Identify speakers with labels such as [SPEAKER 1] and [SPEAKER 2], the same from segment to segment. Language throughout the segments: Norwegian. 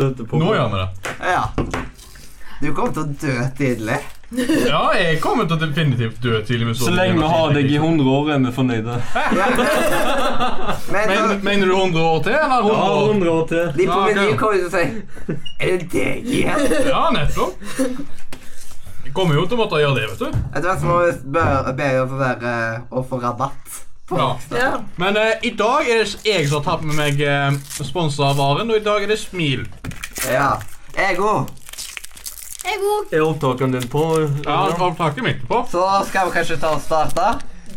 [SPEAKER 1] dette på
[SPEAKER 2] Nå gjør vi det.
[SPEAKER 3] Ja. Du kommer til å dø tidlig.
[SPEAKER 2] Ja, jeg kommer til å definitivt dø tidlig med
[SPEAKER 1] Så lenge vi har deg i 100 år, er vi fornøyde.
[SPEAKER 3] Ja. Men,
[SPEAKER 2] Men, Mener du 100 år til, eller 100
[SPEAKER 1] Ja,
[SPEAKER 2] år?
[SPEAKER 1] 100 år til.
[SPEAKER 3] de på
[SPEAKER 2] Ja, ok.
[SPEAKER 3] Meny kommer til å si Er det deg igjen?
[SPEAKER 2] Ja, nettopp. Jeg kommer jo til å måtte gjøre det, vet du.
[SPEAKER 3] Etter hvert så må vi spørre- be om sånn der eh, å få rabatt.
[SPEAKER 2] Ja.
[SPEAKER 4] Ja.
[SPEAKER 2] Men eh, i dag er det jeg som har tatt med meg eh, sponsa av varen, og i dag er det Smil.
[SPEAKER 3] Ja. Jeg er god.
[SPEAKER 4] Jeg er god.
[SPEAKER 1] Er opptakeren din på?
[SPEAKER 2] Ja, det var taket mitt på.
[SPEAKER 3] Så skal vi kanskje ta og starte.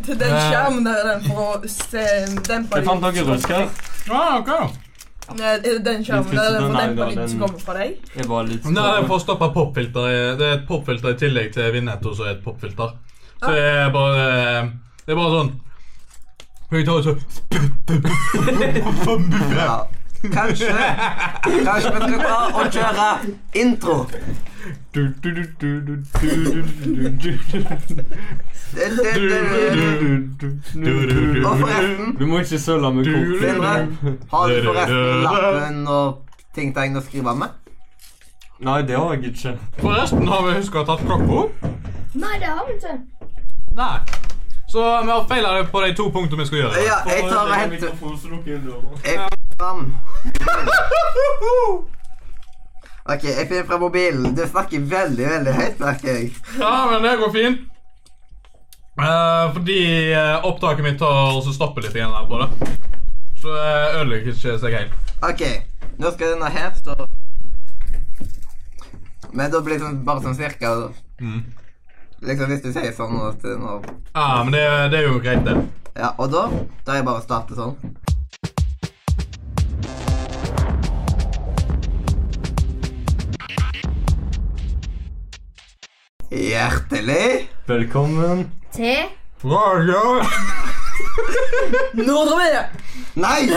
[SPEAKER 4] Til den skjermen der er den for å se dempe
[SPEAKER 1] Jeg Eh, fant noe rusk her.
[SPEAKER 2] Ja, ok.
[SPEAKER 4] Nei, er det den skjermen der er den for å dempe lyden som kommer fra deg?
[SPEAKER 1] Jeg var litt
[SPEAKER 2] Nei, det er for å stoppe popfilter. i- Det er et popfilter i tillegg til Vinetto, som er et popfilter. Så det er bare Det er bare sånn For Jeg tar jo så
[SPEAKER 3] Ja. Kanskje Kanskje vi skal ta og kjøre intro.
[SPEAKER 2] Du, du, du, du, du, du, du, du, du.
[SPEAKER 3] Det, det, det, Og forresten,
[SPEAKER 1] Du må ikke søle med kort.
[SPEAKER 3] Sindre, har du forresten lappen og ting til å skrive med?
[SPEAKER 1] Nei, det har jeg ikke.
[SPEAKER 2] Forresten, har vi huska å ha tatt klokka?
[SPEAKER 4] Nei, det har vi ikke.
[SPEAKER 2] Nei. Så vi har feila på de to punktene vi skal gjøre.
[SPEAKER 3] Ja, jeg tar og henter
[SPEAKER 1] henter
[SPEAKER 3] fram. Ok, jeg finner fra mobilen. Du snakker veldig, veldig høyt, merker jeg.
[SPEAKER 2] Ja, men det går fint. Eh, fordi eh, opptaket mitt tar også stopper litt igjen her på det. Så det ødelegger ikke seg helt.
[SPEAKER 3] Ok, nå skal denne her stå Men da blir det sånn, bare sånn cirka
[SPEAKER 2] Mm.
[SPEAKER 3] Liksom hvis du sier sånn at det nå
[SPEAKER 2] Ja, men det, det er jo greit, det.
[SPEAKER 3] Ja, og da Da er jeg bare å starte sånn Hjertelig
[SPEAKER 1] Velkommen.
[SPEAKER 4] Til
[SPEAKER 2] Ja,
[SPEAKER 4] Nordre
[SPEAKER 3] Nei!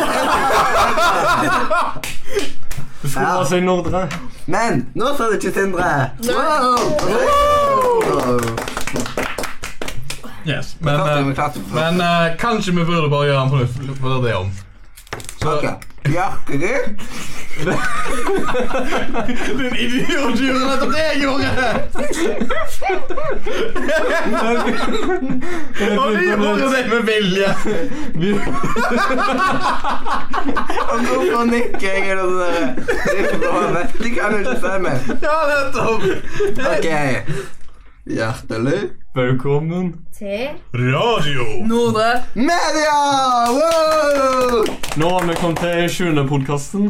[SPEAKER 1] Du skulle bare si Nordre.
[SPEAKER 3] Men nå sa du ikke Sindre Wow!
[SPEAKER 2] yes. Men,
[SPEAKER 3] Klart det, men
[SPEAKER 2] eh,
[SPEAKER 3] klart det.
[SPEAKER 2] men eh, kanskje vi burde bare gjøre en fornuft for det om. Så,
[SPEAKER 3] Ok. Bjarkerud
[SPEAKER 2] Din idiot du gjorde nettopp det jeg gjorde! Og vi gjorde det med vilje.
[SPEAKER 3] Og hvorfor nikker jeg eller sånn der? De kan jo ikke stemme.
[SPEAKER 2] Ja, nettopp.
[SPEAKER 3] Ok. Hjertelig.
[SPEAKER 1] Velkommen.
[SPEAKER 4] Til
[SPEAKER 2] Radio.
[SPEAKER 4] Nordre
[SPEAKER 3] Media! Wow!
[SPEAKER 1] Nå har vi kommet til sjuende podkasten.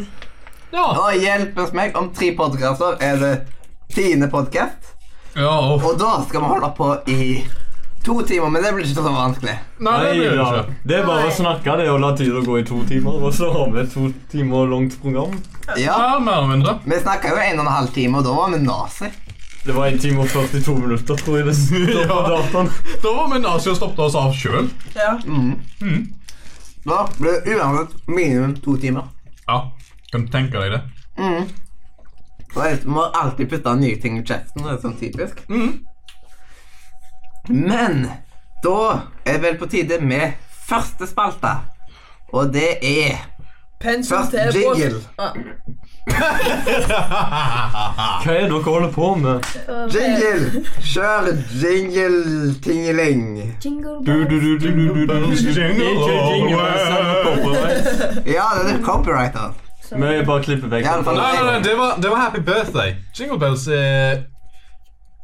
[SPEAKER 2] Ja.
[SPEAKER 3] Og hjelpes meg, om tre podkaster er det tiende podkast.
[SPEAKER 2] ja og-
[SPEAKER 3] Og da skal vi holde på i to timer, men det blir ikke så vanskelig.
[SPEAKER 2] Nei, det blir det ikke.
[SPEAKER 1] Det er bare å snakke. Det er å la tida gå i to timer, og så har vi et to timer langt program.
[SPEAKER 3] Ja.
[SPEAKER 2] Ja, mer eller mindre.
[SPEAKER 3] Vi snakka jo en og en halv time, og da var vi nazi.
[SPEAKER 1] Det var 1 time og 42 minutter, tror jeg det står på
[SPEAKER 2] Ja.
[SPEAKER 1] dataen.
[SPEAKER 2] Da var vi nazi og stoppet oss av sjøl.
[SPEAKER 4] Ja.
[SPEAKER 3] Da blir det uansett minimum to timer.
[SPEAKER 2] Ja, kan du tenke deg det?
[SPEAKER 3] Og jeg må alltid putte nye ting i kjeften. Det er sånn typisk.
[SPEAKER 2] Mhm.
[SPEAKER 3] Men da er det vel på tide med første spalte. Og det er
[SPEAKER 4] Pensum
[SPEAKER 3] Først
[SPEAKER 4] til
[SPEAKER 3] jingle.
[SPEAKER 4] Ah,
[SPEAKER 1] Hva er det dere holder på med?
[SPEAKER 4] ok.
[SPEAKER 3] jingle! Kjør jingle-tingeling.
[SPEAKER 4] Jingle
[SPEAKER 1] Du, du,
[SPEAKER 4] bells.
[SPEAKER 1] du, du, du, du, du.
[SPEAKER 2] Jingle
[SPEAKER 1] Ikke jingle, men send det copyright.
[SPEAKER 3] Ja, det er copywriter.
[SPEAKER 1] Vi bare klipper vekk.
[SPEAKER 3] I alle fall-
[SPEAKER 2] Nei, nei, nei, det var, det var Happy Birthday. Jingle Bells eh,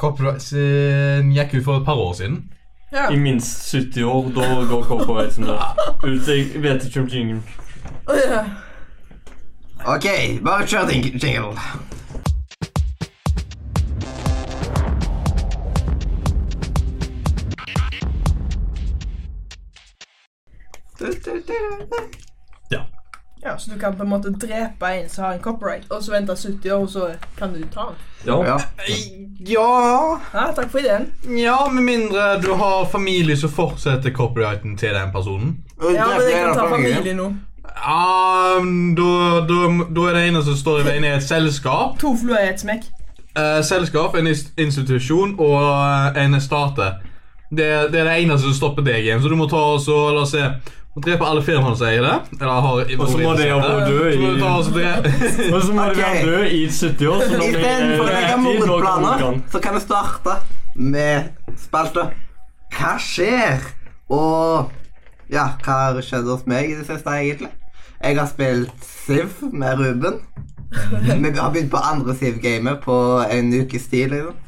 [SPEAKER 2] copyright sin gikk ut for et par år siden.
[SPEAKER 4] Ja.
[SPEAKER 1] I minst 70 år, da går copyrighten der. Ut, jeg vet ikke om jingle.
[SPEAKER 4] Å, ja.
[SPEAKER 3] Ok, bare kjør din jingle.
[SPEAKER 2] Ja.
[SPEAKER 4] ja, Så du kan på en måte drepe en som har en copyright, og så vente 70 år, og så kan du ta den.
[SPEAKER 1] Ja.
[SPEAKER 3] Ja.
[SPEAKER 2] Ja
[SPEAKER 4] Ja, takk for ideen.
[SPEAKER 2] Ja, med mindre du har familie som fortsetter copyrighten til den personen.
[SPEAKER 4] Ja, men jeg kan ta familie nå.
[SPEAKER 2] Ja, da, da, da er det ene som står i veien, er et selskap.
[SPEAKER 4] To fluer i et smekk.
[SPEAKER 2] Eh, selskap, en inst- institusjon og eh, en state. Det, det er det eneste som stopper deg igjen, så du må ta og så, la oss se Og drepe alle firmaene som eier det. Eller har
[SPEAKER 1] Og så må de jo dø
[SPEAKER 2] Så må
[SPEAKER 1] i-
[SPEAKER 2] du ta oss og drepe
[SPEAKER 1] Og så må
[SPEAKER 3] Ok.
[SPEAKER 1] de være døde i 70 år. så når vi er
[SPEAKER 3] Istedenfor å
[SPEAKER 1] rett i, da
[SPEAKER 3] legge
[SPEAKER 1] kommer
[SPEAKER 3] mordplaner,
[SPEAKER 1] han.
[SPEAKER 3] så kan vi starte med spalta Hva skjer? Og ja, hva har skjedd hos meg i det siste, egentlig? Jeg har spilt Siv med Ruben. Vi har begynt på andre Siv-gamet på en ukes tid, liksom.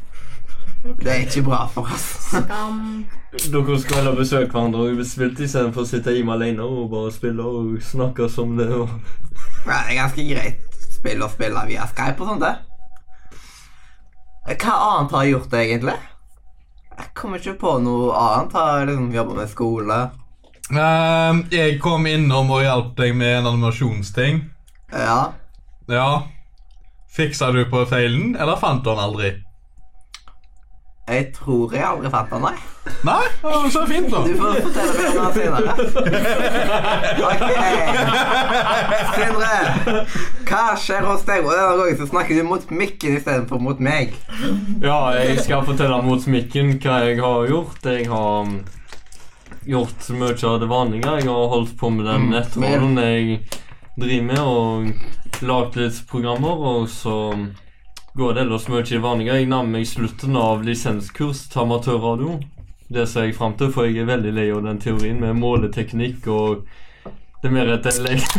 [SPEAKER 3] Det er ikke bra for oss.
[SPEAKER 4] Um,
[SPEAKER 1] Dere skal heller besøke hverandre og spilte istedenfor å sitte hjemme alene og bare spille og snakke som det. Og
[SPEAKER 3] Ja, det er ganske greit spill å spille via Skype og sånt, det. Hva annet har jeg gjort, egentlig? Jeg kommer ikke på noe annet. Har jeg liksom jobba med skole.
[SPEAKER 2] Ehm, Jeg kom innom og hjalp deg med en animasjonsting.
[SPEAKER 3] Ja.
[SPEAKER 2] Ja. Fiksa du på feilen, eller fant du den aldri?
[SPEAKER 3] Jeg tror jeg aldri fant han, nei.
[SPEAKER 2] Nei? Ja, men Så fint, da.
[SPEAKER 3] Du får fortelle meg om han senere. Ok. Sindre, hva skjer hos deg? Og denne gangen så snakker du mot mikken istedenfor mot meg.
[SPEAKER 1] Ja, jeg skal fortelle mot mikken hva jeg har gjort. Jeg har mm, gjort mye av det vanlige. Jeg har holdt på med den
[SPEAKER 3] Mm,
[SPEAKER 1] nettrollen jeg driver med, og lagd litt programmer, og så um, går det ellers mye i det vanlige. Jeg nærmer meg slutten av lisenskurs til amatørradio. Det ser jeg fram til, for jeg er veldig lei av den teorien med måleteknikk og Det er mer et, elek-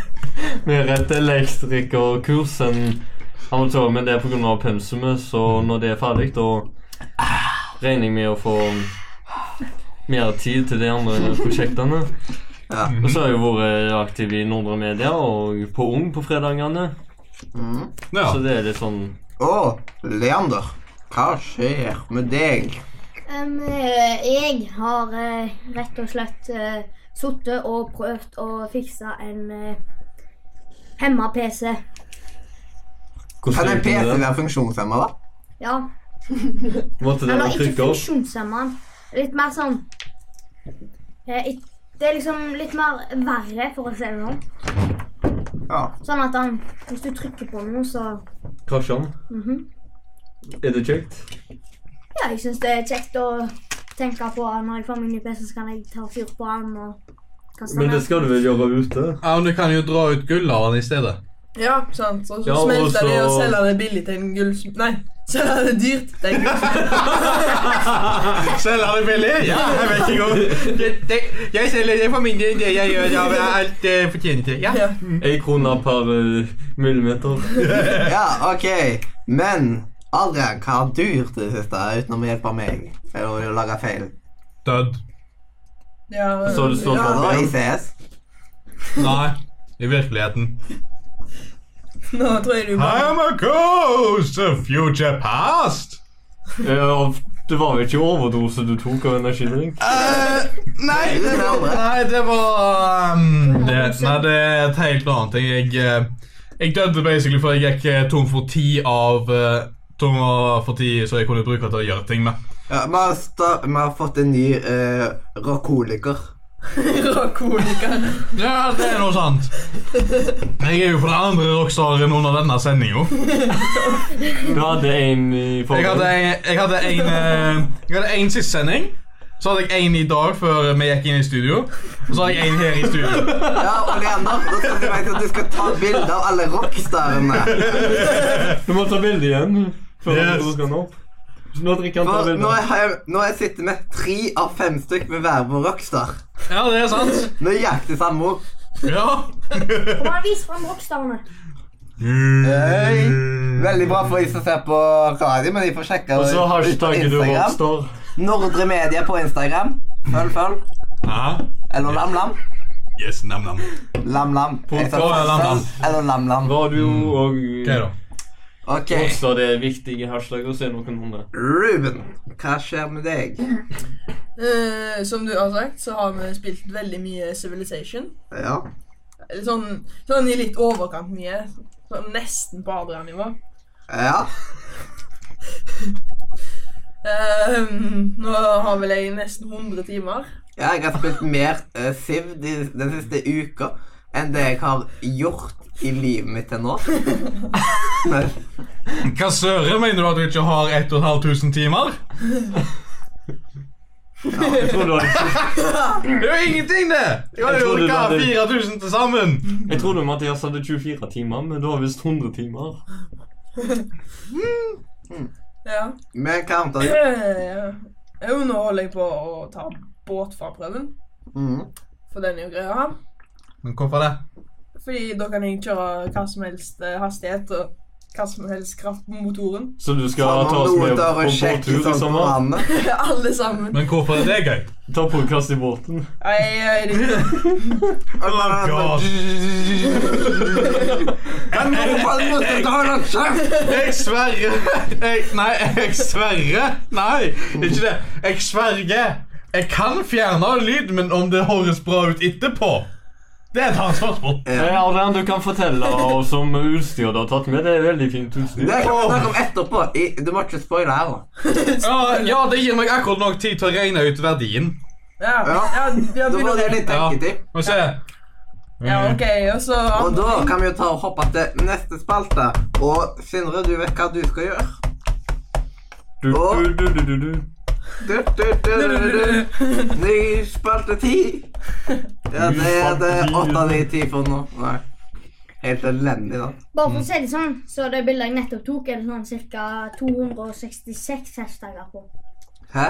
[SPEAKER 1] mer et elektrikerkurs enn han tar med det pga. pensumet, så når det er ferdig, da regner jeg med å få mer tid til de andre prosjektene.
[SPEAKER 3] Ja.
[SPEAKER 1] Og så har jeg vært aktiv i Nordre Media og på Ung på fredagene.
[SPEAKER 3] Mm.
[SPEAKER 2] Ja.
[SPEAKER 1] Så det er litt sånn
[SPEAKER 3] Og Leander, hva skjer med deg?
[SPEAKER 5] Em, eh, jeg har eh, rett og slett uh, sittet og prøvd å fikse en uh, hemma PC.
[SPEAKER 1] hvordan
[SPEAKER 3] Kan en
[SPEAKER 1] gikk det
[SPEAKER 3] PC
[SPEAKER 1] med det?
[SPEAKER 3] være funksjonshemma, da?
[SPEAKER 5] Ja.
[SPEAKER 1] Måtte dere
[SPEAKER 5] Eller ikke
[SPEAKER 1] trykke opp?
[SPEAKER 5] funksjonshemma. Litt mer sånn eh, it- Det er liksom litt mer verre, for å si det sånn.
[SPEAKER 3] Ja.
[SPEAKER 5] Sånn at han, hvis du trykker på noe, så
[SPEAKER 1] Krasja han?
[SPEAKER 5] mhm.
[SPEAKER 1] Er det kjekt?
[SPEAKER 5] Ja, jeg syns det er kjekt å tenke på at når jeg får min nye PC, så kan jeg ta fyr på han og kaste
[SPEAKER 1] Men
[SPEAKER 5] den
[SPEAKER 1] det
[SPEAKER 5] ned.
[SPEAKER 1] skal du vel gjøre ute?
[SPEAKER 2] ja, men du kan jo dra ut gull av den i stedet.
[SPEAKER 4] ja, sant. Og så
[SPEAKER 1] Ja, og
[SPEAKER 4] smelter det og
[SPEAKER 1] så-
[SPEAKER 4] selger det billig til en gullsmed. Nei, selger det dyrt til en gullsmed.
[SPEAKER 2] Selger det billig? Ja, jeg vet ikke om Jeg, det- jeg selger det for mindre enn det jeg gjør av alt jeg fortjener til. Ja.
[SPEAKER 4] Ja.
[SPEAKER 1] Ei krone per eh, millimeter.
[SPEAKER 3] Ja, ok. Men Adrian, hva har du gjort i det siste utenom å hjelpe meg med å lage feil?
[SPEAKER 2] Dødd.
[SPEAKER 4] Ja,
[SPEAKER 1] Så du står
[SPEAKER 3] Ja,
[SPEAKER 4] ja,
[SPEAKER 1] for-
[SPEAKER 3] det var i CS.
[SPEAKER 2] Nei, i virkeligheten.
[SPEAKER 4] Nå tror jeg du bare
[SPEAKER 2] a ghost of future past.
[SPEAKER 1] Ja, og det var vel ikke overdose du tok av energidrink?
[SPEAKER 2] Eh, nei, det var, nei, det var um, det, Nei, det er et helt annet ting. Jeg, eh, jeg døde basically fordi jeg gikk eh, tom for tid av eh, Tom for tid som jeg kunne bruke til å gjøre ting med.
[SPEAKER 3] Ja, vi, har sta- vi har fått en ny uh, rockoliker.
[SPEAKER 4] rakoliker.
[SPEAKER 2] Ja, det er noe sant. Jeg er jo på den andre rockstaren under denne sendinga.
[SPEAKER 1] Du hadde en i
[SPEAKER 2] Jeg hadde
[SPEAKER 1] forveien.
[SPEAKER 2] en, jeg hadde en, eh, jeg hadde en sist sending. Så hadde jeg en i dag før vi gikk inn i studio. Og så hadde jeg en her i studio.
[SPEAKER 3] Ja, og Leander, nå skal du vite at du skal ta bilde av alle rockstarene.
[SPEAKER 1] Du må ta bilde igjen. Før
[SPEAKER 2] Yes.
[SPEAKER 1] du skal nå opp. Så nå drikker han ta
[SPEAKER 3] For nå,
[SPEAKER 1] bilde.
[SPEAKER 3] har jeg, nå har jeg sittet med tre av fem stykk med hver vår rockstar.
[SPEAKER 2] Ja, det er sant.
[SPEAKER 3] Nå jakter Sammo.
[SPEAKER 2] Ja.
[SPEAKER 5] Kom an, vis fram rockstarene.
[SPEAKER 3] Hey. Veldig bra for de som ser på radio, men de får sjekke
[SPEAKER 1] Og så
[SPEAKER 3] ut på
[SPEAKER 1] hashtagget du
[SPEAKER 3] Instagram.
[SPEAKER 1] rockstar.
[SPEAKER 3] Nordre Media på Instagram. Følg, følg.
[SPEAKER 2] Ja.
[SPEAKER 3] Eller lam-lam.
[SPEAKER 2] Yes, nam-nam.
[SPEAKER 3] Lam-lam. Jeg sa
[SPEAKER 1] Å,
[SPEAKER 2] ja, lam, lam.
[SPEAKER 3] Eller lam-lam.
[SPEAKER 1] Radio og
[SPEAKER 2] Okay, da.
[SPEAKER 3] Ok,
[SPEAKER 1] rockstar det er viktige hashtagger, så er noen hundre.
[SPEAKER 3] Ruben, hva skjer med deg?
[SPEAKER 4] Eh, som du har sagt, så har vi spilt veldig mye Civilization.
[SPEAKER 3] Ja.
[SPEAKER 4] Eller sånn, sånn i litt overkant mye. Sånn nesten på Adrian-nivå.
[SPEAKER 3] Ja.
[SPEAKER 4] Eh, nå har vel jeg nesten 100 timer.
[SPEAKER 3] ja jeg har spilt mer eh, Siv de, den siste uka enn det jeg har gjort i livet mitt til nå. Men,
[SPEAKER 2] Hva søren mener du at du ikke har 1500 timer?
[SPEAKER 1] Jeg tror du hadde,
[SPEAKER 2] Det er jo ingenting, det! Jeg har
[SPEAKER 1] Jeg
[SPEAKER 2] jo
[SPEAKER 1] trodde du
[SPEAKER 2] orka
[SPEAKER 1] hadde-
[SPEAKER 2] 4000 til sammen.
[SPEAKER 1] jeg trodde Mathias hadde 24 timer, men du har visst 100 timer.
[SPEAKER 4] Ja. Eh,
[SPEAKER 3] Men hva antar du?
[SPEAKER 4] Ja. Jo, nå holder jeg på å ta båtfarprøven,
[SPEAKER 3] Mhm.
[SPEAKER 4] for den er jo grei å ha.
[SPEAKER 2] Men hvorfor det?
[SPEAKER 4] Fordi da kan jeg kjøre hva som helst eh, hastighet og hva som helst kraft på motoren.
[SPEAKER 1] Så du skal
[SPEAKER 3] Faen,
[SPEAKER 1] ta
[SPEAKER 3] om
[SPEAKER 1] oss
[SPEAKER 3] noen
[SPEAKER 1] med
[SPEAKER 3] tar
[SPEAKER 1] på
[SPEAKER 3] og sjekker
[SPEAKER 1] båttur i
[SPEAKER 3] sånn på
[SPEAKER 1] sommer?
[SPEAKER 3] vannet.
[SPEAKER 4] Alle sammen.
[SPEAKER 2] Men hvorfor er det gøy?
[SPEAKER 1] Ta podkast i båten?
[SPEAKER 4] Ai, ai, det-
[SPEAKER 3] Og bare-
[SPEAKER 2] God.
[SPEAKER 3] Men hvorfor måtte du ta den selv?
[SPEAKER 2] Jeg sverger jeg, Nei, jeg sverger. Nei, ikke det. Jeg sverger. Jeg kan fjerne lyd, men om det høres bra ut etterpå Det er et annet spørsmål.
[SPEAKER 1] Ja. Adrian, du kan fortelle oss om utstyr du har tatt med. Det er veldig fint utstyr.
[SPEAKER 3] Det kan vi snakke om etterpå. I, du må ikke spoile her, da.
[SPEAKER 2] Ja, ja, det gir meg akkurat nok tid til å regne ut verdien.
[SPEAKER 4] Ja,
[SPEAKER 3] Ja.
[SPEAKER 4] ja, ja,
[SPEAKER 3] Da må
[SPEAKER 4] begynner-
[SPEAKER 3] dere
[SPEAKER 2] Ja.
[SPEAKER 3] tenke til.
[SPEAKER 2] Må vi se.
[SPEAKER 4] ja ok, og så
[SPEAKER 3] Og da kan vi jo ta og hoppe til neste spalte. Og Sindre, du vet hva du skal gjøre.
[SPEAKER 1] Du, du, du, du, du, du.
[SPEAKER 3] Du, du, du, du, du, du. Ny spalte ti. Ja, det er det er åtte av de ti for nå. Nei. Helt elendig, da.
[SPEAKER 5] Bare
[SPEAKER 2] Mm.
[SPEAKER 5] for å si det sånn, så det bildet jeg nettopp tok, er det sånn ca. 266 hashtager på.
[SPEAKER 3] Hæ?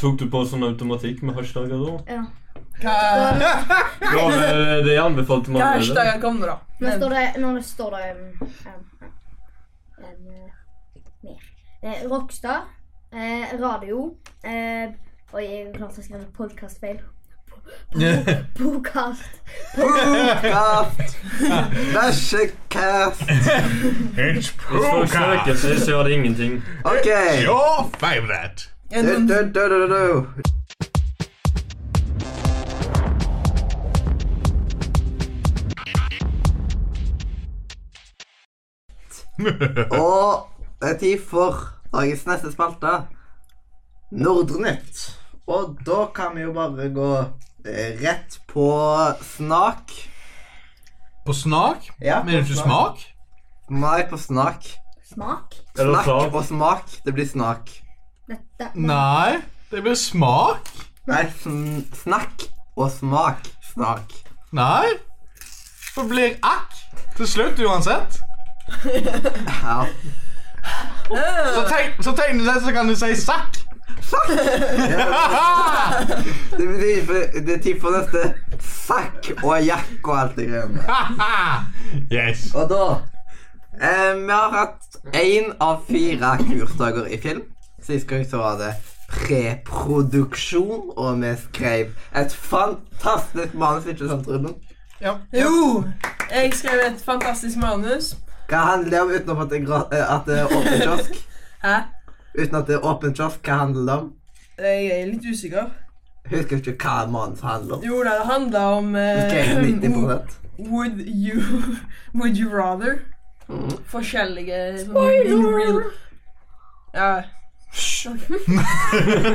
[SPEAKER 1] Tok du på sånn automatikk med hashtagger da?
[SPEAKER 5] Ja.
[SPEAKER 4] Hva
[SPEAKER 1] Ja, men eh, det anbefalte
[SPEAKER 4] hva
[SPEAKER 1] man vel.
[SPEAKER 4] hashtagger kom det, da?
[SPEAKER 5] Nå
[SPEAKER 4] Men-
[SPEAKER 5] står det, nå det står det um, um, um, um, mer. Eh, Rockstar, eh, radio eh, Oi, jeg klarte å skrive podkastfeil. Bokast.
[SPEAKER 3] Kast. Bæsjekast.
[SPEAKER 2] It's
[SPEAKER 1] Hvis folk søker seg, så gjør det ingenting.
[SPEAKER 3] OK.
[SPEAKER 2] Your favorite.
[SPEAKER 4] Ja,
[SPEAKER 3] Du,
[SPEAKER 4] noen-
[SPEAKER 3] du, du, du, du. Og det er tid for dagens neste spalte. Nordnytt. Og da kan vi jo bare gå eh, rett på snak.
[SPEAKER 2] På snak?
[SPEAKER 3] Ja,
[SPEAKER 2] Mener du
[SPEAKER 3] på
[SPEAKER 2] ikke smak?
[SPEAKER 3] Nei, på snak.
[SPEAKER 5] Smak.
[SPEAKER 1] Eller
[SPEAKER 3] Snakk
[SPEAKER 1] slag.
[SPEAKER 3] og smak. Det blir snak.
[SPEAKER 5] Dette.
[SPEAKER 2] Nei, det blir smak.
[SPEAKER 3] Nei, sn snakk og smak. Snak.
[SPEAKER 2] Nei. Det blir akk til slutt uansett.
[SPEAKER 3] Ja.
[SPEAKER 2] Så tegn så tegn det, så kan du si sakk.
[SPEAKER 3] Det betyr for, det er tid for neste sakk og jakk og alt det greiene.
[SPEAKER 2] yes.
[SPEAKER 3] Og da eh, Vi har hatt én av fire kursdager i film. Sist gang så var det preproduksjon, og vi skrev et fantastisk manus, ikke sant, Ruben?
[SPEAKER 2] Ja.
[SPEAKER 4] Jo! Jeg skrev et fantastisk manus.
[SPEAKER 3] Hva handler det om utenom at det er, gra eh, at det er åpen kiosk?
[SPEAKER 4] Hæ?
[SPEAKER 3] Uten at det er åpen kiosk, hva handler det om?
[SPEAKER 4] Jeg er litt usikker.
[SPEAKER 3] Husker ikke hva manuset handler om.
[SPEAKER 4] Jo, da, det handler om
[SPEAKER 3] Skrev
[SPEAKER 4] Eh,
[SPEAKER 3] 90
[SPEAKER 4] Would you Would you rather? Forskjellige Spoiler! Ja.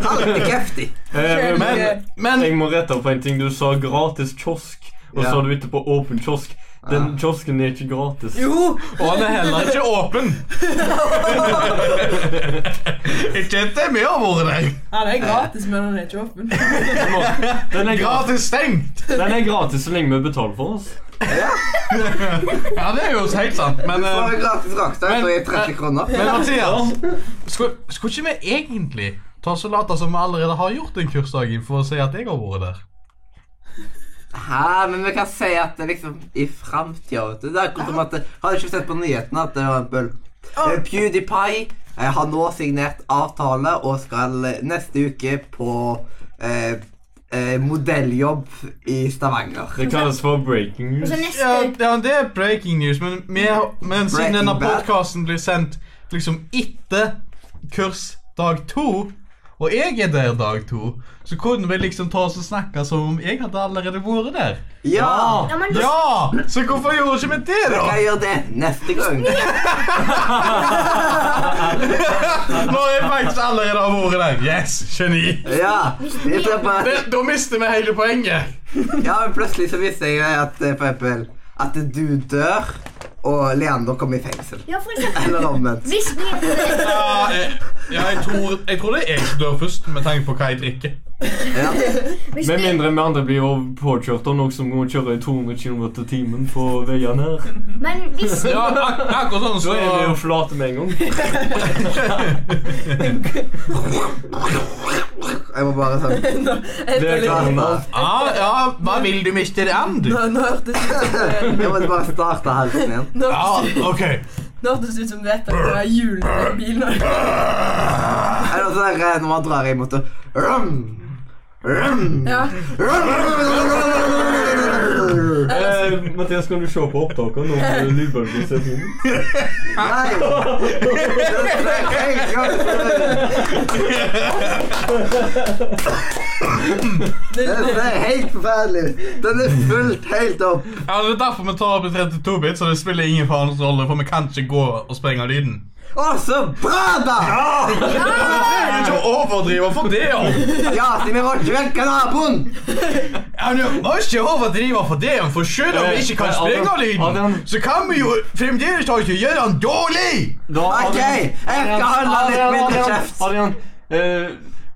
[SPEAKER 3] Alltid heftig.
[SPEAKER 1] Eh, men
[SPEAKER 4] forskjellige-
[SPEAKER 2] Men
[SPEAKER 1] jeg må rette opp en ting. Du sa gratis kiosk, og så
[SPEAKER 3] Ja.
[SPEAKER 1] sa du etterpå åpen kiosk. Den kiosken er ikke gratis.
[SPEAKER 4] Jo!
[SPEAKER 2] Og den er heller ikke åpen. ikke at det er mye av ordet der.
[SPEAKER 4] Han er gratis, men han er ikke åpen.
[SPEAKER 1] Den er, gratis.
[SPEAKER 2] Gratis stengt.
[SPEAKER 1] den er gratis så lenge vi betaler for oss.
[SPEAKER 2] Ja, det er jo helt sant, men
[SPEAKER 3] Så har
[SPEAKER 2] eh,
[SPEAKER 3] vi gratis rakstøy, så er det
[SPEAKER 2] Men-
[SPEAKER 3] 30 kroner.
[SPEAKER 2] Men Mathias, skulle, skulle ikke vi egentlig ta så late som vi allerede har gjort den kursdagen, for å si at jeg har vært der?
[SPEAKER 3] Hæ, men vi kan si at det liksom i framtida, vet du. Det er akkurat som at det- Har du ikke sett på nyhetene at det var en bøll? Eh, PewDiePie eh, har nå signert avtale og skal eh, neste uke på eh, eh, modelljobb i Stavanger.
[SPEAKER 1] Det kalles for breaking
[SPEAKER 5] Og
[SPEAKER 1] news.
[SPEAKER 2] Altså,
[SPEAKER 5] så neste
[SPEAKER 2] Ja,
[SPEAKER 5] uke.
[SPEAKER 2] ja, det er breaking news, men, vi, men
[SPEAKER 3] Breaking
[SPEAKER 2] siden denne
[SPEAKER 3] bad.
[SPEAKER 2] podkasten blir sendt liksom etter kurs dag to, og jeg er der dag to, så kunne vi liksom ta oss og snakke som om jeg hadde allerede vært der.
[SPEAKER 3] Ja!
[SPEAKER 5] Ja, men det-
[SPEAKER 2] Ja! Så hvorfor gjorde ikke vi det, da?
[SPEAKER 3] Jeg gjør det neste gang.
[SPEAKER 2] Når jeg faktisk allerede har vært der. Yes, geni.
[SPEAKER 3] Ja, jeg ser på
[SPEAKER 2] Det, da mister vi hele poenget.
[SPEAKER 3] Ja, men plutselig så visste jeg at eh, for eksempel at du dør, og Leander kommer i fengsel.
[SPEAKER 5] Ja, for eksempel.
[SPEAKER 3] Eller omvendt.
[SPEAKER 5] Hvis vi
[SPEAKER 2] Ja, eh, Ja, jeg tror, jeg tror det er jeg som dør først, med tanke på hva jeg drikker.
[SPEAKER 3] Ja.
[SPEAKER 5] Hvis
[SPEAKER 1] Med
[SPEAKER 5] vi-
[SPEAKER 1] mindre vi andre blir jo påkjørt av noen som må kjøre i 200 km i timen på veiene her.
[SPEAKER 5] Men hvis vi
[SPEAKER 2] Ja, ak akkurat
[SPEAKER 1] Så
[SPEAKER 2] sånn så
[SPEAKER 1] er vi jo flate med en gang.
[SPEAKER 3] Jeg må bare sånn
[SPEAKER 4] Nå-
[SPEAKER 1] Det
[SPEAKER 4] jeg føler-
[SPEAKER 1] kan man.
[SPEAKER 2] ah, Ja, hva vil du, Mr. Andy?
[SPEAKER 4] Nå nå hørtes det ut som eh,
[SPEAKER 3] Jeg måtte bare starte halsen igjen.
[SPEAKER 4] nå
[SPEAKER 2] Ja,
[SPEAKER 4] hørtes det-
[SPEAKER 2] OK.
[SPEAKER 4] Nå hørtes det ut som du vet at det er hjulene i bilen.
[SPEAKER 3] Er det også der eh, når man drar imot det rum, rum,
[SPEAKER 4] Ja.
[SPEAKER 3] rum.
[SPEAKER 1] Eh, Mathias, kan du se på opptaket nå når lydbølgen ser fin ut?
[SPEAKER 3] Nei! Det er helt galt.
[SPEAKER 4] Det, sånn.
[SPEAKER 3] Det
[SPEAKER 4] det,
[SPEAKER 3] er helt forferdelig. Den er fullt helt opp.
[SPEAKER 2] Ja, Det er derfor vi tar opp i 32-bit, så det spiller ingen faens rolle, for vi kan ikke gå og sprenge lyden.
[SPEAKER 3] Å, så bra, da!
[SPEAKER 2] Jeg er ikke overdrive for det, jo.
[SPEAKER 3] Ja, siden vi var ikke vekk av naboen.
[SPEAKER 2] Ja, men jeg må ikke overdrive for det, for selv om vi ikke kan sprenge lyden, så kan vi jo fremdeles ikke gjøre den dårlig!
[SPEAKER 1] Da,
[SPEAKER 3] Ok, jeg skal holde litt mindre kjeft.
[SPEAKER 1] Adrian, eh,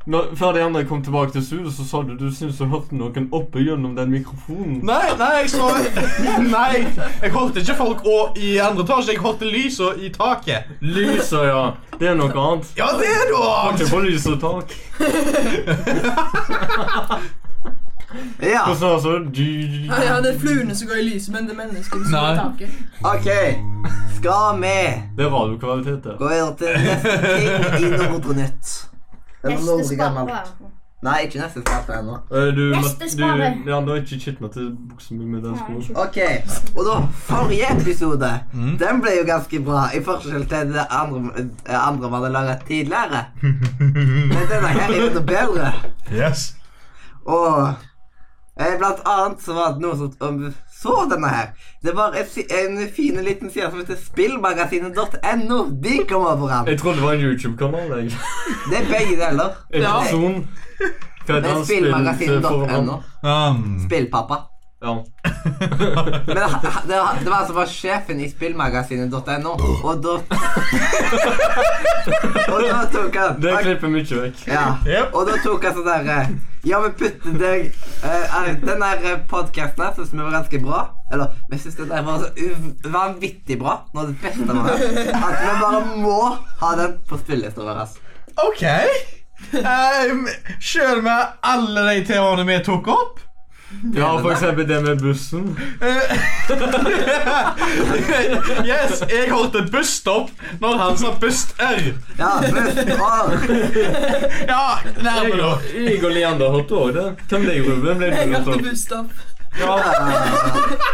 [SPEAKER 1] når, før de andre kom tilbake til studio, så sa du du syntes du hørte noen oppe gjennom den mikrofonen.
[SPEAKER 2] Nei, nei, jeg så Nei, jeg hørte ikke folk og i andre etasje. Jeg hørte lysa i taket.
[SPEAKER 1] Lyset, ja. Det er noe annet.
[SPEAKER 2] Ja, det er du!
[SPEAKER 1] Kan ikke få lys og tak.
[SPEAKER 3] Ja,
[SPEAKER 1] Hvordan høres det? Du-
[SPEAKER 4] ja, ja, det er fluene som går i lyset, men det er menneskene som
[SPEAKER 2] Nei.
[SPEAKER 4] går i taket.
[SPEAKER 3] ok. Skal vi
[SPEAKER 1] Det er radiokvalitet, det.
[SPEAKER 3] gå over til neste ting i Nordnytt? Eller
[SPEAKER 5] Neste
[SPEAKER 3] Nordre
[SPEAKER 5] spalte.
[SPEAKER 3] gammelt. Nei, ikke neste spalte ennå.
[SPEAKER 1] Eh, Du,
[SPEAKER 5] Neste
[SPEAKER 1] Matt-
[SPEAKER 5] spalte.
[SPEAKER 1] du, ja, du har ikke kitt meg til buksa mi med den skoen.
[SPEAKER 3] Ok, og da forrige episode
[SPEAKER 2] Mm.
[SPEAKER 3] Den ble jo ganske bra I forskjell til det andre, eh, andre man hadde laget tidligere Men denne her er jo noe bedre
[SPEAKER 2] Yes.
[SPEAKER 3] Og eh, Blant annet så var det noen som om- så denne her Det var et, si- en fin liten side som heter Spillmagasinet.no De kom over han
[SPEAKER 1] Jeg trodde det var en YouTube-kanal. jeg.
[SPEAKER 3] Det er begge deler
[SPEAKER 1] En
[SPEAKER 4] Ja.
[SPEAKER 1] person eh, Hva
[SPEAKER 3] Det
[SPEAKER 1] heter
[SPEAKER 3] er
[SPEAKER 1] han? Spill- foran-
[SPEAKER 3] Spillmagasinet.no
[SPEAKER 2] Um.
[SPEAKER 3] Spillpappa
[SPEAKER 1] Ja.
[SPEAKER 3] Men ha- ha- det var, det var altså bare sjefen i spillmagasinet.no, og da Og da tok han
[SPEAKER 1] Det klipper mye vekk.
[SPEAKER 3] ja.
[SPEAKER 2] Yep.
[SPEAKER 3] Og da tok han sånn der eh, Ja, vi putter deg eh, er- Den der podkasten her syns vi var ganske bra. Eller vi syns den der var så uv- vanvittig bra. Noe av det beste var det. At vi bare må ha den på spillelista vår. ass.
[SPEAKER 2] OK. Um, Sjøl med alle de temaene vi tok opp
[SPEAKER 1] Ja, for eksempel det med bussen.
[SPEAKER 2] eh, Yes, jeg hørte busstopp når han sa bust-r.
[SPEAKER 3] Ja, men, å,
[SPEAKER 2] Ja, nærme
[SPEAKER 1] Jeg
[SPEAKER 2] nok.
[SPEAKER 1] jeg og Leander hørte òg det. Hvem ble Ruben? Ble
[SPEAKER 4] Jeg
[SPEAKER 1] du
[SPEAKER 4] hørte
[SPEAKER 1] sånn?
[SPEAKER 4] busstopp.
[SPEAKER 1] Ja,
[SPEAKER 3] we're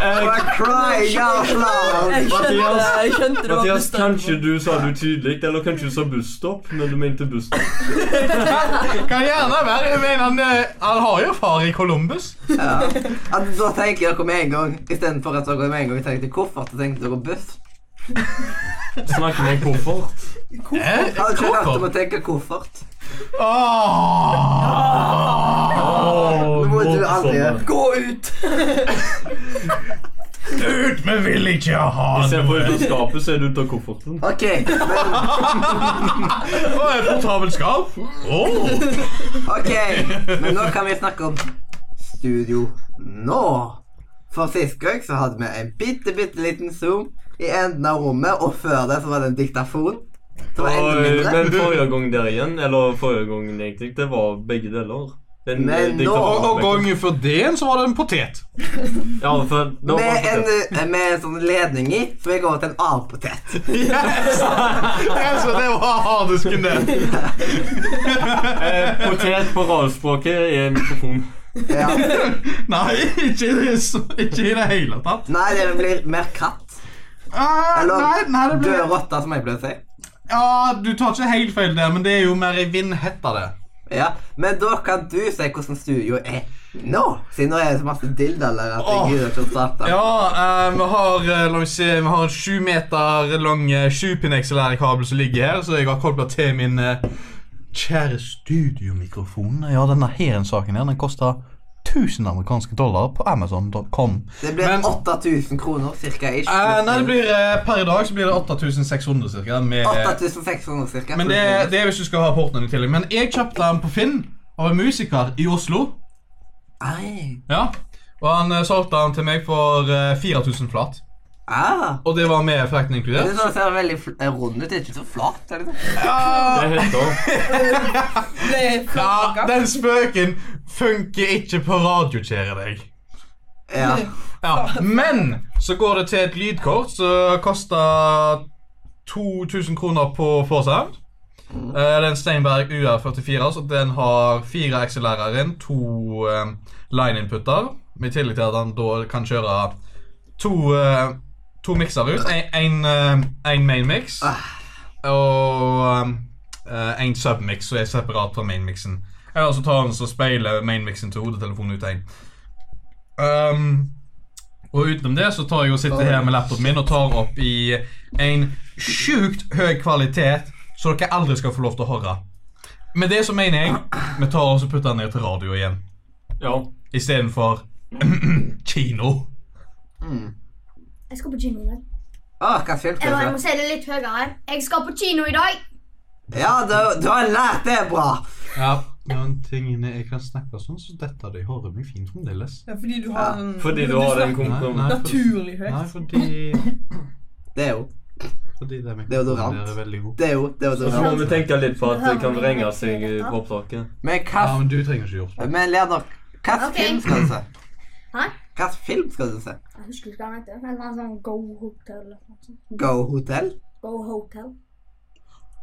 [SPEAKER 1] eh,
[SPEAKER 3] crying out
[SPEAKER 4] Jeg
[SPEAKER 3] loud.
[SPEAKER 4] skjønte det, jeg skjønte det var
[SPEAKER 1] Mathias, kanskje
[SPEAKER 4] busstopp.
[SPEAKER 1] du sa det utydelig, eller kanskje du sa busstopp, men du mente busstopp.
[SPEAKER 2] Kan gjerne være. Jeg mener, han, eh, han har jo far i Columbus.
[SPEAKER 3] Ja. At da tenker dere med en gang Istedenfor at dere med en gang tenkte koffert, så tenkte dere buss.
[SPEAKER 1] Snakke med en koffert.
[SPEAKER 2] Eh,
[SPEAKER 3] Jeg hadde ikke hørt om
[SPEAKER 2] Hvorfor?
[SPEAKER 3] å tenke koffert.
[SPEAKER 2] Ah! Åh!
[SPEAKER 3] Nå må du aldri gjøre.
[SPEAKER 1] morsomt.
[SPEAKER 4] Gå ut!
[SPEAKER 2] Ut, vi vil ikke ha
[SPEAKER 1] Istedenfor ut
[SPEAKER 2] noe.
[SPEAKER 1] av skapet, så er du ute av kofferten.
[SPEAKER 3] Ok, men,
[SPEAKER 2] Å, et portabelt skap. Åh!
[SPEAKER 3] ok, men nå kan vi snakke om studio nå. For sist gang så hadde vi en bitte, bitte liten zoom i enden av rommet, og før det så var det en diktafon. Som var enda
[SPEAKER 1] Og,
[SPEAKER 3] mindre.
[SPEAKER 1] men forrige gang der igjen, eller forrige gang egentlig, det var begge deler. Den,
[SPEAKER 3] Men
[SPEAKER 1] eh,
[SPEAKER 3] nå-
[SPEAKER 1] diktafonen-
[SPEAKER 2] Og, og gangen før det igjen så var det en potet.
[SPEAKER 1] Ja, for da var
[SPEAKER 3] Med
[SPEAKER 1] det
[SPEAKER 3] en, eh, med en sånn ledning i, som gikk over til en annen potet.
[SPEAKER 2] Yes! yes og det var harddisken der.
[SPEAKER 1] eh, Potet på radiospråket er mikrofon.
[SPEAKER 3] Ja.
[SPEAKER 2] Nei, ikke, i det så- ikke i det hele tatt.
[SPEAKER 3] Nei, det blir mer katt.
[SPEAKER 2] Ah, nei,
[SPEAKER 3] Eller
[SPEAKER 2] nei, det ble...
[SPEAKER 3] død rotte, som jeg pleier å si.
[SPEAKER 2] Ja, du tar ikke helt feil der, men det er jo mer i vindhetta, det.
[SPEAKER 3] Ja, Men da kan du si hvordan studio er nå, siden nå er det så masse dildaler at jeg gidder ikke å starte.
[SPEAKER 2] Ja, eh, vi har eh, la meg se, vi har en sju meter lang eh, sjupinnekselærkabel som ligger her, så jeg har kobla til min eh, kjære studiomikrofon. Ja, denne her saken her, den kosta
[SPEAKER 6] 1000 amerikanske dollar på Amazon.com.
[SPEAKER 3] Det blir
[SPEAKER 2] Men-
[SPEAKER 3] 8000 kroner cirka. ish.
[SPEAKER 2] Eh, nei, det blir, eh, per i dag så blir det 8600 cirka. Med,
[SPEAKER 3] 8600 cirka.
[SPEAKER 2] men det, det er hvis du skal ha porten i tillegg. Men jeg kjøpte den på Finn av en musiker i Oslo.
[SPEAKER 3] Ai.
[SPEAKER 2] Ja. Og han eh, solgte den til meg for eh, 4000 flat.
[SPEAKER 3] Ah.
[SPEAKER 2] Og det var med frakten
[SPEAKER 3] Det
[SPEAKER 2] inkludert.
[SPEAKER 3] er sånn ser veldig fl- rund ut, ikke så flat. er det det?
[SPEAKER 1] Det heter
[SPEAKER 4] Det er
[SPEAKER 2] Ja,
[SPEAKER 4] flagga.
[SPEAKER 2] den spøken funker ikke på radio, kjære deg.
[SPEAKER 3] Ja.
[SPEAKER 2] Ja, Men så går det til et lydkort som koster 2000 kroner på Forsound. Eh, Det er en Steinberg UR44, så den har fire XLR-er inn, to eh, line-inputter. I tillegg til at han da kan kjøre to, eh, to mikser ut. En, en, eh, en main mix og eh, en submix, som er separat fra main mixen. Eller så tar han så speiler main mixen til hodetelefonen ut en. Um, og utenom det så tar jeg og sitter her med laptopen min og tar opp i en sjukt høy kvalitet, så dere aldri skal få lov til å høre. Med det så mener jeg vi tar og så putter den ned til radio igjen,
[SPEAKER 1] Ja.
[SPEAKER 2] istedenfor kino.
[SPEAKER 5] Jeg skal på kino i dag.
[SPEAKER 3] Ah, hva film
[SPEAKER 5] Eller jeg
[SPEAKER 3] skal
[SPEAKER 5] må
[SPEAKER 3] du se?
[SPEAKER 5] si det litt høyere. Jeg skal på kino i dag.
[SPEAKER 3] Ja, du, du har lært det bra.
[SPEAKER 2] Ja, men tingene jeg kan snakke sånn, så detter det i håret mitt fint fremdeles.
[SPEAKER 4] Ja, fordi du har en
[SPEAKER 1] Fordi du har den
[SPEAKER 2] Nei,
[SPEAKER 1] kompromissen.
[SPEAKER 2] nei, for-
[SPEAKER 4] Naturlig høyt.
[SPEAKER 2] Nei, fordi,
[SPEAKER 3] Det er jo
[SPEAKER 2] fordi det er
[SPEAKER 3] Deodorant.
[SPEAKER 2] Det er veldig god.
[SPEAKER 3] det er jo, det er
[SPEAKER 1] Så
[SPEAKER 3] jo
[SPEAKER 1] må vi tenke litt på at det kan vrenge seg i opptaket.
[SPEAKER 3] Men hva
[SPEAKER 2] Ja, men du trenger ikke gjort det.
[SPEAKER 3] Men Leander, hva
[SPEAKER 5] Ok.
[SPEAKER 3] film skal du se?
[SPEAKER 5] Hæ?
[SPEAKER 3] Hva film skal du se?
[SPEAKER 5] Jeg husker ikke hva han heter. Men han sånn Go Hotel eller noe sånt.
[SPEAKER 3] Go Hotel?
[SPEAKER 5] Go Hotel.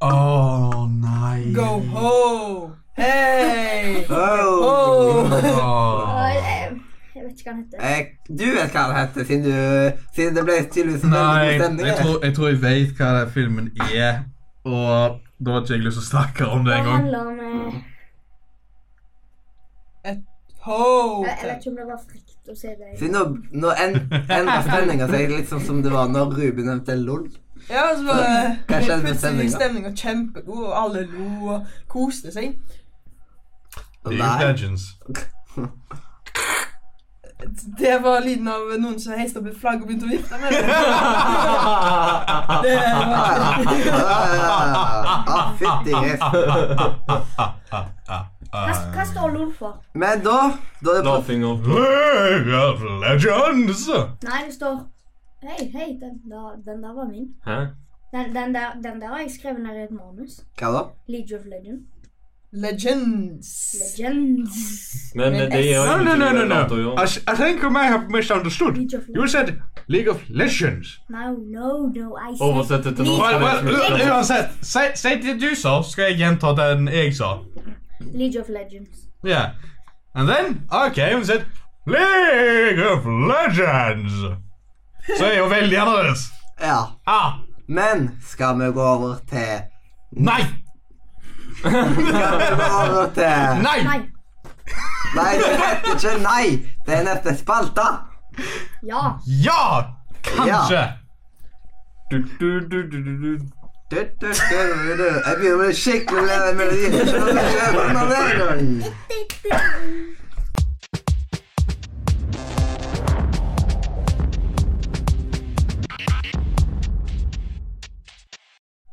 [SPEAKER 2] Å nei.
[SPEAKER 4] Go ho! Hei!
[SPEAKER 3] Oh.
[SPEAKER 4] Oh.
[SPEAKER 5] Og
[SPEAKER 2] Åh.
[SPEAKER 5] Jeg, jeg vet ikke hva han heter.
[SPEAKER 3] Eh, du vet hva den heter, siden, du, siden det ble tydeligvis en veldig
[SPEAKER 2] Nei,
[SPEAKER 3] god stemning. eh.
[SPEAKER 2] jeg
[SPEAKER 3] her.
[SPEAKER 2] tror, jeg tror jeg vet hva den filmen er. Og da har ikke jeg lyst til å snakke om det
[SPEAKER 5] Det
[SPEAKER 2] engang.
[SPEAKER 5] handler om
[SPEAKER 1] Mm.
[SPEAKER 5] eh,
[SPEAKER 4] Ho!
[SPEAKER 5] Jeg jeg vet ikke om det var frekt å se det.
[SPEAKER 3] Siden nå, nå en, endra stemninga seg litt sånn som det var når Ruben nevnte LOL.
[SPEAKER 4] Ja, så bare
[SPEAKER 3] Kanskje det er
[SPEAKER 4] plutselig
[SPEAKER 3] stemninga.
[SPEAKER 4] stemninga kjempegod, og alle lo og koste seg.
[SPEAKER 2] League
[SPEAKER 3] Nei.
[SPEAKER 2] Legends.
[SPEAKER 4] Det var lyden av noen som heiste opp et flagg og begynte å vifte med det. det var...
[SPEAKER 3] Ah, ah, Fytti grisen.
[SPEAKER 1] Ah.
[SPEAKER 5] Hva, hva står LOL for?
[SPEAKER 3] Men da Da er det på
[SPEAKER 1] Laughing of
[SPEAKER 2] League of Legends!
[SPEAKER 5] Nei, det står Hei, hei, den der, den der var min.
[SPEAKER 1] Hæ?
[SPEAKER 5] Den, den, der, den der har jeg skrevet ned i et manus.
[SPEAKER 3] Hva da?
[SPEAKER 5] League of Legends.
[SPEAKER 4] Legends.
[SPEAKER 5] Legends.
[SPEAKER 1] Men eh, det gjør
[SPEAKER 2] No, no, no,
[SPEAKER 1] ingenting
[SPEAKER 2] no,
[SPEAKER 1] med
[SPEAKER 2] no.
[SPEAKER 1] Lato,
[SPEAKER 2] I,
[SPEAKER 1] ja.
[SPEAKER 2] s- I think I may have misunderstood.
[SPEAKER 5] League of
[SPEAKER 2] You
[SPEAKER 5] Legends.
[SPEAKER 2] said League of Legends.
[SPEAKER 5] No, no, no, I said
[SPEAKER 1] Oversett det til
[SPEAKER 5] League-
[SPEAKER 2] Well,
[SPEAKER 1] norsk.
[SPEAKER 2] well, u- uansett, si si det du sa, så skal jeg gjenta den jeg sa.
[SPEAKER 5] League of Legends.
[SPEAKER 2] Yeah. And then, okay, hun said League of Legends. Så er jo veldig annerledes.
[SPEAKER 3] Ja.
[SPEAKER 2] Ah,
[SPEAKER 3] Men skal vi gå over til
[SPEAKER 2] nei!
[SPEAKER 3] Skal vi gå over til
[SPEAKER 2] Nei!
[SPEAKER 5] Nei.
[SPEAKER 3] Nei, det heter ikke nei. Det er neste spalte.
[SPEAKER 5] Ja.
[SPEAKER 2] Ja! Kanskje.
[SPEAKER 1] Du, du, du, du, du, du.
[SPEAKER 3] Du, du, du, du, du. Jeg begynner med skikkelig med melodi. Skjønner du ikke hvordan det er i gang?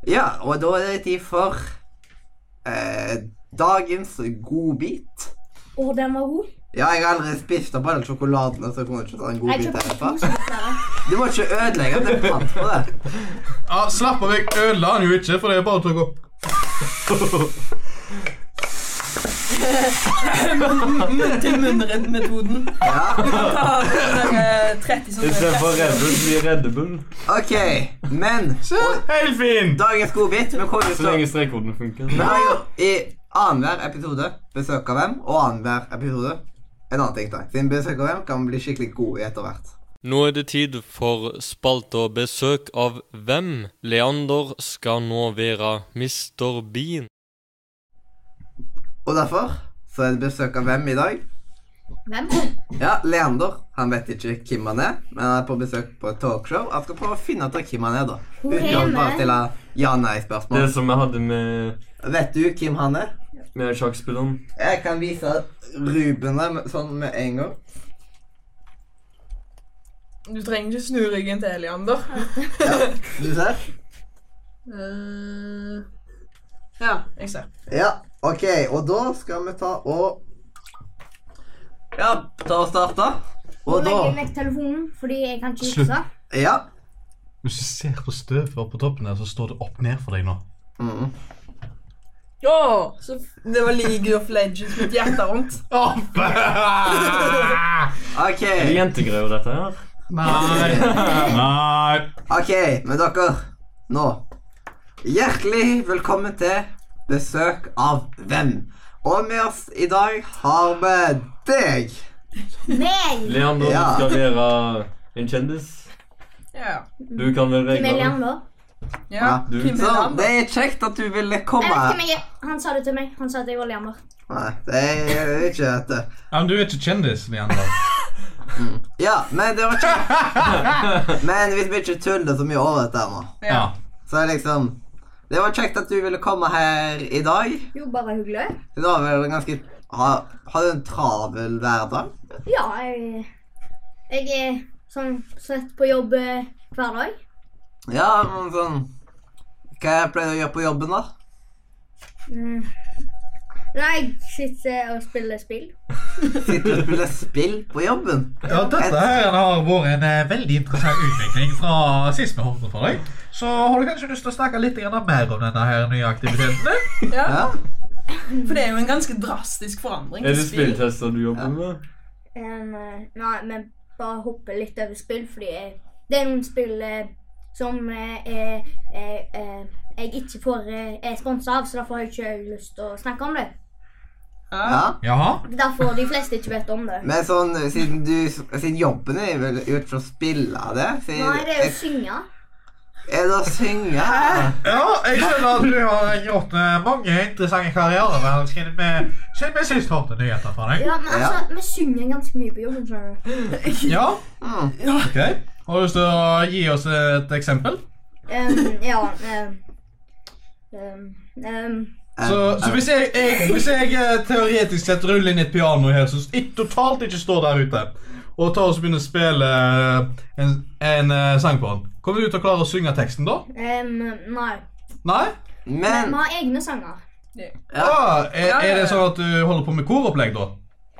[SPEAKER 3] Ja, og da er det tid for eh, dagens godbit.
[SPEAKER 5] Og den var god.
[SPEAKER 3] Ja, jeg har aldri spist opp alle sjokoladene, så jeg kunne ikke ta en
[SPEAKER 5] Jeg
[SPEAKER 3] godbit
[SPEAKER 5] kjøpte to
[SPEAKER 3] herfra.
[SPEAKER 5] smaker.
[SPEAKER 3] Du må ikke ødelegge, det er pant på det.
[SPEAKER 2] Ja, slapp av, jeg ødela han jo ikke, for det er bare å trykke opp.
[SPEAKER 4] Munn-til-munn-metoden.
[SPEAKER 3] Ja.
[SPEAKER 4] Ta den der, eh, 30 som
[SPEAKER 1] Istedenfor Red Bull blir Red Bull.
[SPEAKER 3] Ok, men
[SPEAKER 2] Se, helt fint.
[SPEAKER 3] dagens godbit Vi kommer
[SPEAKER 1] Så
[SPEAKER 3] til å
[SPEAKER 1] lenge strekkoden funker.
[SPEAKER 3] Vi har jo i annenhver episode besøk av hvem, og annenhver episode en annen ting. da. Siden besøk av hvem kan man bli skikkelig god i etter hvert.
[SPEAKER 1] Nå er det tid for spalta besøk av hvem. Leander skal nå være Mr. Bean.
[SPEAKER 3] Og derfor så er det besøk av hvem i dag.
[SPEAKER 5] Hvem?
[SPEAKER 3] Ja, Leander. Han vet ikke hvem han er, men han er på besøk på et talkshow. Han skal prøve å finne ut av hvem han er, da.
[SPEAKER 5] Hvor
[SPEAKER 3] Uten
[SPEAKER 5] er
[SPEAKER 3] å bare
[SPEAKER 5] vi?
[SPEAKER 3] stille
[SPEAKER 5] Å,
[SPEAKER 3] ja-nei-spørsmål.
[SPEAKER 1] Det som vi hadde med
[SPEAKER 3] Vet du hvem han er?
[SPEAKER 1] med sjakkspilleren.
[SPEAKER 3] Jeg kan vise Ruben der med- sånn med en gang.
[SPEAKER 4] Du trenger ikke snu ryggen til Eliander.
[SPEAKER 3] Ja, du ser?
[SPEAKER 4] Eh, ja, jeg ser.
[SPEAKER 3] Ja, ok. Og da skal vi ta og Ja, ta og starte.
[SPEAKER 5] Nå
[SPEAKER 3] Og da
[SPEAKER 5] legger jeg vekk telefonen, fordi jeg kan ikke
[SPEAKER 6] Slutt.
[SPEAKER 5] huske.
[SPEAKER 3] Ja.
[SPEAKER 6] Hvis du ser på støvet oppe på toppen der, så står det opp ned for deg nå.
[SPEAKER 3] Mm.
[SPEAKER 4] Å, så f- det var League of Legends mitt hjerte rundt.
[SPEAKER 3] OK.
[SPEAKER 1] Er det jentegreier, dette her?
[SPEAKER 2] Nei. Nei.
[SPEAKER 3] Ok, men dere, nå Hjertelig velkommen til besøk av Hvem? Og med oss i dag har vi deg.
[SPEAKER 5] Meg!
[SPEAKER 1] Leander
[SPEAKER 3] Ja.
[SPEAKER 1] skal være en kjendis.
[SPEAKER 4] Ja.
[SPEAKER 1] Du kan være
[SPEAKER 5] Hvem er
[SPEAKER 1] reglene.
[SPEAKER 5] Leander?
[SPEAKER 4] ja.
[SPEAKER 1] Du-
[SPEAKER 4] Hvem
[SPEAKER 3] Så
[SPEAKER 4] er han?
[SPEAKER 3] sånn, det er kjekt at du ville
[SPEAKER 5] Jeg vet hvem
[SPEAKER 3] komme.
[SPEAKER 5] jeg er. Han sa det til meg. Han sa at jeg var Leander.
[SPEAKER 3] Nei, det er ikke dette.
[SPEAKER 2] Ja, men du er ikke kjendis, Leander.
[SPEAKER 3] Ja, men det var ikke Men hvis vi ikke tuller så mye over dette her nå,
[SPEAKER 4] Ja.
[SPEAKER 3] så er liksom Det var kjekt at du ville komme her i dag.
[SPEAKER 5] Jo, bare hyggelig.
[SPEAKER 3] Du har vel en ganske Har, har du en travel hverdag?
[SPEAKER 5] Ja, jeg, jeg er sånn sett på jobb eh, hver dag.
[SPEAKER 3] Ja, men sånn Hva pleier du å gjøre på jobben, da?
[SPEAKER 5] Mm. Nei, jeg sitter og spiller spill.
[SPEAKER 3] Sitter og spiller spill på jobben.
[SPEAKER 2] Ja, dette her har vært en eh, veldig interessant utvikling fra sist vi hørte fra deg. Så har du kanskje lyst til å snakke litt grann mer om denne her nye aktiviteten? din?
[SPEAKER 4] ja.
[SPEAKER 3] Ja.
[SPEAKER 4] For det er jo en ganske drastisk forandring.
[SPEAKER 1] Er
[SPEAKER 4] til
[SPEAKER 1] det spilltester du jobber med?
[SPEAKER 5] En, eh, nei, vi bare hopper litt over spill, fordi jeg, det er noen spill eh, som eh, er, er, er, jeg ikke får, eh, er sponsa av, så derfor har jeg ikke lyst til å snakke om det.
[SPEAKER 4] Ja.
[SPEAKER 3] ja.
[SPEAKER 2] Jaha?
[SPEAKER 5] Det er derfor de fleste ikke vet om det.
[SPEAKER 3] Men sånn, siden, du, siden jobben din er vel ut for å spille det siden,
[SPEAKER 5] Nei, det er jo å synge.
[SPEAKER 3] Er det å synge?
[SPEAKER 2] Ja, jeg skjønner at du har gjort eh, mange interessante karrierer. vel, Siden vi- siden vi sist hørte nyheter fra deg.
[SPEAKER 5] Ja, men altså, vi synger ganske mye på jobben, skjønner du.
[SPEAKER 2] Ja,
[SPEAKER 3] Mm.
[SPEAKER 2] ok. Har du lyst til å gi oss et eksempel?
[SPEAKER 5] Em, ja. em, em, em,
[SPEAKER 3] Eh,
[SPEAKER 2] Så, så hvis, jeg, jeg, hvis jeg eh, teoretisk sett ruller inn et piano her som ikke- totalt ikke står der ute, og tar og så begynner å spille eh, en, en eh, sang på den, kommer du til å klare å synge teksten da?
[SPEAKER 5] em, nei.
[SPEAKER 2] Nei?
[SPEAKER 5] Men
[SPEAKER 3] Men
[SPEAKER 5] vi har egne sanger.
[SPEAKER 2] Ah, er,
[SPEAKER 4] Ja, ja, ja.
[SPEAKER 2] er det sånn at du holder på med koropplegg, da?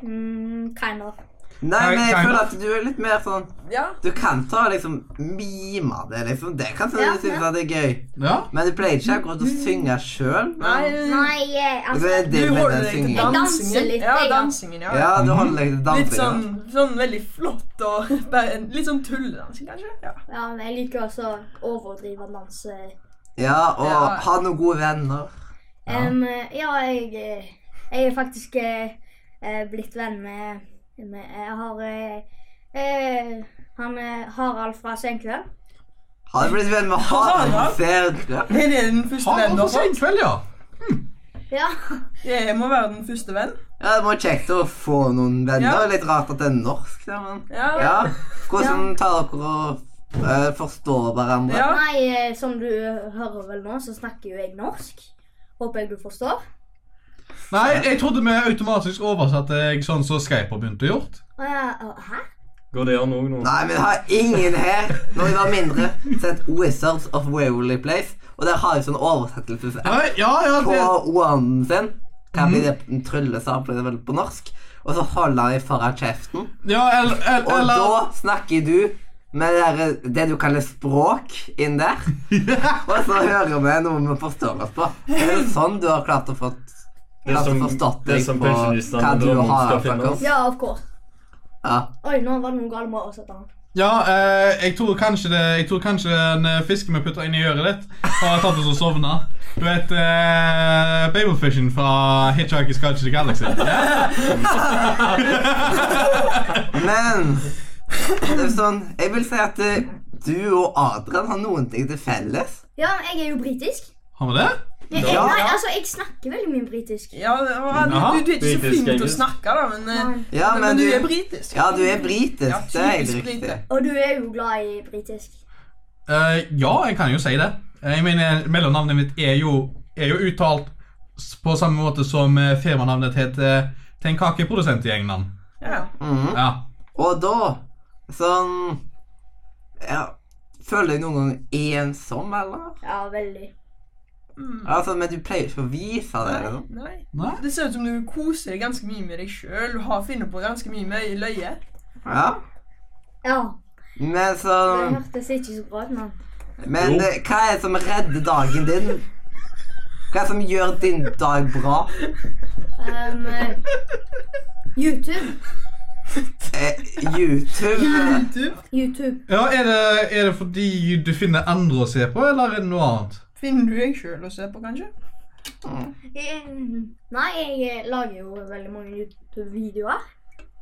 [SPEAKER 5] Mm, kind of.
[SPEAKER 3] Nei, men jeg
[SPEAKER 2] Kan-
[SPEAKER 3] føler at du er litt mer sånn
[SPEAKER 4] ja.
[SPEAKER 3] Du kan ta liksom mime det, liksom. Det kan
[SPEAKER 5] Ja,
[SPEAKER 3] du synes
[SPEAKER 5] ja.
[SPEAKER 3] at det er gøy.
[SPEAKER 2] Ja?
[SPEAKER 3] Men du pleier ikke akkurat
[SPEAKER 4] Mm.
[SPEAKER 3] å synge sjøl.
[SPEAKER 4] Nei,
[SPEAKER 5] Nei, eh,
[SPEAKER 3] Det
[SPEAKER 5] altså
[SPEAKER 3] er det
[SPEAKER 4] du
[SPEAKER 3] med
[SPEAKER 4] holder
[SPEAKER 3] den
[SPEAKER 4] deg til
[SPEAKER 3] syngingen.
[SPEAKER 5] dans.
[SPEAKER 4] dansingen.
[SPEAKER 5] litt,
[SPEAKER 4] Ja,
[SPEAKER 5] jeg, ja.
[SPEAKER 4] dansingen, ja.
[SPEAKER 3] Ja, du holder deg til
[SPEAKER 4] Litt
[SPEAKER 3] dansinga.
[SPEAKER 4] sånn, sånn veldig flott og bare en- litt sånn tulledansing, kanskje? Ja.
[SPEAKER 5] ja, men Jeg liker også å overdrive dans. eh.
[SPEAKER 3] Ja, og
[SPEAKER 4] Ja.
[SPEAKER 3] ha noen gode venner.
[SPEAKER 5] Em, eh, ja, jeg, eh, jeg er faktisk eh, eh, blitt venn med, med Jeg har eh, eh, han eh, Harald fra Senkveld.
[SPEAKER 3] Har du blitt venn med Harald
[SPEAKER 4] Harald?
[SPEAKER 3] Serdal?
[SPEAKER 4] Er det den første
[SPEAKER 2] Har
[SPEAKER 4] vennen du
[SPEAKER 2] du
[SPEAKER 4] har
[SPEAKER 2] for sen
[SPEAKER 4] fått?
[SPEAKER 2] kveld, ja?
[SPEAKER 5] Ja.
[SPEAKER 4] Jeg må være den første venn.
[SPEAKER 3] Ja, det må være kjekt å få noen venner.
[SPEAKER 4] Ja.
[SPEAKER 3] Litt rart at det er norsk, da, men
[SPEAKER 4] Ja.
[SPEAKER 3] Ja. Hvordan tar dere og eh, forstår hverandre?
[SPEAKER 4] Ja.
[SPEAKER 5] Nei, eh, som du hører vel nå, så snakker jo jeg norsk. Håper jeg du forstår.
[SPEAKER 2] Nei, jeg trodde vi automatisk oversatte deg sånn som Skype har begynt å gjort.
[SPEAKER 5] Å ja, å, hæ?
[SPEAKER 1] Går det an òg nå?
[SPEAKER 3] Nei, men jeg har ingen her når jeg var mindre sett Wizards of Waverly Place. Og der har jeg sånn oversettelsesapp
[SPEAKER 2] Nei, ja, ja,
[SPEAKER 3] på
[SPEAKER 2] det...
[SPEAKER 3] one sin. Kan
[SPEAKER 4] Mhm.
[SPEAKER 3] bli det en tryllesapp, blir det vel på norsk. Og så holder han i foran kjeften.
[SPEAKER 2] Ja, eller,
[SPEAKER 3] Og
[SPEAKER 2] eller, eller...
[SPEAKER 3] da snakker du med det, der, det du kaller språk inn der. Og så hører vi noe vi forstår oss på. Er det sånn du har klart å få
[SPEAKER 1] Det
[SPEAKER 3] klart å
[SPEAKER 1] som-
[SPEAKER 3] forstått
[SPEAKER 1] det
[SPEAKER 3] deg
[SPEAKER 1] som
[SPEAKER 3] på
[SPEAKER 1] pensjonistene
[SPEAKER 3] hva du
[SPEAKER 1] drømmer om
[SPEAKER 3] har
[SPEAKER 1] skal finne oss.
[SPEAKER 3] snakket om?
[SPEAKER 5] Ja, of course.
[SPEAKER 3] Ja.
[SPEAKER 5] Oi, nå var det noe galt med å oversette han.
[SPEAKER 2] Ja, eh, jeg tror kanskje det Jeg tror kanskje en eh, fisk vi putter inn i øret ditt, har tatt oss og sovna. Du vet eh, Babelfishen fra Hitchhiker's Guide to the Galaxy.
[SPEAKER 3] Men det er sånn, jeg vil si at eh, du og Adrian har noen ting til felles.
[SPEAKER 5] Ja, men jeg er jo britisk.
[SPEAKER 2] Har vi det?
[SPEAKER 5] Jeg, jeg,
[SPEAKER 3] Ja.
[SPEAKER 5] nei, altså, jeg snakker veldig mye britisk.
[SPEAKER 4] Ja, men
[SPEAKER 2] Jaha.
[SPEAKER 4] du, du er ikke så
[SPEAKER 1] Britisk
[SPEAKER 4] flink til å
[SPEAKER 1] engelsk.
[SPEAKER 4] snakke, da, men, eh,
[SPEAKER 5] Nei.
[SPEAKER 3] Ja,
[SPEAKER 4] men,
[SPEAKER 3] men
[SPEAKER 4] du,
[SPEAKER 3] du,
[SPEAKER 4] er britisk.
[SPEAKER 3] ja, du er britisk.
[SPEAKER 4] Ja,
[SPEAKER 3] det er helt
[SPEAKER 4] typisk
[SPEAKER 3] riktig.
[SPEAKER 4] brite.
[SPEAKER 5] Og du er jo glad i britisk.
[SPEAKER 2] Eh, ja, jeg kan jo si det. Eh, Jeg mener, Mellomnavnet mitt er jo, er jo uttalt s- på samme måte som eh, firmanavnet heter til en kakeprodusent i England.
[SPEAKER 4] Ja.
[SPEAKER 3] Mhm.
[SPEAKER 2] Ja.
[SPEAKER 3] Og da sånn Ja, føler deg noen gang ensom, eller?
[SPEAKER 5] Ja, veldig.
[SPEAKER 3] Altså, men du pleier ikke å vise det. liksom. eller noe?
[SPEAKER 4] Nei.
[SPEAKER 2] Nei?
[SPEAKER 4] Det ser ut som du koser deg ganske mye med deg sjøl. Du har funnet på ganske mye med løye.
[SPEAKER 3] Ja.
[SPEAKER 5] Ja.
[SPEAKER 3] Men
[SPEAKER 5] Det
[SPEAKER 3] sånn
[SPEAKER 5] hørtes ikke så bra ut, men
[SPEAKER 3] Men
[SPEAKER 1] Jo.
[SPEAKER 3] eh, hva er det som redder dagen din? Hva er det som gjør din dag bra?
[SPEAKER 5] Ehm, eh, YouTube.
[SPEAKER 3] Eh, YouTube?
[SPEAKER 4] YouTube.
[SPEAKER 5] YouTube.
[SPEAKER 2] Ja, er det, er det fordi du finner andre å se på, eller er det noe annet?
[SPEAKER 4] Finner du deg sjøl å se på, kanskje?
[SPEAKER 5] Jeg, nei, jeg eh, lager jo veldig mange YouTube-videoer.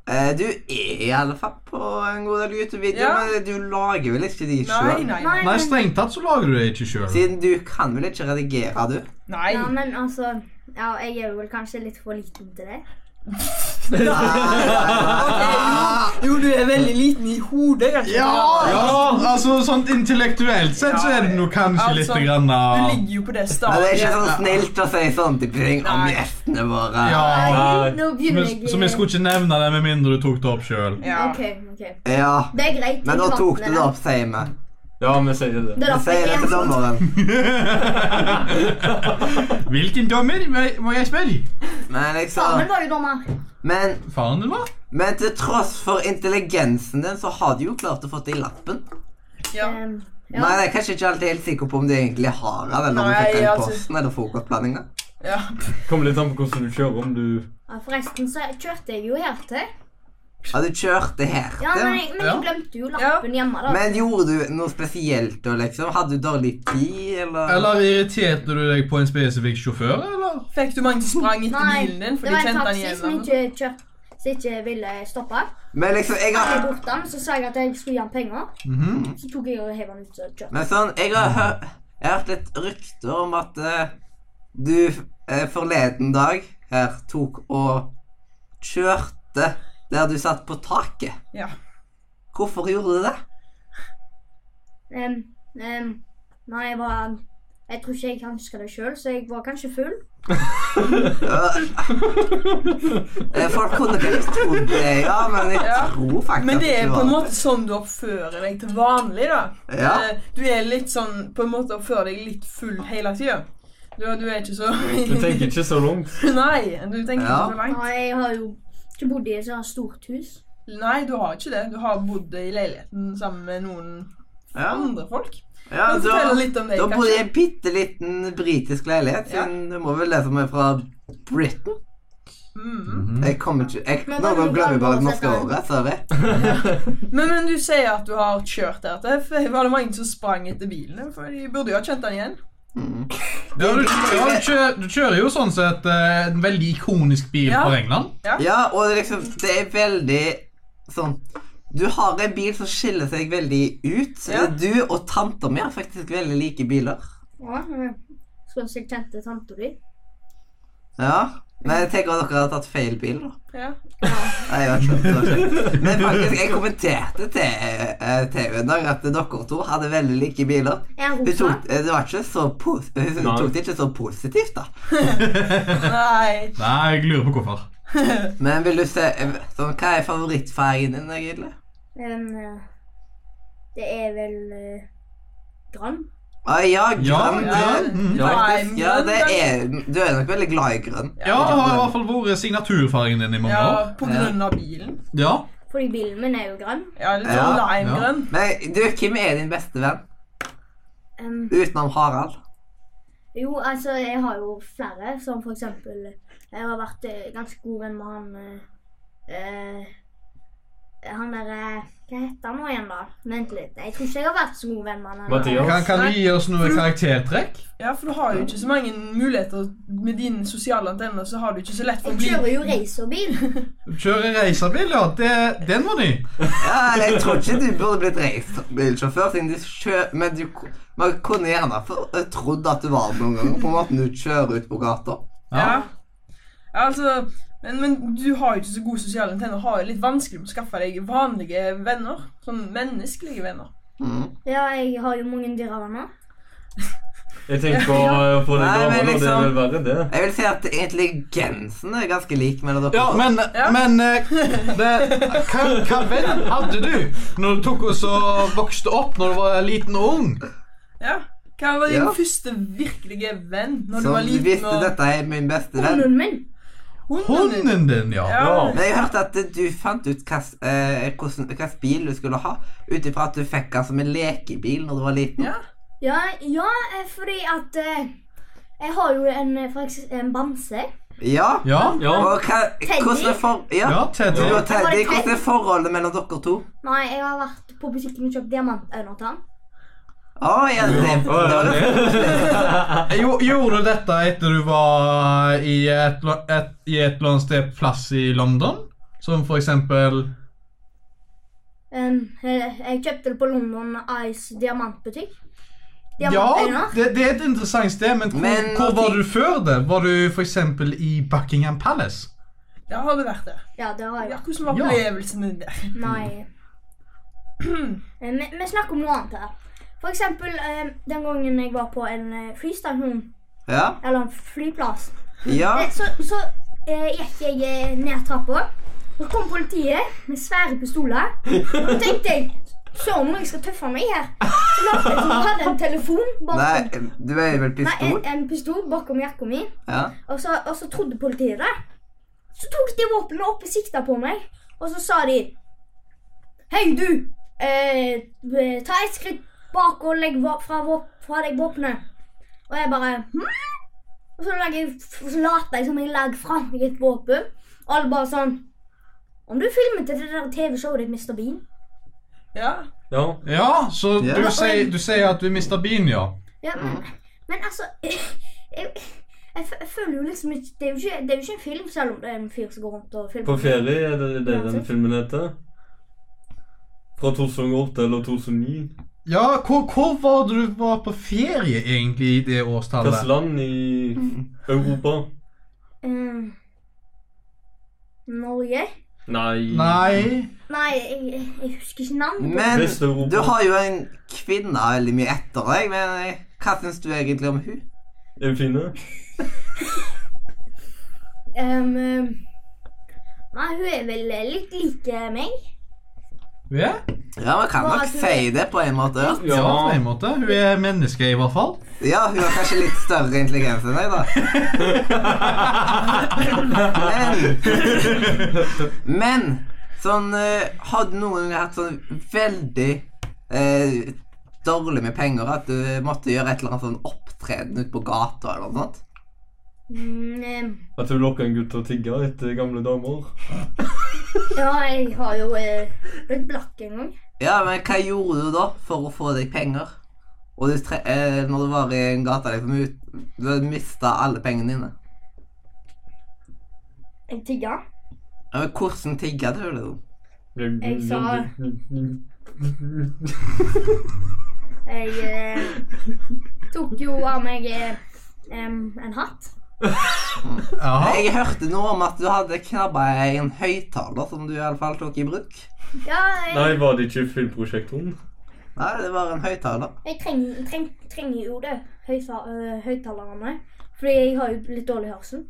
[SPEAKER 3] Eh, du er i alle fall på en god del YouTube-videoer,
[SPEAKER 4] Ja.
[SPEAKER 3] men du lager vel ikke de
[SPEAKER 4] Nei,
[SPEAKER 3] sjøl?
[SPEAKER 4] nei.
[SPEAKER 5] Nei.
[SPEAKER 2] Nei, strengt tatt så lager du det ikke sjøl.
[SPEAKER 3] Siden du kan vel ikke redigere, du?
[SPEAKER 4] Nei.
[SPEAKER 5] Ja, men altså Ja, jeg er vel kanskje litt for liten til det.
[SPEAKER 4] Ok, jo, jo, du er veldig liten i hodet. kanskje.
[SPEAKER 2] Ja! Altså, sånn intellektuelt sett så er det nå kanskje litt
[SPEAKER 4] Altså,
[SPEAKER 2] grann
[SPEAKER 4] Du
[SPEAKER 2] av
[SPEAKER 4] ligger jo på det
[SPEAKER 3] Ja, det er ikke sånn så
[SPEAKER 4] stadiet.
[SPEAKER 3] snilt å si sånne type ting om
[SPEAKER 4] Nei.
[SPEAKER 3] gjestene våre.
[SPEAKER 2] Ja.
[SPEAKER 1] Nei.
[SPEAKER 5] Nå
[SPEAKER 2] Men,
[SPEAKER 5] begynner jeg eh,
[SPEAKER 2] så vi skulle ikke nevne det med mindre du tok det opp sjøl.
[SPEAKER 4] Ja.
[SPEAKER 5] OK. ok.
[SPEAKER 3] Ja,
[SPEAKER 5] Det er greit.
[SPEAKER 3] Men nå
[SPEAKER 5] jeg
[SPEAKER 3] tok du
[SPEAKER 5] vant med
[SPEAKER 3] det opp, sier vi.
[SPEAKER 1] Ja, vi sier det.
[SPEAKER 5] Det er
[SPEAKER 3] Vi
[SPEAKER 5] derfor
[SPEAKER 3] sier det
[SPEAKER 5] jeg
[SPEAKER 3] til
[SPEAKER 5] er sånn.
[SPEAKER 3] dommeren.
[SPEAKER 2] Hvilken dommer, må- må jeg spørre?
[SPEAKER 3] Men
[SPEAKER 5] Samen
[SPEAKER 3] liksom
[SPEAKER 5] sånn. var jo dommer.
[SPEAKER 3] men,
[SPEAKER 2] Faren din, hva?
[SPEAKER 3] men til tross for intelligensen din, så har du jo klart å få til lappen.
[SPEAKER 4] Ja.
[SPEAKER 5] Ehm, ja.
[SPEAKER 3] Nei, jeg er kanskje ikke alltid helt sikker på om du egentlig har den, eller om du
[SPEAKER 4] Nei,
[SPEAKER 3] fikk den i
[SPEAKER 4] altså-
[SPEAKER 3] posten, eller frokostblandinga.
[SPEAKER 4] ja.
[SPEAKER 1] Kommer litt an på hvordan du kjører, om du
[SPEAKER 5] Ja, Forresten så kjørte jeg jo her til.
[SPEAKER 3] Ja, du kjørte her
[SPEAKER 5] Ja,
[SPEAKER 3] til.
[SPEAKER 5] men jeg, men
[SPEAKER 2] Ja.
[SPEAKER 5] jeg glemte jo lappen hjemme, da.
[SPEAKER 3] Men gjorde du noe spesielt da, liksom? Hadde du dårlig tid, eller?
[SPEAKER 2] Eller irriterte du deg på en spesifikk sjåfør, eller?
[SPEAKER 4] Fikk du mange som sprang etter
[SPEAKER 5] Nei,
[SPEAKER 4] bilen din? For de
[SPEAKER 5] det var en
[SPEAKER 4] kjente han
[SPEAKER 5] taxi
[SPEAKER 4] igjen?
[SPEAKER 5] som
[SPEAKER 4] eller?
[SPEAKER 5] ikke, kjør- som ikke ville stoppe.
[SPEAKER 3] Men liksom, jeg
[SPEAKER 5] Jeg
[SPEAKER 3] har
[SPEAKER 5] bort den, så sa jeg at jeg skulle gi han penger.
[SPEAKER 2] Mhm.
[SPEAKER 5] Så tok jeg og hev han ut og kjørte.
[SPEAKER 3] Men sånn, jeg har hørt, jeg har hørt litt rykter om at eh, du eh, forleden dag her tok og kjørte der du satt på taket.
[SPEAKER 4] Ja.
[SPEAKER 3] Hvorfor gjorde du det?
[SPEAKER 5] Em, em, nei, jeg var Jeg tror ikke jeg kan huske det sjøl, så jeg var kanskje full.
[SPEAKER 3] Eh, Folk kunne vel ikke trodd det, ja, men jeg
[SPEAKER 4] Ja.
[SPEAKER 3] tror faktisk
[SPEAKER 4] Men det
[SPEAKER 3] at
[SPEAKER 4] er
[SPEAKER 3] du
[SPEAKER 4] på en
[SPEAKER 3] var-
[SPEAKER 4] måte sånn du oppfører deg til vanlig, da.
[SPEAKER 3] Ja.
[SPEAKER 4] Eh, Du er litt sånn På en måte oppfører deg litt full hele tida. Du, du er ikke så
[SPEAKER 1] Du tenker ikke så langt.
[SPEAKER 4] Nei, du tenker
[SPEAKER 3] Ja.
[SPEAKER 4] ikke så langt.
[SPEAKER 5] Nei, jeg har jo ikke bodd i et sånt stort hus.
[SPEAKER 4] Nei, du har ikke det. Du har bodd i leiligheten sammen med noen
[SPEAKER 3] Ja,
[SPEAKER 4] andre folk.
[SPEAKER 3] ja
[SPEAKER 4] Men
[SPEAKER 3] da,
[SPEAKER 4] Fortell litt om det,
[SPEAKER 3] da bodde jeg i
[SPEAKER 4] kanskje.
[SPEAKER 3] en bitte liten britisk leilighet,
[SPEAKER 4] Ja.
[SPEAKER 3] siden du må vel lese meg fra Britain.
[SPEAKER 4] Mm.
[SPEAKER 3] Jeg kommer ikke jeg, Noen
[SPEAKER 5] Men da
[SPEAKER 3] ganger
[SPEAKER 5] må du
[SPEAKER 3] glemmer jeg bare
[SPEAKER 5] bare
[SPEAKER 3] det norske året.
[SPEAKER 5] oversette
[SPEAKER 3] Sorry.
[SPEAKER 4] Men, men du sier at du har kjørt der til. For Var det mange som sprang etter bilen? For de burde jo ha kjent han igjen.
[SPEAKER 3] Mm.
[SPEAKER 2] Ja, du, ja, du, kjører, du kjører jo sånn sett eh, en veldig ikonisk bil
[SPEAKER 4] Ja.
[SPEAKER 2] fra England.
[SPEAKER 3] Ja, og liksom, det er veldig sånn Du har en bil som skiller seg veldig ut.
[SPEAKER 4] Ja.
[SPEAKER 3] Du og tanta mi har faktisk veldig like biler.
[SPEAKER 5] Ja, eh, Skulle ønske jeg kjente tanta di.
[SPEAKER 3] Ja. Men jeg tenker at dere har tatt feil bil, da.
[SPEAKER 4] Ja.
[SPEAKER 3] Nei, jeg vet ikke, det var ikke. Men faktisk, jeg kommenterte til eh, TV en dag at dere to hadde veldig like biler.
[SPEAKER 5] Er hun
[SPEAKER 3] Hun
[SPEAKER 5] rosa?
[SPEAKER 3] tok, eh, det var ikke så pos hun
[SPEAKER 1] Nei.
[SPEAKER 3] tok det ikke så positivt, da.
[SPEAKER 4] Nei.
[SPEAKER 2] Nei, jeg lurer på hvorfor.
[SPEAKER 3] Men vil du se eh, sånn, Hva er favorittfargen din, egentlig?
[SPEAKER 5] Em, eh, det er vel eh, grønn.
[SPEAKER 3] Å ja,
[SPEAKER 2] Ja,
[SPEAKER 3] grønn.
[SPEAKER 2] ja,
[SPEAKER 3] eh,
[SPEAKER 2] mm.
[SPEAKER 1] Ja.
[SPEAKER 4] Lime
[SPEAKER 3] Ja,
[SPEAKER 4] grønn,
[SPEAKER 3] det
[SPEAKER 4] kanskje?
[SPEAKER 3] er, du er nok veldig glad i grønn.
[SPEAKER 2] Ja, det har i hvert fall vært signaturfargen din i mange
[SPEAKER 4] Ja,
[SPEAKER 2] år.
[SPEAKER 4] på grunn av bilen.
[SPEAKER 2] Ja.
[SPEAKER 5] Fordi bilen min er jo grønn.
[SPEAKER 4] Ja, litt
[SPEAKER 3] Ja,
[SPEAKER 4] sånn limegrønn.
[SPEAKER 3] Men du, hvem er din beste venn?
[SPEAKER 5] Em,
[SPEAKER 3] Utenom Harald?
[SPEAKER 5] jo, altså, jeg har jo flere, som for eksempel Jeg har vært eh, ganske god venn med han eh, eh, Han derre Hva heter han nå igjen, da? Vent litt. Jeg tror ikke jeg har vært så god venn med han. ennå.
[SPEAKER 1] Mathias.
[SPEAKER 2] Kan, kan du gi oss noe karaktertrekk?
[SPEAKER 4] Ja, for du har jo ikke så mange muligheter med dine sosiale antenner, så har du ikke så lett for å
[SPEAKER 5] Jeg
[SPEAKER 4] bli
[SPEAKER 5] kjører jo racerbil.
[SPEAKER 2] Du kjører racerbil, ja. Det, den var ny.
[SPEAKER 3] Ja, jeg tror ikke du burde blitt racerbilsjåfør, siden du kjø- men du ko- man kunne gjerne for, trodd at du var det noen ganger, på måten du kjører ut på gata.
[SPEAKER 4] Ja. ja altså, men, men du har jo ikke så gode sosiale antenner. Har jo litt vanskelig med å skaffe deg vanlige venner. Sånn menneskelige venner.
[SPEAKER 3] Mm.
[SPEAKER 5] Ja, jeg har jo mange dyrevenner.
[SPEAKER 1] Jeg tenker på eh, på de
[SPEAKER 3] Nei, men
[SPEAKER 1] damene, og det
[SPEAKER 3] liksom-
[SPEAKER 1] er vel verre, det.
[SPEAKER 3] Jeg vil si at intelligensen er ganske lik mellom dere.
[SPEAKER 2] Ja,
[SPEAKER 3] to.
[SPEAKER 2] men,
[SPEAKER 4] Ja.
[SPEAKER 2] men eh, det, hva, hva venn hadde du når du tok og så vokste opp når du var liten og ung?
[SPEAKER 4] Ja. Hva var din
[SPEAKER 3] Ja.
[SPEAKER 4] første virkelige venn når du
[SPEAKER 3] Så
[SPEAKER 4] var
[SPEAKER 3] du
[SPEAKER 4] liten?
[SPEAKER 3] visste
[SPEAKER 4] og-
[SPEAKER 3] dette er min beste venn.
[SPEAKER 5] Hunden min.
[SPEAKER 4] Hunden din.
[SPEAKER 2] Hånden din, ja.
[SPEAKER 4] Ja.
[SPEAKER 3] Men jeg hørte at du fant ut hvilken eh, hvordan- hvilken bil du skulle ha, ut ifra at du fikk den som en lekebil når du var liten.
[SPEAKER 4] Ja.
[SPEAKER 5] Ja, ja eh, fordi at eh, jeg har jo en, eh, for ekse- en bamse.
[SPEAKER 3] Ja.
[SPEAKER 2] Ja,
[SPEAKER 1] Ja.
[SPEAKER 3] Og hva,
[SPEAKER 5] Teddy?
[SPEAKER 3] hvordan er for... Ja.
[SPEAKER 2] ja Teddy.
[SPEAKER 3] Du og
[SPEAKER 5] Var
[SPEAKER 3] Teddy,
[SPEAKER 5] det
[SPEAKER 3] hvordan er forholdet mellom dere to?
[SPEAKER 5] Nei, jeg har vært på butikken og kjøpt diamantøyne til han.
[SPEAKER 3] Å, ja, det, det var det.
[SPEAKER 2] Jo, gjorde du dette etter du var i et, la- et, i et eller annet sted plass i London? Som for eksempel
[SPEAKER 5] Um, eh, jeg kjøpte det på London Ice diamantbutikk.
[SPEAKER 2] Ja,
[SPEAKER 5] Diamantøyne.
[SPEAKER 2] det, det er et interessant sted, men hvor,
[SPEAKER 3] Men-
[SPEAKER 2] hvor var du før det? Var du for eksempel i Buckingham Palace?
[SPEAKER 4] ja, har du vært der?
[SPEAKER 5] Ja, det har jeg
[SPEAKER 4] Ja,
[SPEAKER 5] vært.
[SPEAKER 4] hvordan var
[SPEAKER 2] Ja.
[SPEAKER 4] opplevelsen din der?
[SPEAKER 5] Nei. Eh, Vi, vi snakker om noe annet her. For eksempel eh, den gangen jeg var på en eh, flystasjon,
[SPEAKER 3] Ja.
[SPEAKER 5] eller en flyplass.
[SPEAKER 3] ja.
[SPEAKER 5] Eh, Så, så eh, gikk jeg eh, ned trappa. Så kom politiet med svære pistoler. Og da tenkte jeg Søren, jeg skal tøffe meg her. Så la jeg så hadde jeg en telefon
[SPEAKER 3] Nei,
[SPEAKER 5] bakom,
[SPEAKER 3] du er vel
[SPEAKER 5] nei, en,
[SPEAKER 3] pistol?
[SPEAKER 5] en pistol bakom jakka mi,
[SPEAKER 3] Ja.
[SPEAKER 5] og så, og så trodde politiet det. Så tok de våpenet opp og sikta på meg, og så sa de Hei, du! Eh, eh, ta et skritt bak og legg vå- fra, våp- fra deg våpenet. Og jeg bare hm? Og så, lager jeg, så later jeg som jeg legger fra meg et våpen. Og alle bare sånn Om du filmet til det der TV-showet ditt, Mr. Bean?
[SPEAKER 4] Ja.
[SPEAKER 1] Ja.
[SPEAKER 2] Ja, så
[SPEAKER 3] Ja.
[SPEAKER 2] Du, sier, du sier at du mista bilen, ja.
[SPEAKER 5] Ja, men, men altså jeg, jeg, fø- jeg føler jo liksom ikke det, er jo ikke det er jo ikke en film, selv om det er en fyr som går rundt og filmer.
[SPEAKER 1] På ferie, er det det den filmen heter? Fra 2008 eller 2009?
[SPEAKER 2] Ja, hvor, hvor var du var på ferie egentlig i det
[SPEAKER 1] Hvilket
[SPEAKER 2] årstallet?
[SPEAKER 1] land i
[SPEAKER 3] Mm.
[SPEAKER 1] Europa?
[SPEAKER 5] Eh, Norge?
[SPEAKER 1] Nei,
[SPEAKER 2] Nei
[SPEAKER 5] Nei, jeg, jeg- jeg husker ikke navnet. på-
[SPEAKER 3] Men
[SPEAKER 1] Vest-Europa.
[SPEAKER 3] du har jo en kvinne veldig mye etter deg, men eh, hva syns du egentlig om hun?
[SPEAKER 1] Er vi fine?
[SPEAKER 5] Em, em, Ehm, nei, hun er vel eh, litt lik eh, meg.
[SPEAKER 2] Ja,
[SPEAKER 3] Ja, man kan
[SPEAKER 5] Hva
[SPEAKER 3] nok
[SPEAKER 5] er det?
[SPEAKER 3] si det på en måte. Ja,
[SPEAKER 2] ja på en måte. Hun er menneske, i hvert fall.
[SPEAKER 3] ja hun har kanskje litt større intelligens enn deg, da. Men, men sånn eh, Har du noen gang hatt sånn veldig eh, dårlig med penger at du måtte gjøre et eller annet sånn opptreden ute på gata eller noe sånt?
[SPEAKER 5] Mm, em,
[SPEAKER 1] At du lokker en gutt til å tigge etter gamle damer?
[SPEAKER 5] ja, jeg har jo eh, blitt blakk en gang.
[SPEAKER 3] Ja, men hva gjorde du da for å få deg penger? Og du tre eh, når du var i en gata liksom ut, Du mista alle pengene dine.
[SPEAKER 5] Jeg tigga.
[SPEAKER 3] Ja, men hvordan tigga du, liksom?
[SPEAKER 5] Jeg sa- Jeg eh, tok jo av meg eh, em, en hatt.
[SPEAKER 2] Jaha.
[SPEAKER 3] Jeg hørte noe om at du hadde knabba en høyttaler som du i alle fall tok i bruk.
[SPEAKER 5] Ja, jeg,
[SPEAKER 1] Nei, var det ikke filmprosjektoren?
[SPEAKER 3] Nei, det var en høyttaler.
[SPEAKER 5] jeg treng, treng, trenger jo det, høysa- eh, høyttalerne. Fordi jeg har jo litt dårlig hørsel.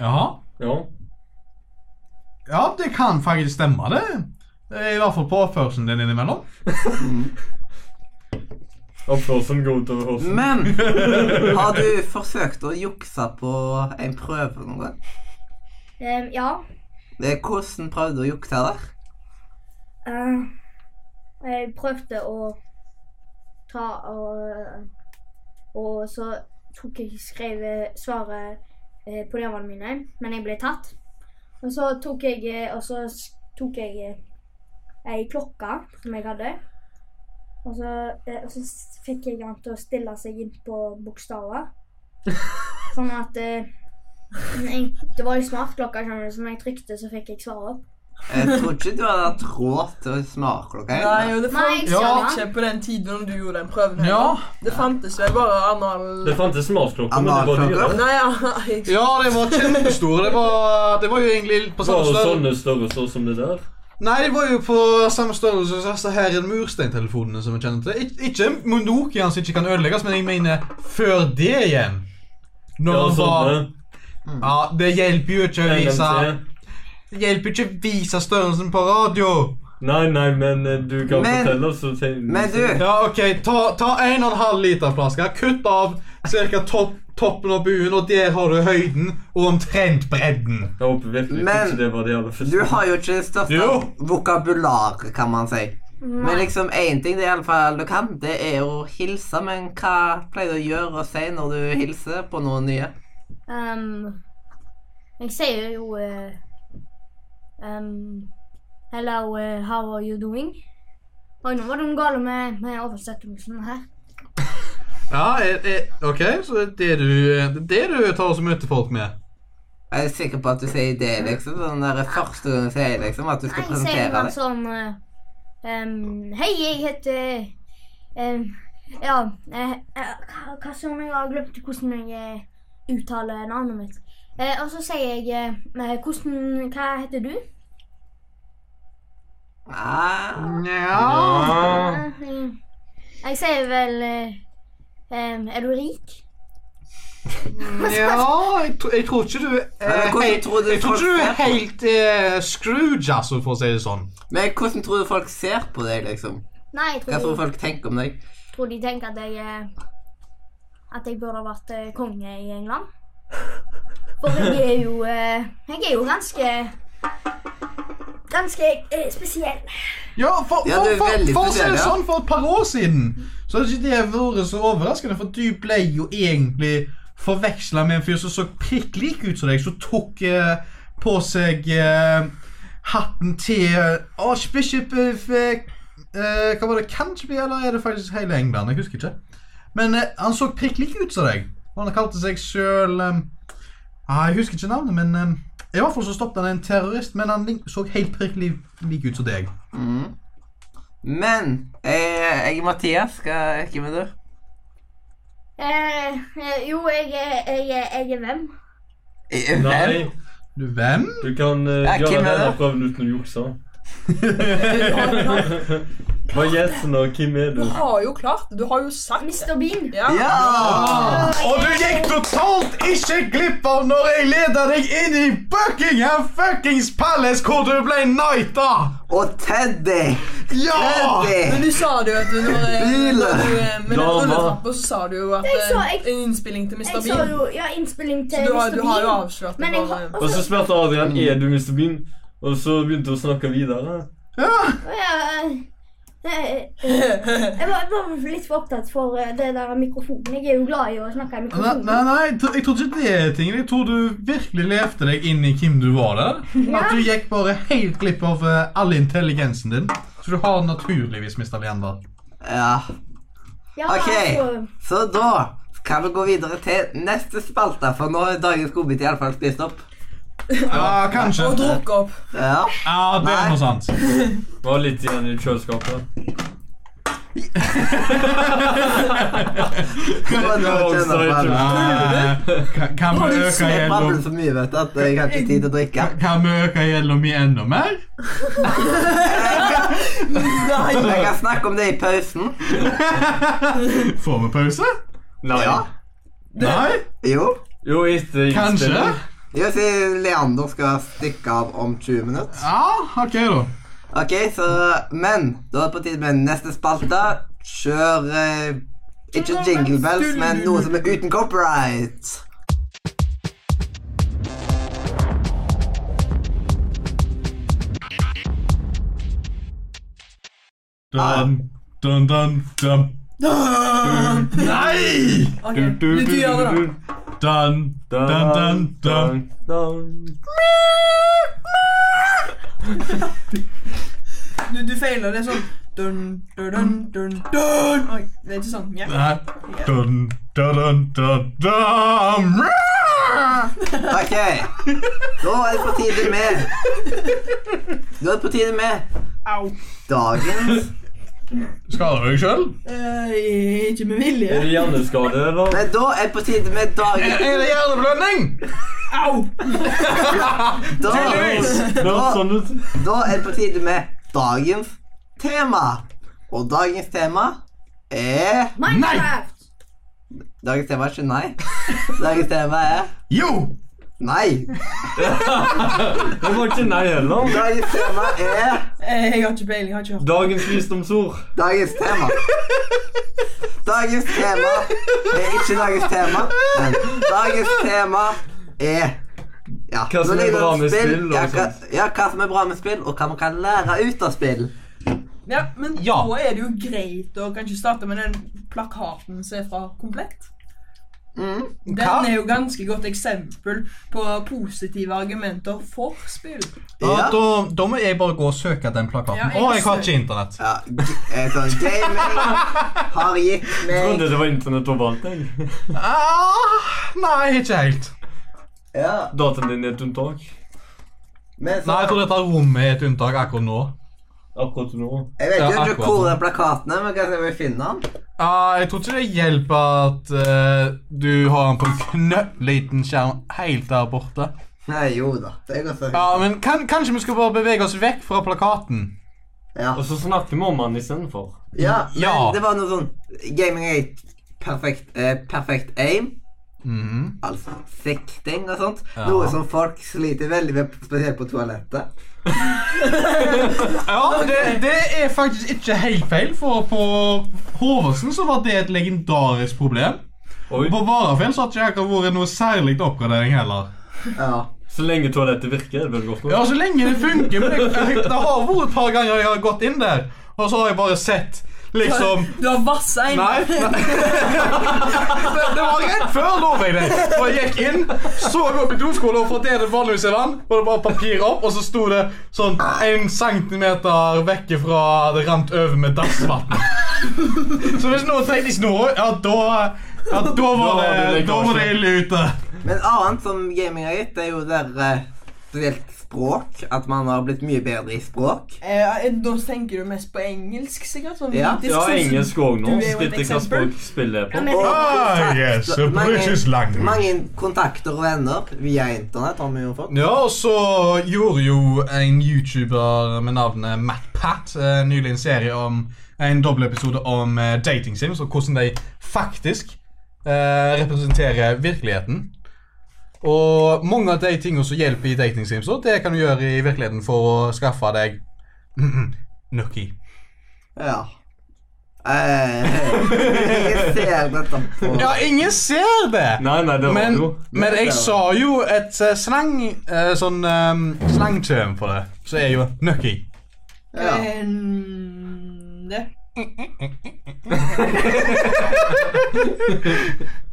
[SPEAKER 2] Jaha.
[SPEAKER 1] Ja.
[SPEAKER 2] Ja, det kan faktisk stemme, det. I hvert fall på oppførselen din innimellom.
[SPEAKER 1] Oppførselen går utover oss.
[SPEAKER 3] Men har du forsøkt å jukse på en prøve noen gang?
[SPEAKER 5] Em, Ehm, ja.
[SPEAKER 3] Det er hvordan prøvde du å jukse der?
[SPEAKER 5] Eh, jeg prøvde å ta og Og så tok jeg skrev eh, svaret eh, på nevene mine, men jeg ble tatt. Og så tok jeg eh, Og så s- tok jeg eh, ei klokke som jeg hadde. Og så, eh, og så s- fikk jeg han til å stille seg inn på bokstaver. Sånn at eh, jeg, Det var jo smartklokke, skjønner du, så når jeg trykte, så fikk jeg svaret opp.
[SPEAKER 3] Jeg tror ikke du hadde hatt råd til smartklokka.
[SPEAKER 4] Nei,
[SPEAKER 3] egentlig.
[SPEAKER 4] og det
[SPEAKER 5] Nei,
[SPEAKER 4] fantes
[SPEAKER 5] jeg
[SPEAKER 4] jo
[SPEAKER 5] sa
[SPEAKER 4] ikke på den tiden når du gjorde den prøven. heller.
[SPEAKER 2] Ja.
[SPEAKER 4] Det fantes vel bare anal...
[SPEAKER 1] Det fantes smartklokker, men det var dyre.
[SPEAKER 4] Nei, ja, jeg-
[SPEAKER 2] Ja, de var kjempestore. Det var, det var jo egentlig
[SPEAKER 1] Bare
[SPEAKER 2] på
[SPEAKER 1] sånn
[SPEAKER 2] samme størrelse.
[SPEAKER 1] sånne størrelser som det der.
[SPEAKER 2] Nei, de var jo på samme størrelse som disse her mursteintelefonene som vi kjenner til. Ik ikke Mondokian som ikke kan ødelegges, men jeg mener før det igjen. Når
[SPEAKER 1] Ja,
[SPEAKER 2] det var
[SPEAKER 1] sånne.
[SPEAKER 2] sånn, Ja, det hjelper jo ikke å vise
[SPEAKER 1] LMC.
[SPEAKER 2] Det hjelper ikke å vise størrelsen på radio.
[SPEAKER 1] Nei, nei, men eh, du kan
[SPEAKER 3] Men-
[SPEAKER 1] fortelle oss. så tenker vi-
[SPEAKER 3] Men du,
[SPEAKER 2] Ja, OK, ta, ta 1,5 liter flaske, kutt av ca. Topp, toppen av buen, og der har du høyden og omtrent bredden.
[SPEAKER 1] Jeg håper virkelig
[SPEAKER 3] Men-
[SPEAKER 1] ikke det var det aller første.
[SPEAKER 3] du har jo ikke det største
[SPEAKER 2] Jo.
[SPEAKER 3] vokabularet, kan man si. Men liksom én ting det i alle fall du kan, det er å hilse. Men hva pleier du å gjøre og si når du hilser på noen nye?
[SPEAKER 5] Um, jeg sier jo eh, um, Hello, eh, how are you doing? Oi, nå var det noe galt med, med oversettelsen her.
[SPEAKER 2] Ja, er, er, OK, så det er du, det er det du tar og møter folk med.
[SPEAKER 3] Jeg er sikker på at du sier det, liksom. Sånn der første gang du sier liksom, at du skal
[SPEAKER 5] Nei, jeg sier
[SPEAKER 3] presentere
[SPEAKER 5] bare
[SPEAKER 3] deg.
[SPEAKER 5] sånn eh, um, Hei, jeg heter um, Ja, eh, eh, hva, hva som jeg har glemt hvordan jeg eh, uttaler navnet mitt. Eh, og så sier jeg eh, eh, hvordan, Hva heter du?
[SPEAKER 3] Ah,
[SPEAKER 2] Nja
[SPEAKER 5] Eh, eh, jeg sier vel eh, em, Er du rik?
[SPEAKER 2] Nja, jeg, tro- jeg tror ikke du er
[SPEAKER 3] Men hvordan
[SPEAKER 2] helt-
[SPEAKER 3] tror du
[SPEAKER 2] Jeg tror ikke du er
[SPEAKER 3] folk ser på?
[SPEAKER 2] helt eh, Scrooge, altså, for å si det sånn.
[SPEAKER 3] men hvordan tror du folk ser på deg, liksom?
[SPEAKER 5] Nei, jeg
[SPEAKER 3] Hva
[SPEAKER 5] tror,
[SPEAKER 3] tror du folk tenker om deg?
[SPEAKER 5] tror de tenker at jeg eh, At jeg burde ha vært eh, konge i England. For jeg er jo eh, Jeg er jo ganske Ganske eh, spesiell.
[SPEAKER 2] Ja, for,
[SPEAKER 3] Ja,
[SPEAKER 2] for,
[SPEAKER 3] det er
[SPEAKER 2] for,
[SPEAKER 3] veldig
[SPEAKER 2] for å si det
[SPEAKER 3] spesielt, ja.
[SPEAKER 2] sånn, for et par år siden så hadde ikke det vært så overraskende, for du ble jo egentlig forveksla med en fyr som så prikk lik ut som deg, som tok eh, på seg eh, hatten til eh, Archbishop of eh, eh, Hva var det? Canterbury, eller er det faktisk hele England? Jeg husker ikke. Men eh, han så prikk lik ut som deg, og han kalte seg sjøl Ah, jeg husker ikke navnet, men eh, i hvert fall så stoppet han en terrorist, men han lik- så helt prikk li- lik ut som deg.
[SPEAKER 3] Mm. Men jeg, jeg er Mathias. Hva hvem er du?
[SPEAKER 5] Eh, eh, jo, jeg, er- jeg, er- jeg er hvem?
[SPEAKER 3] Eh,
[SPEAKER 1] Nei,
[SPEAKER 3] Hvem?
[SPEAKER 2] Du, hvem?
[SPEAKER 1] du kan eh,
[SPEAKER 3] Ja,
[SPEAKER 1] gjøre
[SPEAKER 3] hvem er
[SPEAKER 1] hele
[SPEAKER 3] det?
[SPEAKER 1] prøven uten å jukse. Hva er gjesten, og hvem er du?
[SPEAKER 4] Du har jo klart det. Du har jo sagt det.
[SPEAKER 5] Mr. Bean.
[SPEAKER 4] Ja.
[SPEAKER 3] Ja!
[SPEAKER 2] Ah. Og du gikk totalt ikke glipp av når jeg leda deg inn i Buckingham fuckings Palace, hvor du ble knighta!
[SPEAKER 3] Og Teddy!
[SPEAKER 2] Ja!
[SPEAKER 4] Men
[SPEAKER 3] Teddy!
[SPEAKER 4] du sa det jo at du når
[SPEAKER 3] Bilen.
[SPEAKER 4] når du, eh, Med den
[SPEAKER 1] Dama.
[SPEAKER 4] rulletrappa så sa du jo at
[SPEAKER 5] Jeg sa-
[SPEAKER 4] eh,
[SPEAKER 5] jeg-
[SPEAKER 4] en innspilling til Mr.
[SPEAKER 5] Jeg så
[SPEAKER 4] Bean.
[SPEAKER 5] jo ja, innspilling til
[SPEAKER 4] Så du har,
[SPEAKER 5] Mr.
[SPEAKER 4] du har jo
[SPEAKER 5] Bean.
[SPEAKER 4] avslørt det
[SPEAKER 5] Men jeg har
[SPEAKER 4] bare.
[SPEAKER 1] Og så spurte
[SPEAKER 3] Mm.
[SPEAKER 1] Adrian er du Mr. Bean, og så begynte hun å snakke videre.
[SPEAKER 5] Å, ja, eh, eh, Jeg var, jeg var litt for opptatt for eh, det der mikrofonen. Jeg er jo glad i å snakke i
[SPEAKER 2] Nei,
[SPEAKER 5] mikrofonen.
[SPEAKER 2] nei, nei, jeg tro- jeg trodde ikke det er tingen. Jeg tror du virkelig levde deg inn i hvem du var der. At du gikk bare helt glipp av eh, all intelligensen din. Så du har naturligvis mista Leander.
[SPEAKER 3] Ja.
[SPEAKER 5] Ja,
[SPEAKER 3] Ok,
[SPEAKER 5] altså,
[SPEAKER 3] så da kan vi gå videre til neste spalte, for nå er dagens godbit iallfall spist opp.
[SPEAKER 2] Ja, kanskje.
[SPEAKER 4] Og drukket opp.
[SPEAKER 3] Ja.
[SPEAKER 2] Ja, det er noe sant.
[SPEAKER 1] Var litt igjen i kjøleskapet.
[SPEAKER 3] Det var det jeg kjenner på her.
[SPEAKER 2] Eh, kan- Kan vi øke
[SPEAKER 3] Jeg babler
[SPEAKER 2] gjelden?
[SPEAKER 3] så mye, vet du, at jeg har ikke tid til å drikke.
[SPEAKER 2] Kan vi øke gjelden min enda mer?
[SPEAKER 3] Jeg kan snakke om det i pausen.
[SPEAKER 2] Får vi pause?
[SPEAKER 1] Nei.
[SPEAKER 3] Ja.
[SPEAKER 2] Nei?
[SPEAKER 3] Jo.
[SPEAKER 1] Jo, etter
[SPEAKER 2] Kanskje?
[SPEAKER 1] innspilling.
[SPEAKER 3] Jo, siden Leander skal stikke av om 20 minutter.
[SPEAKER 2] Ja, OK, da.
[SPEAKER 3] Ok, så Men da er det på tide med neste spalte. Kjør eh, ikke jingle bells, men noe som er uten copyright.
[SPEAKER 2] Dun, dun, dun, dun. Nei!
[SPEAKER 4] Ok, du, du gjør det, da.
[SPEAKER 2] Dun, dun, dun, dun.
[SPEAKER 4] Du, du feiler. Det er sånn dun, dun, dun, dun, dun. Oi, det er ikke sånn. Ja.
[SPEAKER 2] Nei. Dun, dun, dun, dun, dun.
[SPEAKER 3] Ok, da er det på tide med Da er det på tide med
[SPEAKER 4] Au.
[SPEAKER 3] dagens
[SPEAKER 2] Skader du deg sjøl?
[SPEAKER 7] Eh, ikke med vilje.
[SPEAKER 1] Er det hjerneskade, eller?
[SPEAKER 3] Nei, da er på tide med dagen.
[SPEAKER 2] Er det hjerneblødning?
[SPEAKER 7] Au!
[SPEAKER 3] Da,
[SPEAKER 1] Det høres sånn ut.
[SPEAKER 3] da er det på tide med dagens tema. Og dagens tema er
[SPEAKER 5] Minecraft!
[SPEAKER 3] Dagens tema er ikke nei. Dagens tema er
[SPEAKER 2] Jo!
[SPEAKER 3] nei.
[SPEAKER 1] Det var ikke nei heller.
[SPEAKER 3] Dagens tema er
[SPEAKER 4] Eh, Jeg har ikke peiling. jeg har ikke hørt
[SPEAKER 1] Dagens visdomsord.
[SPEAKER 3] Dagens tema. Dagens tema er ikke dagens tema, men dagens tema er ja,
[SPEAKER 1] Hva som
[SPEAKER 3] nå
[SPEAKER 1] er
[SPEAKER 3] ligger det
[SPEAKER 1] bra med spill og
[SPEAKER 3] ja, hva,
[SPEAKER 1] sånt.
[SPEAKER 3] ja, hva som er bra med spill, og hva man kan lære ut av spill.
[SPEAKER 4] Ja, Men
[SPEAKER 2] Ja.
[SPEAKER 4] da er det jo greit å kanskje starte med den plakaten som er fra Komplett.
[SPEAKER 3] Mm.
[SPEAKER 4] Den
[SPEAKER 2] Hva?
[SPEAKER 4] er jo ganske godt eksempel på positive argumenter for spill.
[SPEAKER 3] Ja,
[SPEAKER 2] Da, da, eh, da må jeg bare gå og søke den plakaten.
[SPEAKER 4] Ja, jeg
[SPEAKER 2] Å, jeg har
[SPEAKER 4] også.
[SPEAKER 2] ikke internett.
[SPEAKER 3] ja g- eh, sånn gaming har gitt
[SPEAKER 1] Jeg
[SPEAKER 3] meg
[SPEAKER 1] trodde det var internett overalt. jeg.
[SPEAKER 2] Ah, nei, ikke helt.
[SPEAKER 3] ja,
[SPEAKER 1] Dataen din er et unntak.
[SPEAKER 3] men så,
[SPEAKER 2] Nei, Jeg tror dette rommet er et unntak akkurat nå.
[SPEAKER 1] Akkurat nå.
[SPEAKER 3] Jeg vet
[SPEAKER 2] Ja,
[SPEAKER 3] jo ikke
[SPEAKER 2] akkurat
[SPEAKER 3] hvor
[SPEAKER 2] sånn.
[SPEAKER 3] den plakaten er, men kanskje jeg vil finne den?
[SPEAKER 2] Ah, jeg tror ikke det hjelper at eh, du har den på en knøttliten skjerm helt der borte.
[SPEAKER 3] Nei, jo da. Det går så
[SPEAKER 2] Ja, men kan, Kanskje vi skal bare bevege oss vekk fra plakaten?
[SPEAKER 3] Ja.
[SPEAKER 1] Og så snakker vi om han istedenfor.
[SPEAKER 3] ja, men
[SPEAKER 2] Ja.
[SPEAKER 3] det var noe sånn Gaming er perfekt, eh, perfekt aim.
[SPEAKER 2] Mhm.
[SPEAKER 3] altså sikting og sånt.
[SPEAKER 2] Ja.
[SPEAKER 3] Noe som folk sliter veldig med, spesielt på toalettet.
[SPEAKER 2] Ja, det, det er faktisk ikke helt feil, for på Hoversen så var det et legendarisk problem.
[SPEAKER 1] Oi.
[SPEAKER 2] Og på Varafjell så har det ikke akkurat vært noe særlig oppgradering heller.
[SPEAKER 3] Ja.
[SPEAKER 1] Så lenge toalettet virker, er det vel godt nok?
[SPEAKER 2] Ja, så lenge det funker, men jeg, jeg, det har vært et par ganger jeg har gått inn der, og så har jeg bare sett liksom
[SPEAKER 4] Du har vassa inn
[SPEAKER 2] Nei. nei. Det, det var rett før, lover jeg deg. Og jeg gikk inn, så opp i doskåla, og for det det vanligvis er vann, og det var papir opp, og så sto det sånn en centimeter vekk fra det rant over med dassvann. Så hvis noen trengte snor, ja, da ja, da var det, da var det ille ute.
[SPEAKER 3] Men annet som gaming har gitt, det er jo der eh, spesielt språk. At man har blitt mye bedre i språk.
[SPEAKER 4] Eh, da tenker du mest på engelsk, sikkert? Sånn
[SPEAKER 3] Ja.
[SPEAKER 4] britisk,
[SPEAKER 1] Ja,
[SPEAKER 4] sånn som-
[SPEAKER 1] engelsk òg nå.
[SPEAKER 4] Du er jo et
[SPEAKER 1] Etter hva
[SPEAKER 4] eksempel.
[SPEAKER 1] språk spiller jeg på.
[SPEAKER 5] men-
[SPEAKER 3] Og
[SPEAKER 2] Ah, yes,
[SPEAKER 3] kontakt-
[SPEAKER 2] the British language.
[SPEAKER 3] mange kontakter og venner via internett har vi jo fått.
[SPEAKER 2] Ja, og så gjorde jo en YouTuber med navnet Matt Pat eh, nylig en serie om en dobbeltepisode om eh, dating sims og hvordan de faktisk eh, representerer virkeligheten. Og mange av de tingene som hjelper i dating sims, også, det kan du gjøre i virkeligheten for å skaffe deg Nucky.
[SPEAKER 3] Ja. Eh, jeg ser dette på
[SPEAKER 2] Ja, ingen ser det!
[SPEAKER 1] Nei, nei, det var
[SPEAKER 2] Men,
[SPEAKER 1] jo
[SPEAKER 2] men jeg sa jo et eh, slang, eh, sånn eh, slangterm for det, som er jo Nucky.
[SPEAKER 3] ja.
[SPEAKER 4] Eh, mm, det. Det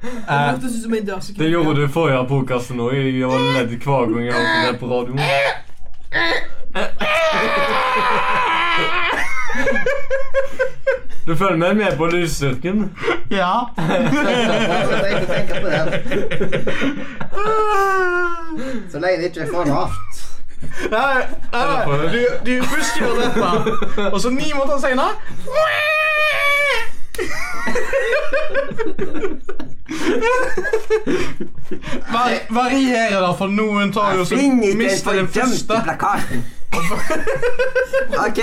[SPEAKER 2] Eh,
[SPEAKER 4] hørtes ut som en dørsekund.
[SPEAKER 1] Det gjorde du forrige podkasten òg. Jeg var ledd hver gang jeg hørte det på radioen. Du følger meg med på lysstyrken?
[SPEAKER 2] Ja.
[SPEAKER 3] Så lenge du tenker på det. Så lenge det ikke er for lavt.
[SPEAKER 2] Nei, nei, nei. Du, du husker jo dette. Og så ni måneder senere Var, varierer det, for noen tar jo så
[SPEAKER 3] Finn ikke den
[SPEAKER 2] mister den
[SPEAKER 3] fordømte
[SPEAKER 2] første.
[SPEAKER 3] plakaten. OK,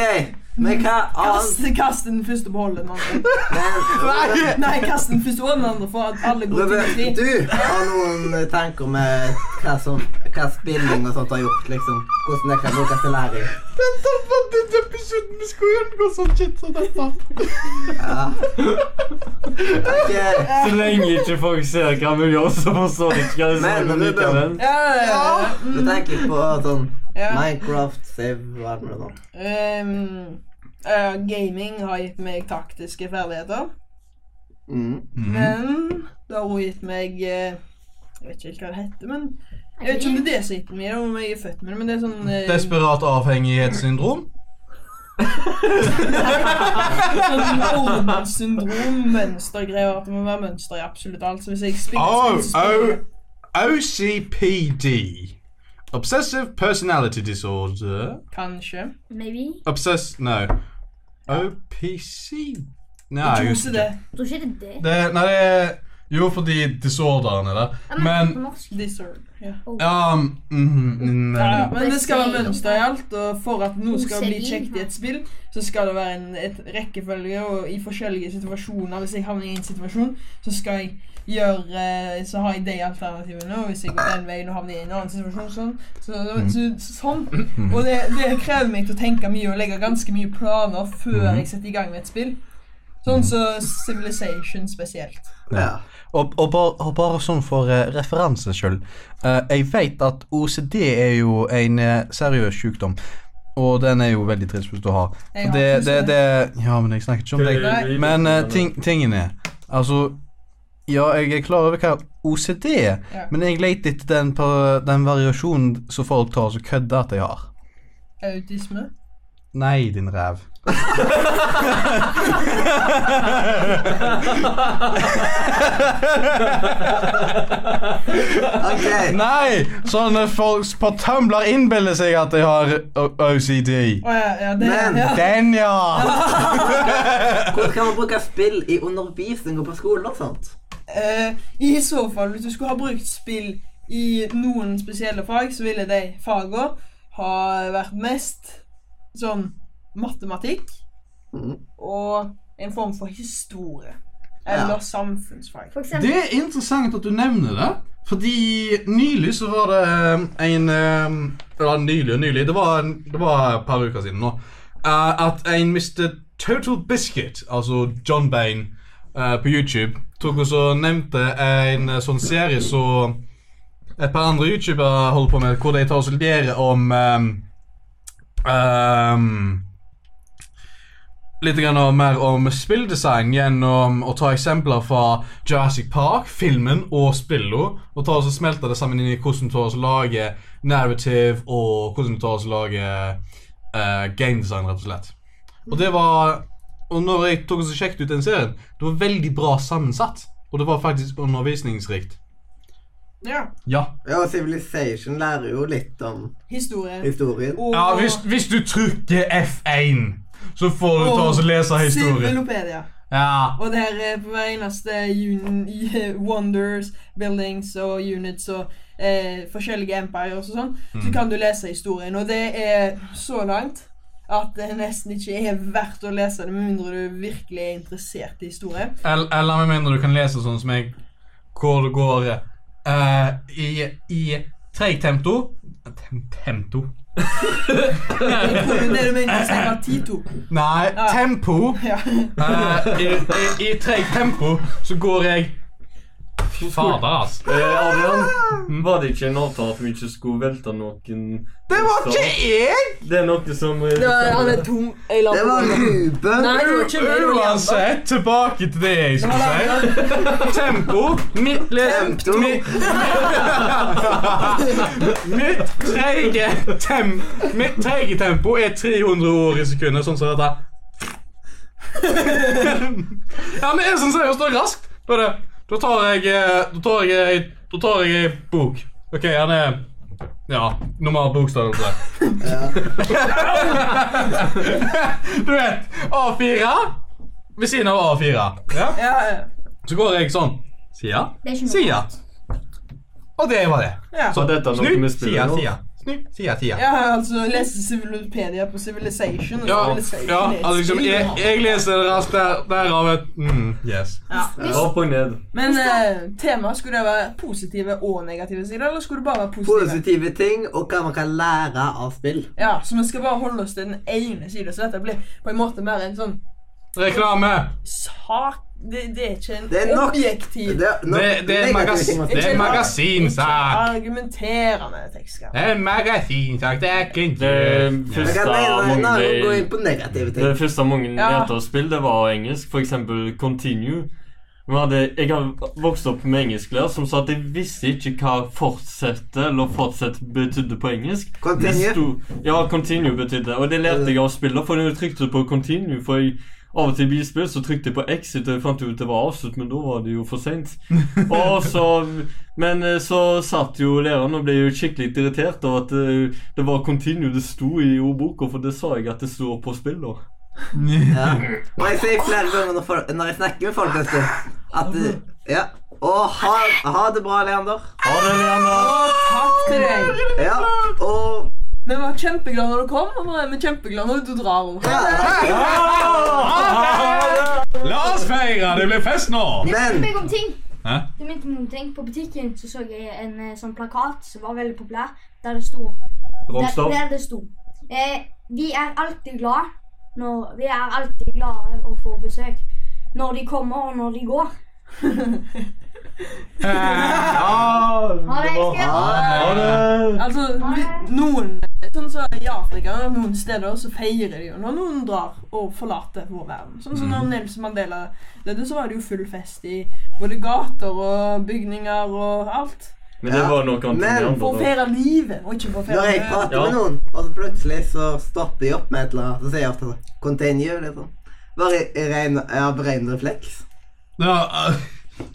[SPEAKER 3] men hva annet
[SPEAKER 4] Kast, kast den første behold den andre.
[SPEAKER 2] Nei,
[SPEAKER 4] Nei, kast den første og den andre, for at alle går til
[SPEAKER 3] Robert,
[SPEAKER 4] fri.
[SPEAKER 3] du har noen eh, tanker med hva, som, hva spilling og sånt har gjort, liksom. Hvordan det kan brukes til læring.
[SPEAKER 2] Dette var den episoden vi skulle unngå sånn shit som dette.
[SPEAKER 3] Ja. Ok,
[SPEAKER 1] Så lenge ikke folk ser hva vi gjør, så forstår de ikke hva det
[SPEAKER 3] Men,
[SPEAKER 1] er
[SPEAKER 3] Ruben.
[SPEAKER 1] likevel.
[SPEAKER 4] Ja, ja, ja. Mm,
[SPEAKER 3] Du tenker på sånn
[SPEAKER 4] Ja.
[SPEAKER 3] Minecraft, save hva er det med det nå?
[SPEAKER 4] Ehm, eh, gaming har gitt meg taktiske ferdigheter,
[SPEAKER 3] Mm.
[SPEAKER 4] men det har også gitt meg eh, Jeg vet ikke helt hva det heter, men jeg vet ikke om det er det som sitter med det, om jeg er født med det, men det er sånn eh,
[SPEAKER 2] Desperat avhengighetssyndrom.
[SPEAKER 4] sånn ordenssyndrom, mønstergreier, at det må være mønster i absolutt alt. Så hvis jeg
[SPEAKER 2] Au,
[SPEAKER 4] spiller, spiller,
[SPEAKER 2] au.
[SPEAKER 4] spiller
[SPEAKER 2] OCPD. Obsessive personality disorder.
[SPEAKER 4] Kanskje.
[SPEAKER 5] Maybe.
[SPEAKER 2] Obsess... No. OPC? Nei, jeg
[SPEAKER 4] Jeg tror ikke
[SPEAKER 2] husker ikke.
[SPEAKER 4] det.
[SPEAKER 5] Jeg tror ikke det er det.
[SPEAKER 2] det Nei, det er jo fordi disorderen er der.
[SPEAKER 5] Ja,
[SPEAKER 2] Men
[SPEAKER 5] på norsk.
[SPEAKER 4] Deserve. Ja.
[SPEAKER 2] Ja mm, mm,
[SPEAKER 4] Ja, ja.
[SPEAKER 2] mm,
[SPEAKER 4] Men det skal være mønster i alt, og for at noe skal bli
[SPEAKER 5] Koselig.
[SPEAKER 4] kjekt i et spill, så skal det være en et rekkefølge og i forskjellige situasjoner. Hvis jeg havner i en situasjon, så skal jeg gjøre eh, Så har jeg de alternativene, og hvis jeg går den veien og havner i en annen situasjon, sånn. Så, så, sånn. Og det, det krever meg til å tenke mye og legge ganske mye planer før jeg setter i gang med et spill. Sånn som Civilization spesielt.
[SPEAKER 3] Ja.
[SPEAKER 6] Og, og, bare, og bare sånn for eh, referanse skyld. eh, jeg vet at OCD er jo en eh, seriøs sykdom. Og den er jo veldig trist hvis du har.
[SPEAKER 4] Jeg har
[SPEAKER 6] Det,
[SPEAKER 4] ikke
[SPEAKER 6] det,
[SPEAKER 4] så-
[SPEAKER 6] det, ja, men jeg snakker ikke om deg.
[SPEAKER 4] Nei.
[SPEAKER 6] Men eh, ting, tingen er Altså, ja, jeg er klar over hva OCD er,
[SPEAKER 4] Ja.
[SPEAKER 6] men jeg leter etter den, på- den variasjonen som folk tar og så kødder at jeg har.
[SPEAKER 4] Autisme.
[SPEAKER 6] Nei, din ræv.
[SPEAKER 3] OK.
[SPEAKER 6] Nei! Sånne folk på Tumblr innbiller seg at jeg har O- OCD.
[SPEAKER 4] Å ja, ja, det,
[SPEAKER 3] Men-
[SPEAKER 4] ja.
[SPEAKER 6] Den, ja!
[SPEAKER 3] Hvordan kan man bruke spill i undervisning og på skolen og sånt?
[SPEAKER 4] Eh, I så fall, hvis du skulle ha brukt spill i noen spesielle fag, så ville de fagene ha vært mest sånn matematikk
[SPEAKER 3] Mhm.
[SPEAKER 4] og en form for historie. Eller
[SPEAKER 3] Ja.
[SPEAKER 4] samfunnsfag.
[SPEAKER 5] For eksempel
[SPEAKER 6] Det er interessant at du nevner det. Fordi nylig så var det eh, en eh, Ja, nylig og nylig. Det var, en, det var et par uker siden nå. eh, At en Mr. Total Biscuit, altså John Bain, eh, på YouTube tok og så nevnte en eh, sånn serie som et par andre youtubere holder på med, hvor de tar og så lærer om eh, eh, litt grann om- mer om spilldesign gjennom å ta eksempler fra Jurassic Park, filmen og spillet. Og ta og så smelte det sammen inn i hvordan du tar oss lager narrative og hvordan du tar oss lager eh, gamedesign, rett og slett. Og det var Og når jeg tok og så sjekket ut den serien, det var veldig bra sammensatt. Og det var faktisk undervisningsrikt.
[SPEAKER 4] Ja.
[SPEAKER 6] Ja.
[SPEAKER 3] Ja, og Civilization lærer jo litt om
[SPEAKER 4] Historie.
[SPEAKER 3] historien.
[SPEAKER 4] Og
[SPEAKER 6] ja hvis, hvis du trykker F1, så får du ta og så lese historien.
[SPEAKER 4] Civilopedia.
[SPEAKER 6] Ja.
[SPEAKER 4] Og der er eh, på hver eneste un wonders, buildings og units og eh, forskjellige empires og sånn,
[SPEAKER 2] Mm.
[SPEAKER 4] så kan du lese historien. Og det er så langt at det nesten ikke er verdt å lese det, med mindre du virkelig er interessert i historie.
[SPEAKER 2] Eller, eller med mindre du kan lese sånn som jeg, hvor det går eh, i, i treigt tempo Tem Tempo?
[SPEAKER 4] Jeg tror jo det du mener, er at Tito
[SPEAKER 2] Nei,
[SPEAKER 4] Ja.
[SPEAKER 2] tempo.
[SPEAKER 4] ja.
[SPEAKER 2] Eh, I i, i treigt tempo så går jeg Fy fader, altså.
[SPEAKER 1] Eh, Adrian, var det ikke en avtale at vi ikke skulle velte noen
[SPEAKER 6] Det var ikke jeg!
[SPEAKER 1] Det er noe som eh,
[SPEAKER 4] tom.
[SPEAKER 3] Det var Ruben.
[SPEAKER 4] Nei, det var ikke meg. det var Leander.
[SPEAKER 2] Uansett, tilbake til det jeg skulle si. Tempo. Mitt, mitt,
[SPEAKER 3] Tempo.
[SPEAKER 2] mitt treige tem, mitt treige tempo er 300 ord i sekundet, sånn som dette. ja, men jeg som seriøst, det er raskt. Da, er det, da tar jeg eh, Da tar jeg ei- Da tar jeg ei bok. OK, han er Ja, normal bokstørrelse. du vet A4 ved siden av A4. Ja.
[SPEAKER 4] Ja, ja.
[SPEAKER 2] Så går jeg sånn. Sida,
[SPEAKER 5] Det er ikke noe
[SPEAKER 2] sida. Og det var det.
[SPEAKER 4] Ja.
[SPEAKER 1] Har dette noe
[SPEAKER 2] Snu,
[SPEAKER 1] med
[SPEAKER 2] sida,
[SPEAKER 1] spillet å
[SPEAKER 2] sida. Snu, sida, sida.
[SPEAKER 4] ja, altså lese Civilopedia på Civilization. og
[SPEAKER 2] Ja,
[SPEAKER 4] Civilization
[SPEAKER 2] ja
[SPEAKER 4] er et
[SPEAKER 2] altså liksom,
[SPEAKER 4] spill.
[SPEAKER 2] jeg, jeg leser det raskt der, derav et mm, Yes.
[SPEAKER 4] ja.
[SPEAKER 1] Opp og ned.
[SPEAKER 4] Men eh, temaet, skulle det være positive og negative sider, eller skulle det bare være positive?
[SPEAKER 3] Positive ting og hva man kan lære av spill.
[SPEAKER 4] Ja, Så vi skal bare holde oss til den ene siden, så dette blir på en måte mer en sånn
[SPEAKER 2] Reklame.
[SPEAKER 4] sak... Det, det er ikke en
[SPEAKER 3] Det er nok-
[SPEAKER 4] objektiv
[SPEAKER 3] Det, nå-
[SPEAKER 2] Det, det er
[SPEAKER 3] negative
[SPEAKER 2] en magas
[SPEAKER 3] ting man
[SPEAKER 2] det
[SPEAKER 3] skal-
[SPEAKER 2] er en magasinsak.
[SPEAKER 4] argumenterende tekstskap.
[SPEAKER 2] Det er en magasinsak. Det er ikke en
[SPEAKER 1] Det
[SPEAKER 3] Jeg
[SPEAKER 1] første av
[SPEAKER 3] kan nevne en annen og gå
[SPEAKER 1] mange
[SPEAKER 3] inn på negative ting.
[SPEAKER 1] Det første av mange
[SPEAKER 4] Ja.
[SPEAKER 1] nyhetsspill, det var engelsk. For eksempel Continue. Vi hadde, jeg har vokst opp med engelsklærer som sa at jeg visste ikke hva 'fortsette' eller 'fortsette' betydde på engelsk.
[SPEAKER 3] Continue.
[SPEAKER 1] Det sto- ja, 'continue' betydde Og det lærte jeg av spillet, for jeg trykte på 'continue'. For jeg, av og til i bilspill så trykte jeg på exit, og jeg fant jo ut det var avslutt, men da var det jo for seint. Og så Men eh, så satt jo læreren og ble jo skikkelig irritert over at eh, det var 'continue' det sto i ordboka, for det sa jeg at det sto på spillet.
[SPEAKER 3] Ja. Og jeg sier flere ganger når, folk, når jeg snakker med folk, vet du,
[SPEAKER 1] Altså.
[SPEAKER 3] at eh, Ja. Og ha, ha det bra, Leander.
[SPEAKER 1] Ha det, Leander.
[SPEAKER 4] Å, takk til deg.
[SPEAKER 3] Ja. Og
[SPEAKER 4] Vi var kjempeglade når du kom, og nå er vi kjempeglade når du drar.
[SPEAKER 8] La oss feire! Det blir fest nå!
[SPEAKER 5] Det
[SPEAKER 3] Men-
[SPEAKER 5] minte meg om ting.
[SPEAKER 8] Hæ?
[SPEAKER 5] Det minte meg om ting. På butikken så, så jeg en eh, sånn plakat som var veldig populær, der det sto der,
[SPEAKER 1] Romstoff.
[SPEAKER 5] der det sto eh, Vi er alltid glad når Vi er alltid glade å få besøk. Når de kommer, og når de går.
[SPEAKER 3] Ah!
[SPEAKER 5] Ha det. jeg skal-
[SPEAKER 2] Ah,
[SPEAKER 1] Ha det.
[SPEAKER 4] Altså, vi- noen Sånn som i Afrika, noen steder så feirer de jo når noen drar og forlater vår verden. Sånn som når Nelson Mandela døde, så var det jo full fest i både gater og bygninger og alt.
[SPEAKER 1] Men det var noe annet enn de
[SPEAKER 3] Men-
[SPEAKER 4] For å
[SPEAKER 1] andre. da.
[SPEAKER 4] feire livet, og ikke for å
[SPEAKER 3] Når jeg
[SPEAKER 4] feire
[SPEAKER 3] prater
[SPEAKER 1] Ja.
[SPEAKER 3] med noen, og så plutselig så stopper de opp med et eller annet, så sier jeg ofte sånn Continue, liksom. Bare i ren, av ren refleks.
[SPEAKER 2] Ja, eh,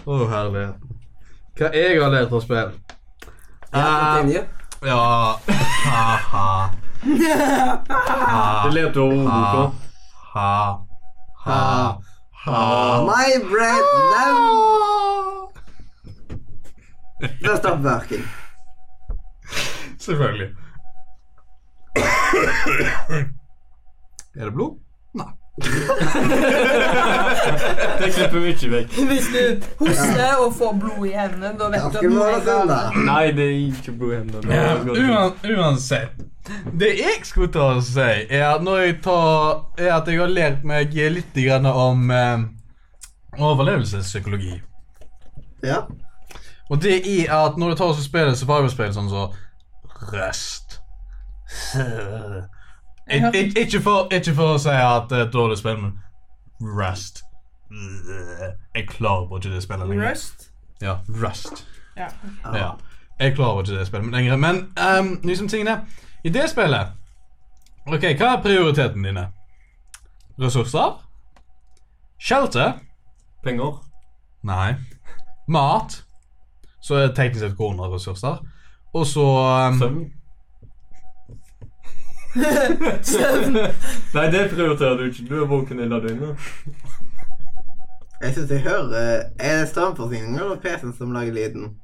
[SPEAKER 2] Å, herligheten. Hva jeg har lært av spill?
[SPEAKER 3] Ja,
[SPEAKER 1] Eh,
[SPEAKER 3] continue.
[SPEAKER 2] Ja Ha-ha.
[SPEAKER 1] Det levde over ordboka.
[SPEAKER 2] Ha-ha.
[SPEAKER 3] My brain now. Først oppvarking.
[SPEAKER 2] Selvfølgelig. Er det blod?
[SPEAKER 1] Det klipper vi ikke vekk.
[SPEAKER 4] Hvis du hoster og får blod i hendene, da vet du at
[SPEAKER 3] Ganske
[SPEAKER 4] nå
[SPEAKER 3] bra,
[SPEAKER 4] er
[SPEAKER 3] sånn, da.
[SPEAKER 4] det
[SPEAKER 1] Nei, det er ikke blod i hendene.
[SPEAKER 2] Ja,
[SPEAKER 1] Det går ikke.
[SPEAKER 2] uan, uansett. Det jeg skulle ta og si, er at når jeg tar, er at jeg har lært meg litt grann om eh, overlevelsespsykologi.
[SPEAKER 3] Ja.
[SPEAKER 2] Og det er at når du tar og spiller survival-spill sånn så Røst. Ik- ik- Ikke for, ikke for å si at det er et dårlig spill, men Rust. Jeg klarer bare ikke det spillet lenger.
[SPEAKER 4] Rust.
[SPEAKER 2] Ja, Rust.
[SPEAKER 4] Ja.
[SPEAKER 2] Ja. Jeg klarer over ikke det spillet lenger. Men ehm, liksom tingene I det spillet Ok, hva er prioriteten dine? Ressurser? Shelter?
[SPEAKER 1] Penger.
[SPEAKER 2] Nei. Mat? Så er det teknisk sett kroner og ressurser. Og så ehm,
[SPEAKER 1] Søvn. Nei, det prioriterer du ikke. Du er våken hele døgnet.
[SPEAKER 3] Jeg syns jeg hører eh, Er det strømforsyningen eller PC-en som lager lyden?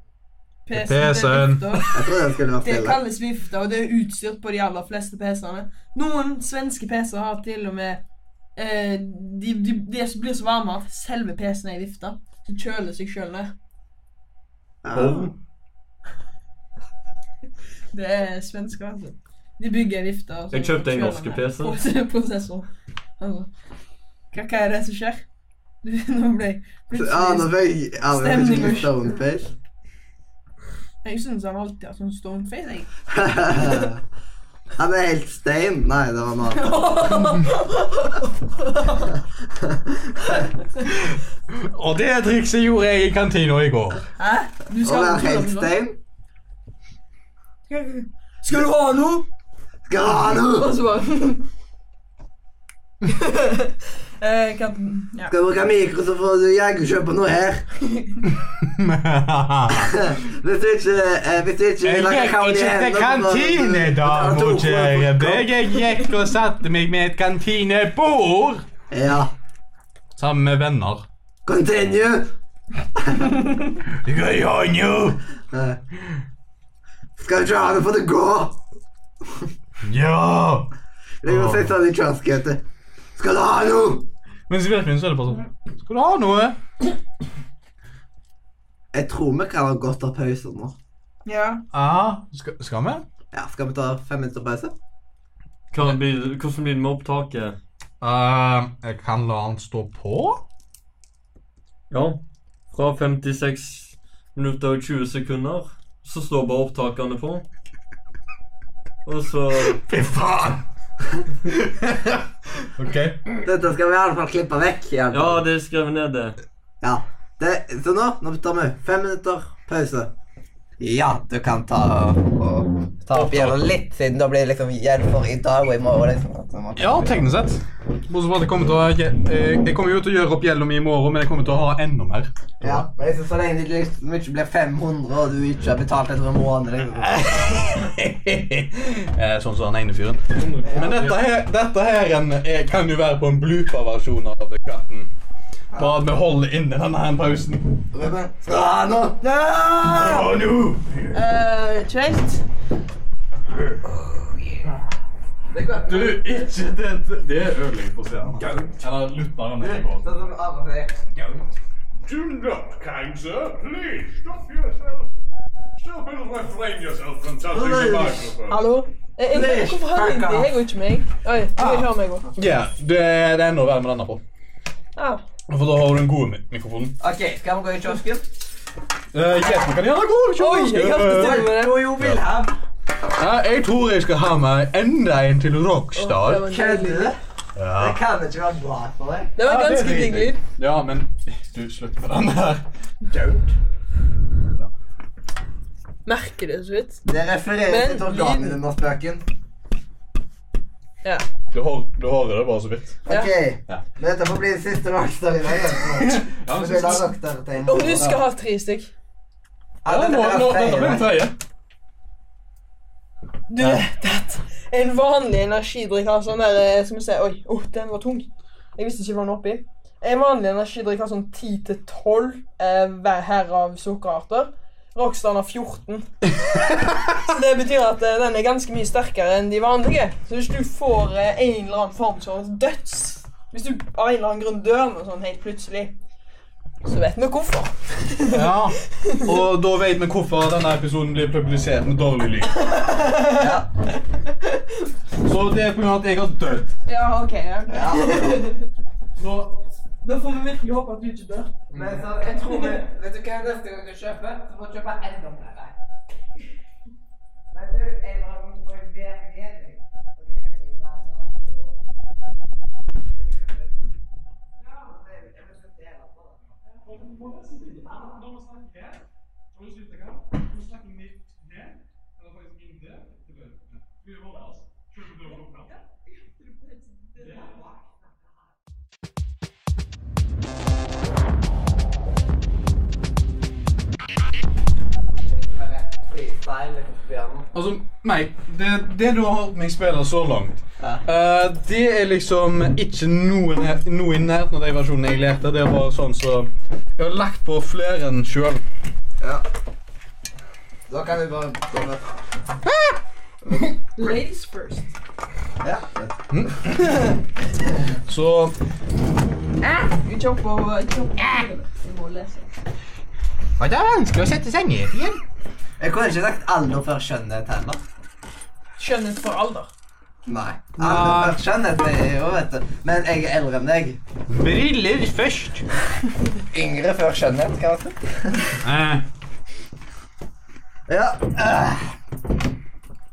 [SPEAKER 2] PC-en.
[SPEAKER 4] det er lufta.
[SPEAKER 3] Jeg trodde den skulle vært
[SPEAKER 4] Det
[SPEAKER 3] stille.
[SPEAKER 4] kalles vifte, og det er utstyrt på de aller fleste PC-ene. Noen svenske PC-er har til og med eh, de, de, de blir så varme at selve PC-en er i vifta. Så kjøler seg sjøl ned.
[SPEAKER 3] Ja.
[SPEAKER 1] Ovn.
[SPEAKER 4] Det er svensker, altså. De bygger ei vifte. og så
[SPEAKER 1] Jeg kjøpte en
[SPEAKER 4] kjøler
[SPEAKER 1] norske
[SPEAKER 4] ned
[SPEAKER 1] PC.
[SPEAKER 4] pros- Prosessor. Altså. Hva, hva er det som skjer? Du, nå ble jeg
[SPEAKER 3] Så- Ja, nå
[SPEAKER 4] plutselig
[SPEAKER 3] fikk jeg ja, nå fikk jeg
[SPEAKER 4] Stemning.
[SPEAKER 3] stoneface.
[SPEAKER 4] Jeg syns han alltid har sånn stoneface, jeg.
[SPEAKER 3] Han er helt stein. Nei, det var noe annet.
[SPEAKER 2] Og det trikset gjorde jeg i kantina i går.
[SPEAKER 4] Hæ? Du
[SPEAKER 3] Å
[SPEAKER 4] skal sånn.
[SPEAKER 3] være helt stein
[SPEAKER 4] Skal du ha noe?
[SPEAKER 3] Skal du ha noe?
[SPEAKER 4] Og så bare Eh, katten Ja.
[SPEAKER 3] Skal du bruke mikro, så får du jaggu kjøpe noe her. Hvis du ikke eh, Hvis du ikke
[SPEAKER 2] Jeg
[SPEAKER 3] lager
[SPEAKER 2] gikk
[SPEAKER 3] kaffe i
[SPEAKER 2] ikke til
[SPEAKER 3] hendene, så får du-
[SPEAKER 2] kantinedama,
[SPEAKER 3] Ja, to
[SPEAKER 2] kjære
[SPEAKER 3] kroner for
[SPEAKER 2] deg. Jeg gikk og satte meg med et kantinebord.
[SPEAKER 3] kopp. Ja.
[SPEAKER 2] Sammen med venner.
[SPEAKER 3] Continue.
[SPEAKER 2] Hva gjør nå?
[SPEAKER 3] Eh, Skal du ikke ha det for det går?
[SPEAKER 2] Ja!
[SPEAKER 3] Det går sett sånn i kioskete. Skal du ha noe?
[SPEAKER 2] Mens i virkeligheten så er det bare sånn Skal du ha noe?
[SPEAKER 3] Jeg tror vi kan ha godt av pause nå.
[SPEAKER 4] ja.
[SPEAKER 2] Ja, Ah, skal, skal vi?
[SPEAKER 3] Ja, Skal vi ta fem minutter pause?
[SPEAKER 1] Kan bli, hvordan blir det med opptaket?
[SPEAKER 2] Uh, jeg kan la han stå på.
[SPEAKER 1] Ja. Fra 56 minutter og 20 sekunder så står bare opptakene på. Og så
[SPEAKER 2] Fy faen! ok.
[SPEAKER 3] Dette skal vi i alle fall klippe vekk. i alle
[SPEAKER 1] Ja,
[SPEAKER 3] fall.
[SPEAKER 1] det er skrevet ned, det.
[SPEAKER 3] Ja. Det, så nå, nå tar vi fem minutter pause. Ja, du kan ta og ta opp gjelden litt, siden da blir det liksom gjeld for i dag og i morgen. liksom. Så man kan-
[SPEAKER 2] Ja, teknisk sett. Bortsett fra at jeg kommer til å Jeg, jeg kommer jo til å gjøre opp gjelda mi i morgen, men jeg kommer til å ha enda mer.
[SPEAKER 3] ja. Men liksom, så lenge det liksom ikke blir 500, og du ikke har betalt etter en måned liksom.
[SPEAKER 2] Eh, sånn som han ene fyren. Men dette her, dette her en, eh, kan jo være på en blooper-versjon av Katten. Bare at vi holder inne denne her pausen.
[SPEAKER 3] Ruben, skal du ha noe? Ah, Ja!
[SPEAKER 2] Å, no!
[SPEAKER 4] Eh, ikke helt.
[SPEAKER 2] Du, ikke Det, det- det ødelegger for seerne. Eller lytteren.
[SPEAKER 3] Det er som alle sier.
[SPEAKER 9] Do not, kind sir. Please stop yourself. Stop and refrain yourself from touching the microphone.
[SPEAKER 4] Hallo? Eh, Jeg, jeg, hvorfor hører jeg deg og ikke meg? Oi, jeg hører meg også. Ah,
[SPEAKER 2] Ja, det, det er enda verre med denne på.
[SPEAKER 4] Au.
[SPEAKER 2] For da har du den gode mi- mikrofonen.
[SPEAKER 3] Ok, skal vi gå i kiosken?
[SPEAKER 2] Eh, yes, vi kan gjerne gå og
[SPEAKER 4] Oi, jeg hjalp til med det.
[SPEAKER 3] Jo, jo, vil ha.
[SPEAKER 2] Jeg tror jeg skal ha meg enda en til
[SPEAKER 4] Det
[SPEAKER 2] Rockstar.
[SPEAKER 4] var nydelig.
[SPEAKER 3] Kødder du? Det kan ikke være bra for deg.
[SPEAKER 4] Ah, Det var ganske digg lyd.
[SPEAKER 2] Ja, men du, slutt med den her.
[SPEAKER 4] Merker det så vidt.
[SPEAKER 3] Det refererer
[SPEAKER 4] Men
[SPEAKER 3] til organet
[SPEAKER 4] lyden-
[SPEAKER 3] under spøken.
[SPEAKER 4] Ja.
[SPEAKER 2] Du, hår, du hører det bare så vidt.
[SPEAKER 4] Ja.
[SPEAKER 3] Ok,
[SPEAKER 2] Ja.
[SPEAKER 3] dette får bli den siste rockstar i dag. altså.
[SPEAKER 2] Ja,
[SPEAKER 3] Så
[SPEAKER 2] men
[SPEAKER 3] vi lar
[SPEAKER 2] siste-
[SPEAKER 3] rockstar-tegnet.
[SPEAKER 4] Og du skal ha tre stykk.
[SPEAKER 3] Ja,
[SPEAKER 2] Ja,
[SPEAKER 3] dette
[SPEAKER 2] nå,
[SPEAKER 3] blir
[SPEAKER 2] nå,
[SPEAKER 3] feil,
[SPEAKER 2] dette blir den
[SPEAKER 3] da.
[SPEAKER 2] tredje.
[SPEAKER 4] Du vet at en vanlig energidrikk har sånn der eh, Skal vi se Oi, oh, den var tung. Jeg visste ikke hva den var oppi. En vanlig energidrikk har sånn 10-12 eh, hver herav sukkerarter. Rockstar har 14. Så det betyr at eh, den er ganske mye sterkere enn de vanlige. Så hvis du får eh, en eller annen form for døds Hvis du av en eller annen grunn dør med sånn helt plutselig, så vet vi hvorfor.
[SPEAKER 2] Ja, og da vet vi hvorfor denne episoden blir publisert med dårlig lyd. Så det er på grunn av at jeg har dødd.
[SPEAKER 4] Ja, OK. Ja, ok.
[SPEAKER 3] Ja.
[SPEAKER 2] Så
[SPEAKER 4] Da får vi virkelig håpe at du ikke dør.
[SPEAKER 3] Men så, jeg tror vi... Vet du hva neste gang du kjøper? Du må kjøpe enda flere. Men du, en eller annen må jo være med deg. Og det er jo bare da, og- Freestyle, liksom, Bjørn.
[SPEAKER 2] Altså, nei, det, det du har hørt meg spille så langt, eh, det er liksom ikke noe, nær- noe i nærheten av de versjonene jeg lærte. Det er bare sånn som Jeg har lagt på flere enn sjøl.
[SPEAKER 3] Ja. Da kan vi bare... da vet-
[SPEAKER 4] Ladies first.
[SPEAKER 3] Ja.
[SPEAKER 2] Så
[SPEAKER 4] Ikke opp og ikke opp. Vi må lese.
[SPEAKER 6] Og det er vanskelig å sette seg ned igjen.
[SPEAKER 3] Jeg kunne ikke sagt alder før skjønnhet heller.
[SPEAKER 4] Skjønnhet for alder.
[SPEAKER 3] Nei. Alder før skjønnhet er jo, vet du. Men jeg er eldre enn deg.
[SPEAKER 6] Briller først.
[SPEAKER 3] Yngre før skjønnhet, kan man si.
[SPEAKER 2] eh,
[SPEAKER 3] Ja. øh.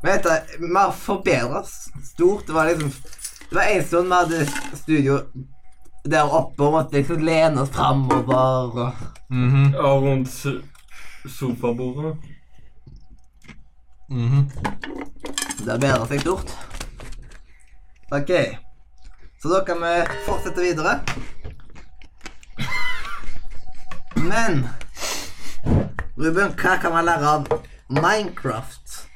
[SPEAKER 3] Vet du, vi har forbedret oss stort. Det var liksom Det var en stund vi hadde studio der oppe og måtte liksom lene oss framover og
[SPEAKER 6] mhm.
[SPEAKER 1] Ja, rundt s- sofabordet.
[SPEAKER 3] Det har bedret seg stort. OK. Så da kan vi fortsette videre. Men Ruben, hva kan man lære av Minecraft?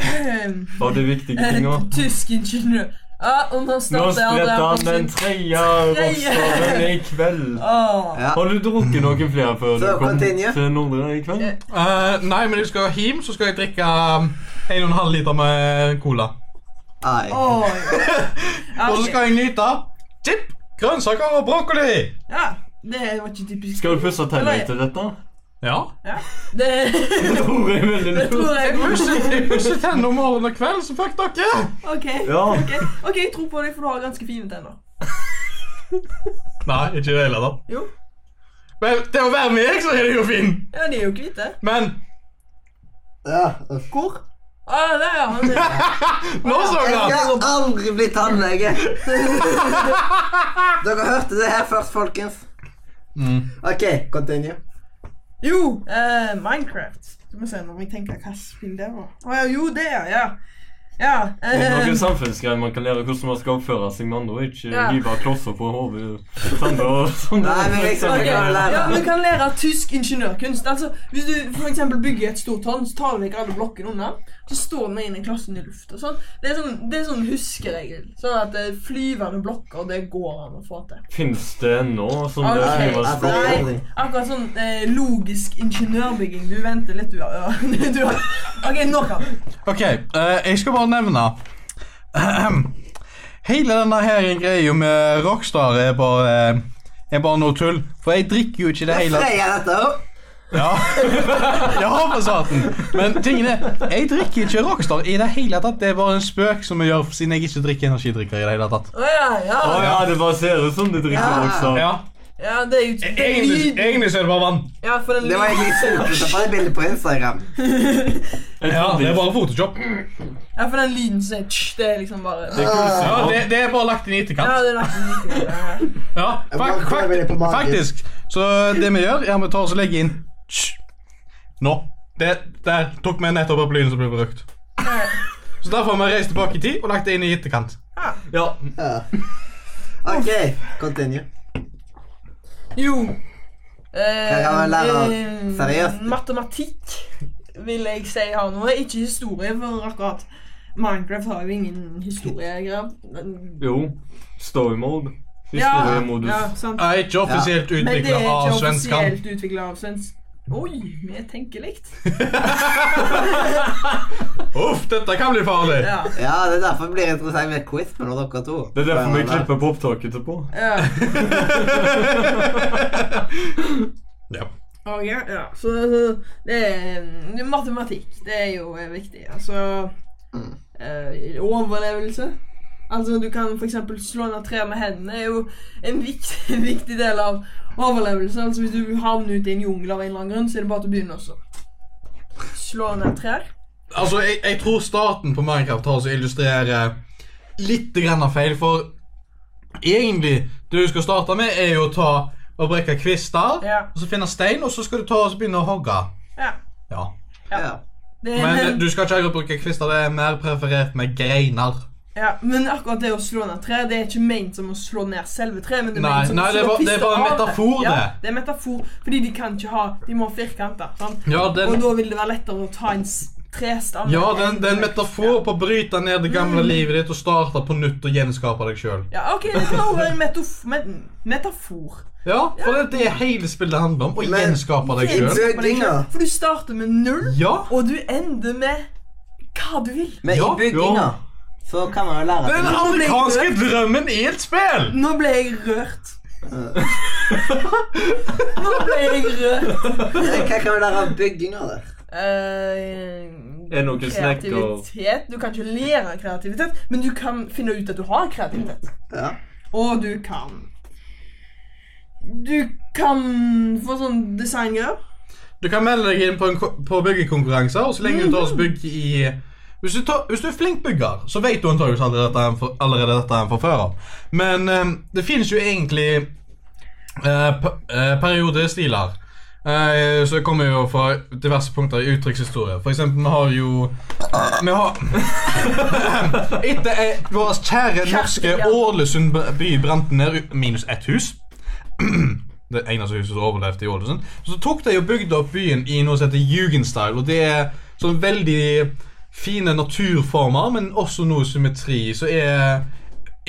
[SPEAKER 4] Ehm,
[SPEAKER 1] Var det viktige tinga?
[SPEAKER 4] Tysk ingeniør. Ah, og nå
[SPEAKER 1] Nå
[SPEAKER 4] starter jeg
[SPEAKER 1] spretter han
[SPEAKER 4] der.
[SPEAKER 1] den tredje rockstaren i kveld.
[SPEAKER 4] Åh.
[SPEAKER 3] Ja.
[SPEAKER 1] Har du drukket noen flere før du
[SPEAKER 3] Så,
[SPEAKER 1] kom
[SPEAKER 3] continue.
[SPEAKER 1] til Nordre i kveld?
[SPEAKER 2] eh, Nei, men jeg skal hjem, så skal jeg drikke um, 1,5 liter med cola.
[SPEAKER 3] Ai.
[SPEAKER 4] Oi. Ja,
[SPEAKER 2] Og så
[SPEAKER 4] ok.
[SPEAKER 2] skal jeg nyte chip, grønnsaker og brokkoli.
[SPEAKER 4] Ja, det var ikke typisk.
[SPEAKER 1] Skal du pusse tennene til dette?
[SPEAKER 2] Ja.
[SPEAKER 4] Det,
[SPEAKER 1] Det tror jeg veldig
[SPEAKER 4] det
[SPEAKER 1] lurt.
[SPEAKER 4] tror jeg.
[SPEAKER 2] Jeg pusset, jeg pusset tennene om morgenen og kvelden, så fuck dere.
[SPEAKER 4] Ok,
[SPEAKER 1] Ja.
[SPEAKER 4] ok. Ok, jeg tror på deg, for du har ganske fine tenner.
[SPEAKER 2] Nei, ikke i det hele tatt.
[SPEAKER 4] Jo.
[SPEAKER 2] Men til å være meg, så er det jo fin.
[SPEAKER 4] Ja, de er jo hvite.
[SPEAKER 2] Men
[SPEAKER 3] Ja. Hvor?
[SPEAKER 4] Ah, der, ja. Han er.
[SPEAKER 2] nå så jeg den!
[SPEAKER 3] Jeg skal aldri bli tannlege.
[SPEAKER 1] Mm.
[SPEAKER 3] Dere hørte det her først, folkens. OK, continue.
[SPEAKER 4] Jo, eh, Minecraft. Skal vi se når jeg tenker hva spill det var. Å ja, jo, det, ja. Ja.
[SPEAKER 1] Det er
[SPEAKER 4] eh,
[SPEAKER 1] Noen samfunnsgreier man kan lære hvordan man skal oppføre seg med andre, og ikke
[SPEAKER 4] Ja.
[SPEAKER 1] hive klosser på hodet. Sånn, og sånn.
[SPEAKER 3] Nei, men jeg skal ikke
[SPEAKER 1] Ja.
[SPEAKER 3] lære.
[SPEAKER 4] ja, men du kan lære tysk ingeniørkunst. Altså, Hvis du for eksempel bygger et stort tårn, så tar du vekk alle blokkene unna. Så står vi inn i klassen i luft og sånn. Det er sånn, det er sånn huskeregel. Sånn at eh, flyvende blokker, det går an å få til.
[SPEAKER 1] Finnes det ennå sånn det
[SPEAKER 4] Ok,
[SPEAKER 1] skrives
[SPEAKER 3] altså,
[SPEAKER 1] på?
[SPEAKER 3] nei.
[SPEAKER 4] Nei, akkurat sånn eh, logisk ingeniørbygging. Du venter litt, du. Ja. du har- OK, nå kan du.
[SPEAKER 2] Ok, eh, jeg skal bare nevne Hele denne her greia med Rockstar er bare, er bare noe tull. For jeg drikker jo ikke i det hele tatt.
[SPEAKER 3] Freia dette òg.
[SPEAKER 2] Ja. ja, for satan. Men tingen er, jeg drikker ikke Rockstar i det hele tatt. Det er bare en spøk som jeg gjør siden jeg ikke drikker energidrikker i det hele tatt.
[SPEAKER 4] Å ja, ja.
[SPEAKER 1] Å ja, det bare ser ut som du drikker
[SPEAKER 3] Ja.
[SPEAKER 1] også.
[SPEAKER 10] Ja.
[SPEAKER 4] Ja, det er jo det er
[SPEAKER 10] Egentlig,
[SPEAKER 4] lyden.
[SPEAKER 10] egentlig så er det bare vann.
[SPEAKER 4] Ja, for den
[SPEAKER 3] Det var
[SPEAKER 4] lyden,
[SPEAKER 3] egentlig supersøtt på det bildet på Instagram.
[SPEAKER 1] Jeg
[SPEAKER 10] Ja,
[SPEAKER 1] trodde
[SPEAKER 10] Det er
[SPEAKER 1] ikke-
[SPEAKER 10] bare Photoshop.
[SPEAKER 4] ja, for den lyden som er tsj, det er liksom bare
[SPEAKER 1] det er
[SPEAKER 10] Ja,
[SPEAKER 1] koselig.
[SPEAKER 10] det, det er bare lagt inn i etterkant.
[SPEAKER 4] Ja, det er nesten like greit.
[SPEAKER 10] Ja,
[SPEAKER 2] Jeg
[SPEAKER 10] fak
[SPEAKER 2] bare
[SPEAKER 3] prøver det på magen.
[SPEAKER 2] faktisk. Så det vi gjør, er at vi tar oss og legger inn Hysj. Nå. Det, der tok vi nettopp opp lyden som ble brukt. Så derfor har vi reist tilbake i tid og lagt det inn i etterkant.
[SPEAKER 1] Ja.
[SPEAKER 3] Ja. OK, continue.
[SPEAKER 4] Jo eh,
[SPEAKER 3] Hva kan man lære av
[SPEAKER 4] eh,
[SPEAKER 3] seriøst?
[SPEAKER 4] Matematikk vil jeg si har noe. Ikke historie, for akkurat Minecraft har jo ingen historiegreier. Men-
[SPEAKER 1] Jo. Story mode. Historiemodus.
[SPEAKER 4] ja, sant.
[SPEAKER 2] Er ikke offisielt
[SPEAKER 4] Men det
[SPEAKER 2] utvikla
[SPEAKER 4] er
[SPEAKER 2] av
[SPEAKER 4] ikke
[SPEAKER 2] svenskene.
[SPEAKER 4] offisielt utvikla av svensk. Oi, vi tenker likt.
[SPEAKER 2] Uff, dette kan bli farlig.
[SPEAKER 4] Ja.
[SPEAKER 3] Ja, det er derfor det blir interessant med quiz mellom dere to.
[SPEAKER 1] Det er derfor vi klipper på opptaket etterpå.
[SPEAKER 4] ja.
[SPEAKER 2] Ja.
[SPEAKER 4] Ok, ja. Så, så det er mm, matematikk. Det er jo eh, viktig. Altså eh, Overlevelse. Altså, du kan f.eks. slå ned trær med hendene. er jo en viktig, en viktig del av overlevelse. Altså, Hvis du havner ute i en jungel av en eller annen grunn, så er det bare til å begynne også. Slå ned trær.
[SPEAKER 2] Altså, jeg, jeg tror starten på Minecraft har også illustrerer litt grann av feil, for egentlig det du skal starte med, er jo å ta og brekke kvister,
[SPEAKER 4] Ja.
[SPEAKER 2] og så finne stein, og så skal du ta og så begynne å hogge.
[SPEAKER 4] Ja.
[SPEAKER 2] Ja.
[SPEAKER 3] Ja.
[SPEAKER 4] Det,
[SPEAKER 2] Men eh, du skal ikke akkurat bruke kvister, det er mer preferert med greiner.
[SPEAKER 4] ja, men akkurat det å slå ned trær, det er ikke ment som å slå ned selve treet. Men det er
[SPEAKER 2] Nei,
[SPEAKER 4] ment som
[SPEAKER 2] nei,
[SPEAKER 4] å
[SPEAKER 2] det er
[SPEAKER 4] slå
[SPEAKER 2] bare- det er
[SPEAKER 4] pister
[SPEAKER 2] bare en
[SPEAKER 4] av
[SPEAKER 2] metafor,
[SPEAKER 4] Ja,
[SPEAKER 2] det.
[SPEAKER 4] det er en metafor, fordi de kan ikke ha De må ha firkanter. sant?
[SPEAKER 2] Ja,
[SPEAKER 4] Og
[SPEAKER 2] den,
[SPEAKER 4] da vil det være lettere å ta en s- trestamme.
[SPEAKER 2] ja, den, den metafor på å bryte ned det gamle livet ditt og starte på nytt og gjenskape deg sjøl.
[SPEAKER 4] Ja, ok, det kan også være en metafor. Met metafor.
[SPEAKER 2] Ja, for det er det hele spillet handler om. Å
[SPEAKER 3] Men-
[SPEAKER 2] gjenskape deg sjøl.
[SPEAKER 3] Det er dinga.
[SPEAKER 4] For du starter med null,
[SPEAKER 2] Ja.
[SPEAKER 4] og du ender med hva du vil.
[SPEAKER 3] Men i
[SPEAKER 2] Ja,
[SPEAKER 3] bygginga
[SPEAKER 2] ja.
[SPEAKER 3] så kan man jo lære
[SPEAKER 2] Den
[SPEAKER 3] ting.
[SPEAKER 2] amerikanske drømmen i et spill!
[SPEAKER 4] Nå ble jeg rørt. Nå ble jeg rørt.
[SPEAKER 3] Men Hva kan man lære av bygginga der?
[SPEAKER 4] Eh,
[SPEAKER 1] Er noen snekker-
[SPEAKER 4] kreativitet. Du kan ikke lære kreativitet, men du kan finne ut at du har kreativitet.
[SPEAKER 3] Ja.
[SPEAKER 4] Og du kan Du kan få sånn designgreier.
[SPEAKER 2] Du kan melde deg inn på, en, ko- på byggekonkurranser, og så lenge du tar oss bygg i hvis du, tar, hvis du er flink bygger, så vet du antakeligvis allerede dette, her fra- allerede dette her fra før av. Men eh, det finnes jo egentlig eh, pe- eh, periodestiler. Eh, så det kommer jo fra diverse punkter i uttrykkshistorie. For eksempel, vi har jo Vi har Etter eh, vår kjære norske
[SPEAKER 4] ja.
[SPEAKER 2] Ålesund by brant ned u- minus ett hus det eneste huset som overlevde i Ålesund. Så tok de og bygde opp byen i noe som heter Jugendstil. Og det er sånn veldig fine naturformer, men også noe symmetri. Så er,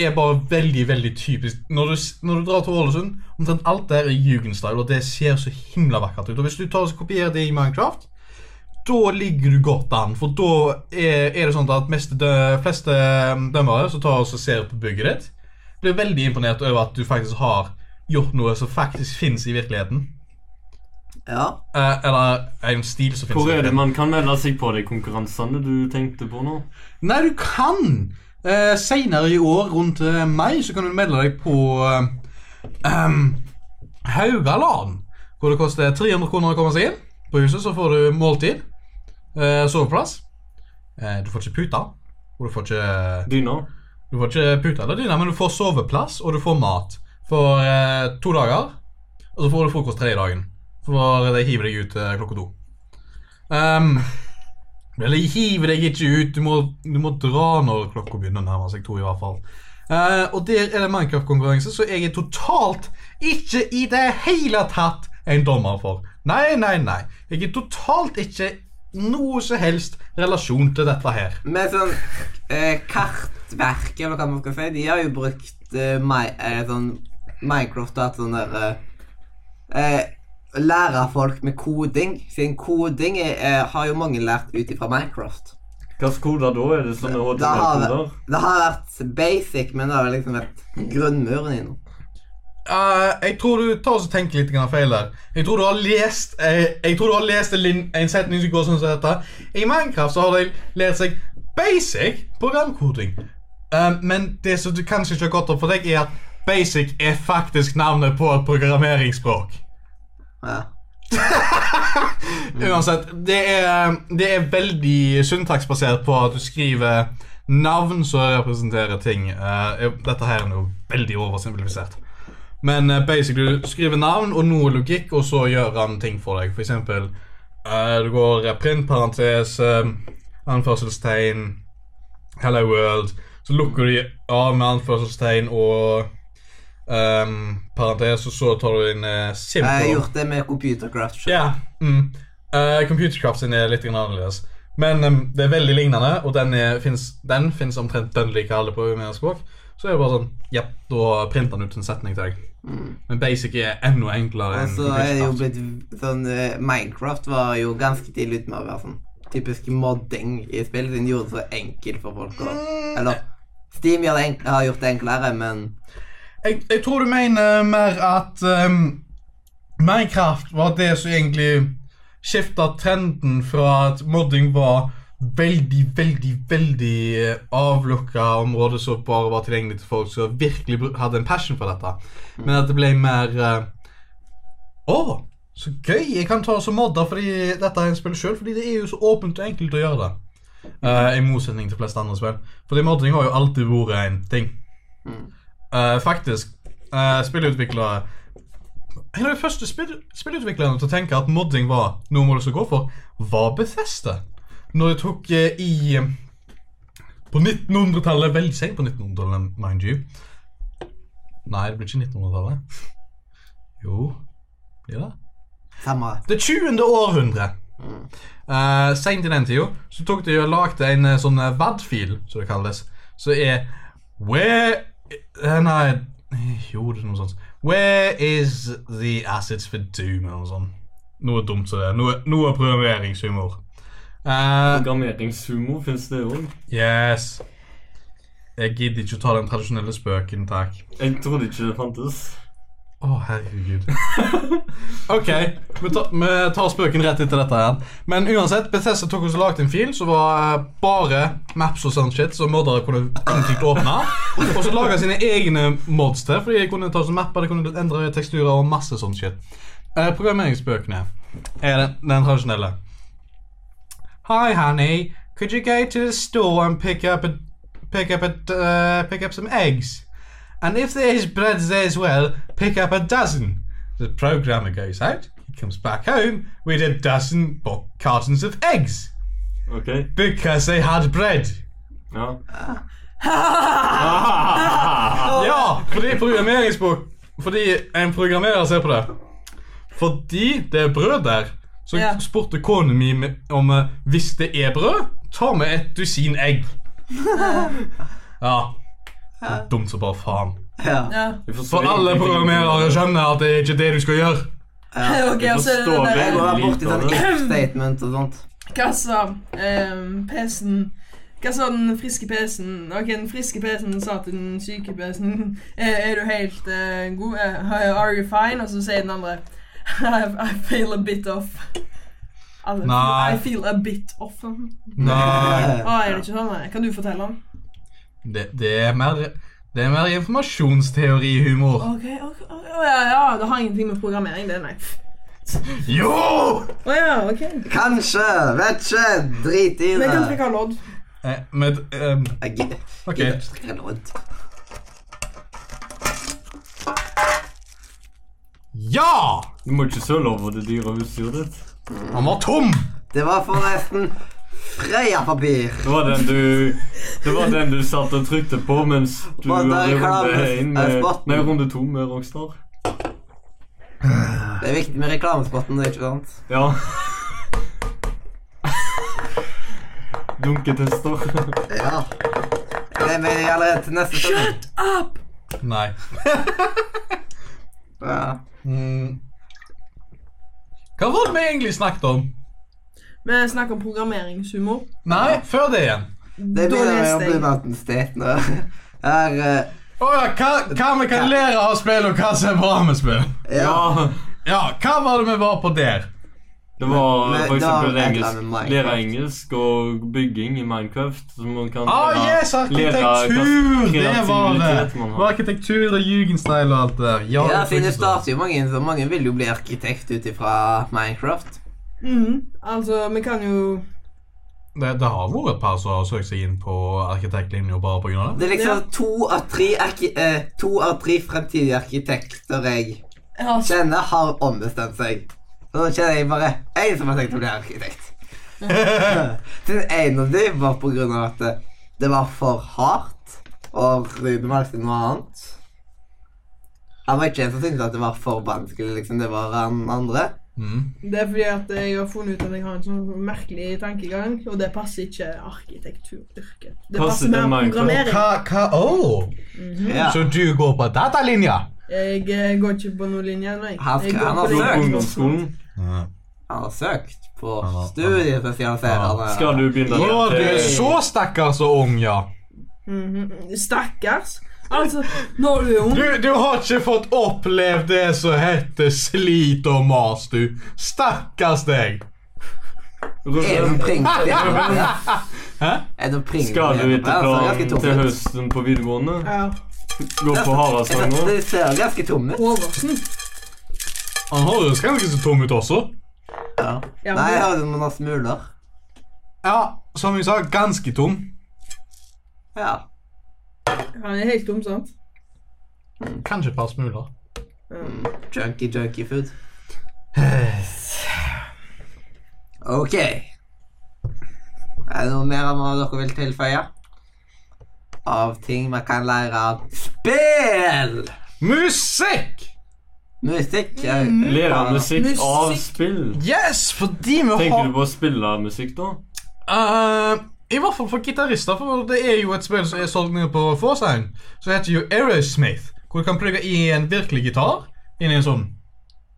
[SPEAKER 2] er bare veldig, veldig typisk. Når du, s- når du drar til Ålesund, omtrent alt der er Jugendstil, og det ser så himla vakkert ut. Og hvis du tar og kopierer det i Minecraft da ligger du godt an, for da er, er det sånn at meste dø, fleste um, dømmere som tar oss og ser på bygget ditt, blir veldig imponert over at du faktisk har gjort noe som faktisk finnes i virkeligheten.
[SPEAKER 3] ja.
[SPEAKER 2] Eh, eller en stil som finnes
[SPEAKER 1] Hvor
[SPEAKER 2] i
[SPEAKER 1] er det
[SPEAKER 2] virkeligheten.
[SPEAKER 1] man kan melde seg på de konkurransene du tenkte på nå?
[SPEAKER 2] Nei, du kan! Eh, senere i år, rundt eh, mai, så kan du melde deg på eh, ehm, Haugaland. Hvor det koster 300 kroner å komme seg inn. På huset så får du måltid, eh, soveplass. Eh, du får ikke puta. Og du får ikke
[SPEAKER 1] Dyna?
[SPEAKER 2] Du får ikke pute eller dyne, men du får soveplass og du får mat for eh, to dager. Og så får du frokost tredje dagen.
[SPEAKER 11] For det hiver deg ut eh, klokka to. Ehm, eller hiver deg ikke ut, du må, du må dra når klokka begynner å nærme seg to. i hvert fall. Eh, og der er det Minecraft-konkurranse, så jeg er totalt ikke i det hele tatt en dommer for. Nei, nei, nei. Jeg er totalt ikke noe som helst relasjon til dette her.
[SPEAKER 3] Men sånn eh, Kartverket, eller hva man skal si, de har jo brukt eh, mi eh, sånn Minecraft og hatt sånn der eh, eh, Lære folk med koding. Siden koding er, eh, har jo mange lært ut ifra Minecraft.
[SPEAKER 1] Hvilke koder da? Er det sånn sånne
[SPEAKER 3] Det har,
[SPEAKER 1] HTML-koder?
[SPEAKER 3] det har vært basic, men det har liksom vært grunnmuren i noe.
[SPEAKER 11] Eh, jeg tror du tar og så tenker litt grann feil der. Jeg tror du har lest eh, Jeg tror du har lest en, lin- en setning som går sånn som dette. I Minecraft så har de lært seg basic programkoding. Eh, men det som du kanskje ikke har gått opp for deg, er at basic er faktisk navnet på et programmeringsspråk.
[SPEAKER 3] Ja. Mm.
[SPEAKER 11] Uansett, det er, det er veldig syntaksbasert på at du skriver navn som representerer ting. Eh, dette her er jo veldig oversimplifisert. Men eh, basically, du skriver navn og noe logikk, og så gjør han ting for deg. For eksempel, eh, du går eh, print, parentes, eh, anførselstegn, hello world. Så lukker du av med anførselstegn og ehm, parentes, og så tar du inn uh,
[SPEAKER 3] Jeg har
[SPEAKER 11] simple
[SPEAKER 3] gjort det med computercraft. selv.
[SPEAKER 11] ja. Mm. Eh, Computercraft sin er litt grann annerledes. Men em, det er veldig lignende, og den er- finnes- den fins omtrent dønn like alle på UMR-språk. Så er det bare sånn Ja, da printer den ut en setning til deg. Men basic er enda enklere.
[SPEAKER 3] Og
[SPEAKER 11] enn
[SPEAKER 3] så Mm. Altså, er det jo
[SPEAKER 11] computercraft.
[SPEAKER 3] blitt sånn eh, Minecraft var jo ganske tidlig ute med å være sånn typisk modding i spill. Siden de gjorde det så enkelt for folk å Eller Steam gjør det enk- har gjort det enklere, men
[SPEAKER 2] Jeg, jeg tror du mener mer at ehm, Minecraft var det som egentlig skifta trenden fra at modding var veldig, veldig, veldig avlukka område som bare var tilgjengelig til folk som virkelig bru- hadde en passion for dette, men at det ble mer eh, Å, så gøy! Jeg kan ta og så modde fordi dette er en spill sjøl, fordi det er jo så åpent og enkelt å gjøre det. Eh, I motsetning til de fleste andre spill. Fordi modding har jo alltid vært en ting. Eh, faktisk. Uh, spillutviklere En av de første spill, spillutviklerne til å tenke at modding var noe man skulle gå for, var Bethesda. Når de tok eh, i eh, På 1900-tallet Veldig sent på 1900-tallet, mind you. Nei, det blir ikke 1900-tallet. Jo Blir det?
[SPEAKER 3] samme
[SPEAKER 2] Det 20. århundre. Uh, Seint i den tida så tok de og lagde en eh, sånn eh, WAD-fil, som det kalles, som er Where eh, Nei, jo, det er noe sånt. Where is the assets for doom? Eller noe sånt. Noe dumt som det. Noe, noe programmeringshumor. Eh,
[SPEAKER 1] Programmeringssumo fins det òg.
[SPEAKER 2] yes. Jeg gidder ikke å ta den tradisjonelle spøken, takk.
[SPEAKER 1] Jeg trodde ikke det fantes.
[SPEAKER 2] Å, herregud. ok, vi tar, vi tar spøken rett etter dette igjen. Men uansett, Bethesda tok oss og lagde en fil som var eh, bare maps og sånn shit, som moddere kunne enkelt åpne. Og så laga sine egne mods til, fordi de kunne ta sånn mapper, de kunne endre teksturer og masse sånn shit. Eh, programmeringsspøkene er den, den tradisjonelle. Hi, honey. Could you go to the store and pick up a, pick up a, uh, pick up some eggs? And if there is bread there as well, pick up a dozen. The programmer goes out, he comes back home with a dozen bo- cartons of eggs
[SPEAKER 1] OK?
[SPEAKER 2] because they had bread.
[SPEAKER 1] Ja.
[SPEAKER 2] Ja, fordi programmeringsbok Fordi en programmerer ser på det. Fordi det er brød der, så
[SPEAKER 4] Ja.
[SPEAKER 2] spurte kona mi med- om eh, hvis det er brød, ta med et dusin egg. ja. Det er dumt som bare faen.
[SPEAKER 3] Ja.
[SPEAKER 4] Ja.
[SPEAKER 1] Jeg forstår
[SPEAKER 2] For alle
[SPEAKER 1] ingenting.
[SPEAKER 2] programmerere skjønner at det er ikke det du skal gjøre.
[SPEAKER 4] Ok,
[SPEAKER 1] Jeg
[SPEAKER 4] altså
[SPEAKER 1] forstår
[SPEAKER 4] den
[SPEAKER 1] det.
[SPEAKER 3] Jeg
[SPEAKER 4] der
[SPEAKER 3] går borti sånn
[SPEAKER 1] Lite av
[SPEAKER 3] if-statement og sånt.
[SPEAKER 4] Hva sa ehm, PC-en Hva sa den friske PC-en? Ok, den friske PC-en sa til den syke PC-en Er er du helt eh, god? Eh, are you fine? Og så sier den andre I, I feel a bit off. Altså,
[SPEAKER 2] Nei.
[SPEAKER 4] I feel a bit off. Å,
[SPEAKER 2] Nei.
[SPEAKER 4] er det ikke sånn? Nei? Kan du fortelle den?
[SPEAKER 2] Det, det er mer Det er mer informasjonsteorihumor.
[SPEAKER 4] Ok, ok, ok. Å ja, ja, det har ingenting med programmering, det, nei.
[SPEAKER 2] Jo!
[SPEAKER 4] Å ja, ok.
[SPEAKER 3] Kanskje, vet ikke, drit i
[SPEAKER 4] Vi
[SPEAKER 3] det.
[SPEAKER 4] kan trekke av lodd.
[SPEAKER 2] Eh, men ehm,
[SPEAKER 3] Jeg gidder
[SPEAKER 2] OK.
[SPEAKER 3] gidder ikke trekke lodd.
[SPEAKER 2] Ja!
[SPEAKER 1] Du må ikke søle over det dyre utstyret ditt.
[SPEAKER 2] Han var tom!
[SPEAKER 3] Det var forresten Freia-papir.
[SPEAKER 1] Det var den du Det var den du satt og trykte på mens du
[SPEAKER 3] Hva, der
[SPEAKER 1] runde
[SPEAKER 3] reklames-
[SPEAKER 1] én
[SPEAKER 3] er
[SPEAKER 1] med
[SPEAKER 3] spotten.
[SPEAKER 1] Nei, runde to med Rockstar.
[SPEAKER 3] Det er viktig med reklamespotten, ikke sant?
[SPEAKER 1] Ja. Dunketester.
[SPEAKER 3] Ja. Det er med allerede til neste sesong.
[SPEAKER 2] Nei.
[SPEAKER 3] Ja.
[SPEAKER 2] Mm. Hva var det vi egentlig snakket om?
[SPEAKER 4] Vi snakker om programmeringshumor.
[SPEAKER 2] Nei, før det igjen.
[SPEAKER 3] Det
[SPEAKER 4] Da
[SPEAKER 3] begynner å
[SPEAKER 4] leste
[SPEAKER 3] bli
[SPEAKER 4] jeg.
[SPEAKER 3] Mountain State nå. Her, eh,
[SPEAKER 2] Å ja, hva, hva vi kan lære av spill, og hva som er bra med spill.
[SPEAKER 3] ja.
[SPEAKER 1] Ja.
[SPEAKER 2] Ja, hva var det vi var på der?
[SPEAKER 1] Det var
[SPEAKER 3] Men- men
[SPEAKER 1] for
[SPEAKER 3] da har
[SPEAKER 1] eksempel
[SPEAKER 3] vi et eller
[SPEAKER 1] engelsk,
[SPEAKER 3] annet med Minecraft.
[SPEAKER 1] lære engelsk og bygging i Minecraft. Så man kan
[SPEAKER 2] Ah,
[SPEAKER 1] lære-
[SPEAKER 2] yes,
[SPEAKER 1] lære hva
[SPEAKER 2] arkitektur! Det var
[SPEAKER 1] kreativitet
[SPEAKER 2] det.
[SPEAKER 1] man
[SPEAKER 2] Og
[SPEAKER 1] har.
[SPEAKER 2] arkitektur og jugendstil og alt det der. Ja,
[SPEAKER 3] ja,
[SPEAKER 2] det
[SPEAKER 3] siden det
[SPEAKER 2] faktisk var.
[SPEAKER 3] starter jo mange, så mange vil jo bli arkitekt ut ifra Minecraft.
[SPEAKER 4] Mhm. Altså, vi kan jo
[SPEAKER 2] det, det har vært et par som har søkt seg inn på arkitektlinja bare pga. det.
[SPEAKER 3] Det er liksom
[SPEAKER 4] Ja.
[SPEAKER 3] to av tre, arki eh, to av tre fremtidige arkitekter jeg
[SPEAKER 4] Ja, så-
[SPEAKER 3] kjenner, har ombestemt seg. Og nå kjenner jeg bare én som har tenkt å bli arkitekt. Den ene av dem var på grunn av at det- det var for hardt, og Ruben valgte noe annet. Han var ikke en som syntes at det var for vanskelig, liksom. Det var han andre.
[SPEAKER 2] Mm.
[SPEAKER 4] Det er fordi at jeg har funnet ut at jeg har en sånn merkelig tankegang, og det passer ikke arkitekturyrket. Det
[SPEAKER 1] Passer
[SPEAKER 4] passer
[SPEAKER 1] til
[SPEAKER 4] mer
[SPEAKER 1] Minecraft.
[SPEAKER 4] programmering.
[SPEAKER 2] Hva, hva, oh.
[SPEAKER 3] Ja.
[SPEAKER 2] Så du går på datalinja?
[SPEAKER 4] Jeg eh, går ikke på noen linje, nei.
[SPEAKER 3] Han skal-
[SPEAKER 4] jeg går
[SPEAKER 3] han har
[SPEAKER 4] på
[SPEAKER 3] søkt.
[SPEAKER 4] linje.
[SPEAKER 1] Ungdomsskolen.
[SPEAKER 3] Han har søkt på
[SPEAKER 2] Han har-
[SPEAKER 3] studiespesialiserende
[SPEAKER 1] Skal du begynne
[SPEAKER 2] Å,
[SPEAKER 1] der
[SPEAKER 2] du er
[SPEAKER 1] til-
[SPEAKER 2] så stakkars og ung, ja.
[SPEAKER 4] Mhm. Stakkars. Altså, når du er ung
[SPEAKER 2] Du, du har ikke fått opplevd det som heter slit og mas, du. Stakkars deg.
[SPEAKER 3] Er du
[SPEAKER 1] Ruben,
[SPEAKER 3] pringt?
[SPEAKER 2] Hæ?
[SPEAKER 3] Er du pringt?
[SPEAKER 1] Skal du ikke
[SPEAKER 3] Det ser ganske
[SPEAKER 1] plan
[SPEAKER 3] tomt
[SPEAKER 1] til
[SPEAKER 3] ut.
[SPEAKER 1] høsten på videregående?
[SPEAKER 4] Ja,
[SPEAKER 1] Gå på Harasanger?
[SPEAKER 3] Det ser ganske tomt ut.
[SPEAKER 4] Håvardsen.
[SPEAKER 2] Han høres ganske så tom ut også.
[SPEAKER 3] Ja.
[SPEAKER 4] Ja,
[SPEAKER 3] Nei, jeg
[SPEAKER 4] men-
[SPEAKER 3] hadde noen smuler.
[SPEAKER 2] Ja, som jeg sa, ganske tom.
[SPEAKER 3] Ja.
[SPEAKER 4] Han er helt tom, sant?
[SPEAKER 2] Kanskje et par smuler.
[SPEAKER 3] Junky, junky food. Ok. Er det noe mer enn hva dere vil tilføye? Av ting man kan lære av spill!
[SPEAKER 2] Musikk!
[SPEAKER 3] Musikk. ja.
[SPEAKER 1] Lære musikk av
[SPEAKER 4] Musikk.
[SPEAKER 1] spill?
[SPEAKER 2] Yes, fordi vi
[SPEAKER 1] Tenker du
[SPEAKER 2] har
[SPEAKER 1] på å spille musikk, da?
[SPEAKER 2] Eh, I hvert fall for gitarister, for det er jo et spill som er solgt mye på Forsang, som heter jo Aerosmith, hvor du kan plugge i en virkelig gitar inn i en sånn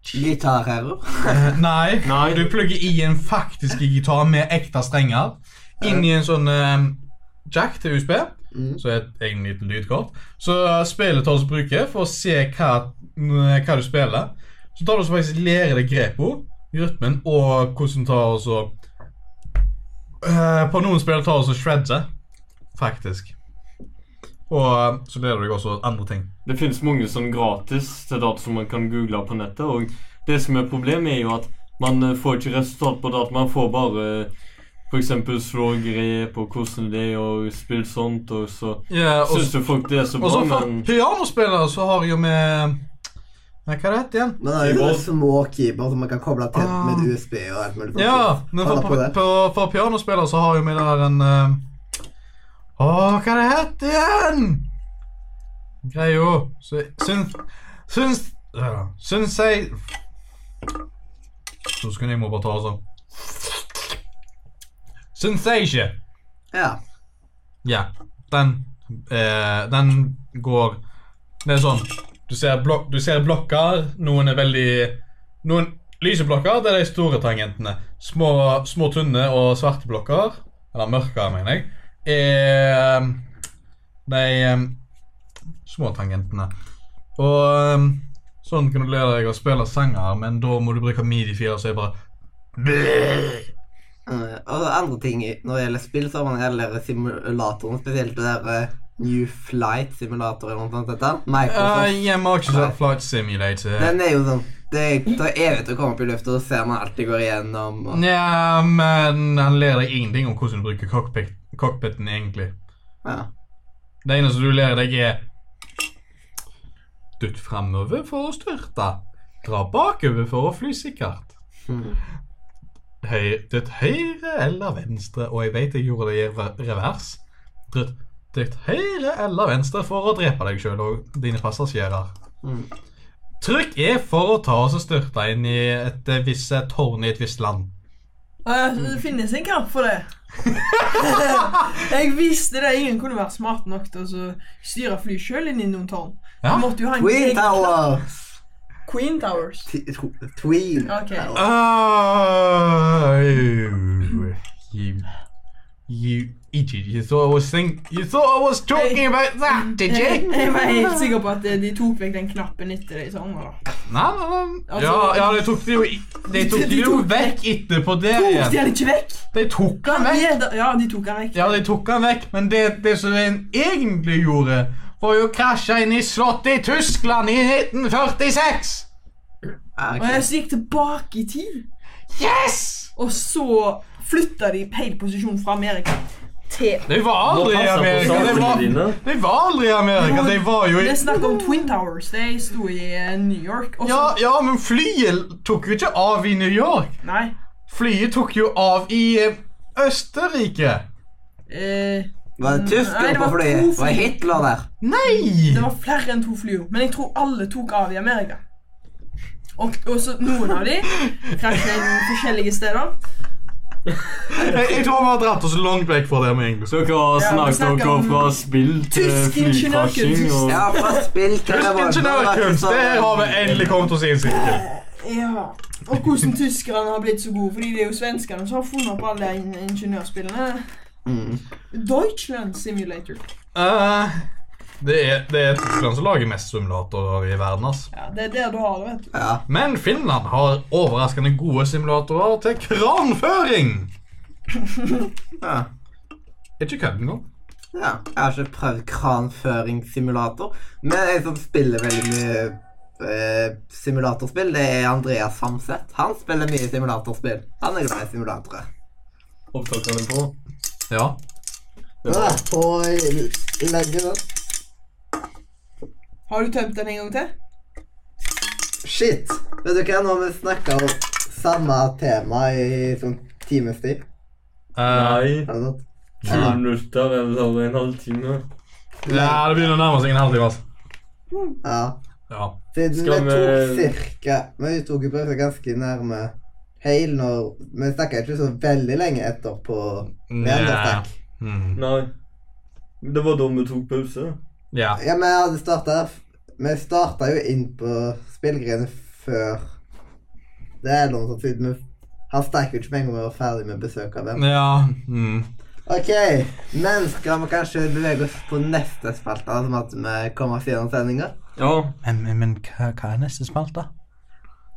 [SPEAKER 3] Gitarhero.
[SPEAKER 2] Eh, Nei,
[SPEAKER 1] Nei.
[SPEAKER 2] du plugger i en faktisk gitar med ekte strenger inn i en sånn eh, jack til USB,
[SPEAKER 3] Mm.
[SPEAKER 2] så er et egen liten lydkort. Så eh, spillet tar oss bruker for å se hva, mm, hva du spiller. Så tar du også faktisk lære deg grepo, rytmen, og hvordan du tar også eh, På noen spill tar også shredder, faktisk. Og eh, så lærer du deg også andre ting.
[SPEAKER 1] Det finnes mange sånn gratis til data som man kan google på nettet. Og det som er problemet, er jo at man eh, får ikke resultat på data. Man får bare eh, f.eks. slå grep og hvordan det er å spille sånt, og så
[SPEAKER 2] Ja, og
[SPEAKER 1] syns jo folk det er så
[SPEAKER 2] og
[SPEAKER 1] bra,
[SPEAKER 2] så for
[SPEAKER 1] men
[SPEAKER 2] pianospillere så har jeg jo med Nei, hva er det hett igjen?
[SPEAKER 3] Men det er jo sånne små keyboard som man kan koble til
[SPEAKER 2] Ah.
[SPEAKER 3] med USB og alt mulig. sånt.
[SPEAKER 2] Ja, men for,
[SPEAKER 3] Holder på
[SPEAKER 2] på,
[SPEAKER 3] det.
[SPEAKER 2] på, for pianospillere så har jo vi der en eh, Å, hva er det hett igjen? Greia så- Syns Syns øh, Syns jeg Så skulle jeg må bare ta og sånn. Syns jeg ikke.
[SPEAKER 3] Ja.
[SPEAKER 2] Ja. Den eh, Den går Det er sånn Du ser, blok du ser blokker. Noen er veldig Noen lyse blokker, det er de store tangentene. Små, små tynne og svarte blokker, eller mørke, mener jeg, er de eh, små tangentene. Og eh, sånn kan du lære deg å spille sanger, men da må du bruke midi-filer, så er det bare
[SPEAKER 3] Eh, Og andre ting når det gjelder spill, så har man heller simulatoren, spesielt det der eh, New Flight Simulator eller noe sånt. Dette.
[SPEAKER 1] Ah,
[SPEAKER 2] uh,
[SPEAKER 3] Microsoft.
[SPEAKER 2] Jeg må ikke sånn flight simulator.
[SPEAKER 3] Den er jo sånn Det tar evig til å komme opp i lufta, og så ser man alt de går igjennom. Og,
[SPEAKER 2] Nja, men han lærer deg ingenting om hvordan du bruker cockpit, cockpiten egentlig.
[SPEAKER 3] ja.
[SPEAKER 2] Det eneste du lærer deg, er Dytt framover for å styrte. Dra bakover for å fly sikkert. Høy, dytt høyre eller venstre, og jeg vet jeg gjorde det i re- revers. Dytt, dytt høyre eller venstre for å drepe deg sjøl og dine passasjerer. Trykk E for å ta oss og styrte inn i et eh, visst eh, tårn i et visst land.
[SPEAKER 4] Eh, så Det finnes en knapp for det. jeg visste det. Ingen kunne være smart nok til å så styre fly sjøl inn i noen tårn.
[SPEAKER 2] Ja.
[SPEAKER 4] Du måtte jo ha en
[SPEAKER 3] Tween
[SPEAKER 4] egen-
[SPEAKER 3] Towers!
[SPEAKER 4] Queen Towers.
[SPEAKER 3] T- tw- Tween
[SPEAKER 4] Ok.
[SPEAKER 3] Towers.
[SPEAKER 2] Oh, you, you idiot! You thought I was think you thought I was talking about that, did
[SPEAKER 4] Jeg,
[SPEAKER 2] you?
[SPEAKER 4] jeg var helt sikker på at eh, de tok vekk den knappen etter deg i sommer. da.
[SPEAKER 2] Nei, nei, nei.
[SPEAKER 4] Altså-
[SPEAKER 2] ja, ja, de tok det jo, i- de tok det jo vekk etterpå det
[SPEAKER 4] Tok de
[SPEAKER 2] igjen.
[SPEAKER 4] den ikke vekk?
[SPEAKER 2] De tok han vekk.
[SPEAKER 4] Ja, da- Ja, de tok den vekk.
[SPEAKER 2] Ja, de tok han vekk, men det, det som den egentlig gjorde, var jo å krasje inn i slottet i Tyskland i 1946.
[SPEAKER 3] Ah,
[SPEAKER 4] Og
[SPEAKER 3] ok.
[SPEAKER 4] jeg så gikk tilbake i tid,
[SPEAKER 2] Yes!
[SPEAKER 4] og så flytta de feil posisjon fra Amerika til
[SPEAKER 2] De var
[SPEAKER 1] Nå
[SPEAKER 2] aldri i
[SPEAKER 1] passer på
[SPEAKER 2] Amerika. De
[SPEAKER 1] sakene
[SPEAKER 2] var,
[SPEAKER 1] dine.
[SPEAKER 2] de var aldri i Amerika. De var jo i
[SPEAKER 4] Det er snakk om Twin Towers. De sto i eh, New York. Og så,
[SPEAKER 2] Ja, ja, men flyet tok jo ikke av i New York.
[SPEAKER 4] Nei.
[SPEAKER 2] Flyet tok jo av i eh, Østerrike.
[SPEAKER 4] Eh,
[SPEAKER 3] Var det
[SPEAKER 4] Nei,
[SPEAKER 3] tysker
[SPEAKER 4] det
[SPEAKER 3] på
[SPEAKER 4] var
[SPEAKER 3] flyet?
[SPEAKER 4] to fly.
[SPEAKER 3] Var Hitler der?
[SPEAKER 2] Nei!
[SPEAKER 4] Det var flere enn to fly, jo. men jeg tror alle tok av i Amerika. Og, og så noen av de krasjet inn forskjellige steder.
[SPEAKER 2] Jeg, jeg tror vi har dratt oss langt vekk fra det vi egentlig skulle.
[SPEAKER 1] Dere har
[SPEAKER 4] Ja, vi
[SPEAKER 1] snakket
[SPEAKER 4] snakker
[SPEAKER 1] dere
[SPEAKER 4] om
[SPEAKER 1] fra spill til
[SPEAKER 4] tysk
[SPEAKER 1] flykrasjing
[SPEAKER 4] ingeniørkunst.
[SPEAKER 1] og
[SPEAKER 3] Ja, fra spill til
[SPEAKER 2] Tysk
[SPEAKER 3] revolver,
[SPEAKER 2] ingeniørkunst,
[SPEAKER 3] altså.
[SPEAKER 2] der har vi endelig kommet oss i en sirkel.
[SPEAKER 4] Ja. Og hvordan tyskerne har blitt så gode, fordi det er jo svenskene som har funnet opp alle in ingeniørspillene.
[SPEAKER 3] Mm.
[SPEAKER 4] Deutschland Simulator.
[SPEAKER 2] Eh, det er, det er Tyskland som lager mest simulatorer i verden. ass.
[SPEAKER 4] Ja, Det er der du har det, vet du.
[SPEAKER 3] Ja.
[SPEAKER 2] Men Finland har overraskende gode simulatorer til kranføring.
[SPEAKER 3] ja.
[SPEAKER 2] Er ikke kødd engang.
[SPEAKER 3] Ja, jeg har ikke prøvd kranføringssimulator, men jeg som spiller veldig mye eh, simulatorspill, det er Andreas Hamseth. Han spiller mye simulatorspill. Han er glad i simulatorer.
[SPEAKER 1] opptakene på.
[SPEAKER 2] Ja.
[SPEAKER 3] Ja, og legge den.
[SPEAKER 4] Har du tømt den en gang til?
[SPEAKER 3] Shit! Vet du hva, nå har vi snakka om samme tema i sånn times tid.
[SPEAKER 2] Eh,
[SPEAKER 1] Nei.
[SPEAKER 3] Er det sant?
[SPEAKER 1] Ti minutter eller en halvtime.
[SPEAKER 2] ja, det begynner å nærme seg en halvtime. ass.
[SPEAKER 3] Ja.
[SPEAKER 2] Ja.
[SPEAKER 3] Siden
[SPEAKER 1] Skal
[SPEAKER 3] vi tok
[SPEAKER 1] vi-
[SPEAKER 3] cirka Vi tok jo bare ganske nærme heil når Vi snakka ikke så veldig lenge etterpå. Med
[SPEAKER 2] Ja.
[SPEAKER 3] Understack.
[SPEAKER 2] Mm.
[SPEAKER 1] Nei. Det var da vi tok pause.
[SPEAKER 2] ja.
[SPEAKER 3] Ja, men jeg hadde starta Vi starta jo inn på spillgreiene før Det er noe sånt siden vi- Han stakk jo ikke med en gang vi var ferdig med besøk av dem.
[SPEAKER 2] Ja. Mm.
[SPEAKER 3] Ok, men skal vi kanskje bevege oss på neste spalte, som at vi kommer oss gjennom sendinga?
[SPEAKER 1] Ja.
[SPEAKER 6] Men, men, men hva, hva er neste spalte?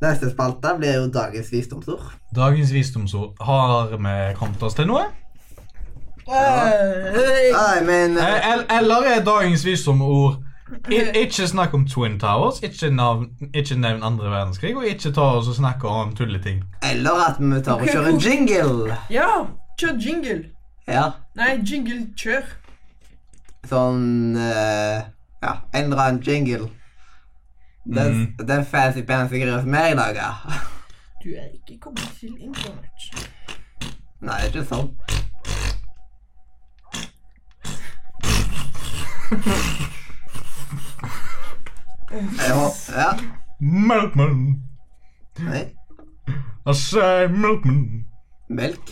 [SPEAKER 3] Neste spalte blir jo dagens visdomsord.
[SPEAKER 2] Dagens visdomsord. Har vi kommet oss til noe?
[SPEAKER 4] Eh,
[SPEAKER 3] Nei, men
[SPEAKER 2] Eh,
[SPEAKER 3] eh,
[SPEAKER 2] el- Eller er dagens visdomsord i- ikke snakk om Twin Towers, ikke, navn, ikke nevn andre verdenskrig, og ikke ta oss og snakke om tulleting.
[SPEAKER 3] Eller at vi tar og kjører en jingle.
[SPEAKER 4] Ja, kjør jingle.
[SPEAKER 3] Ja,
[SPEAKER 4] Nei, jingle, kjør.
[SPEAKER 3] sånn eh, Ja, en eller annen jingle. Den, den fancy fancy greia som jeg lager.
[SPEAKER 4] Du er ikke kommet til internett.
[SPEAKER 3] Nei, det er ikke sånn. Jeg håper Ja.
[SPEAKER 2] Milkman.
[SPEAKER 3] Nei.
[SPEAKER 2] I say milkman.
[SPEAKER 3] Melk.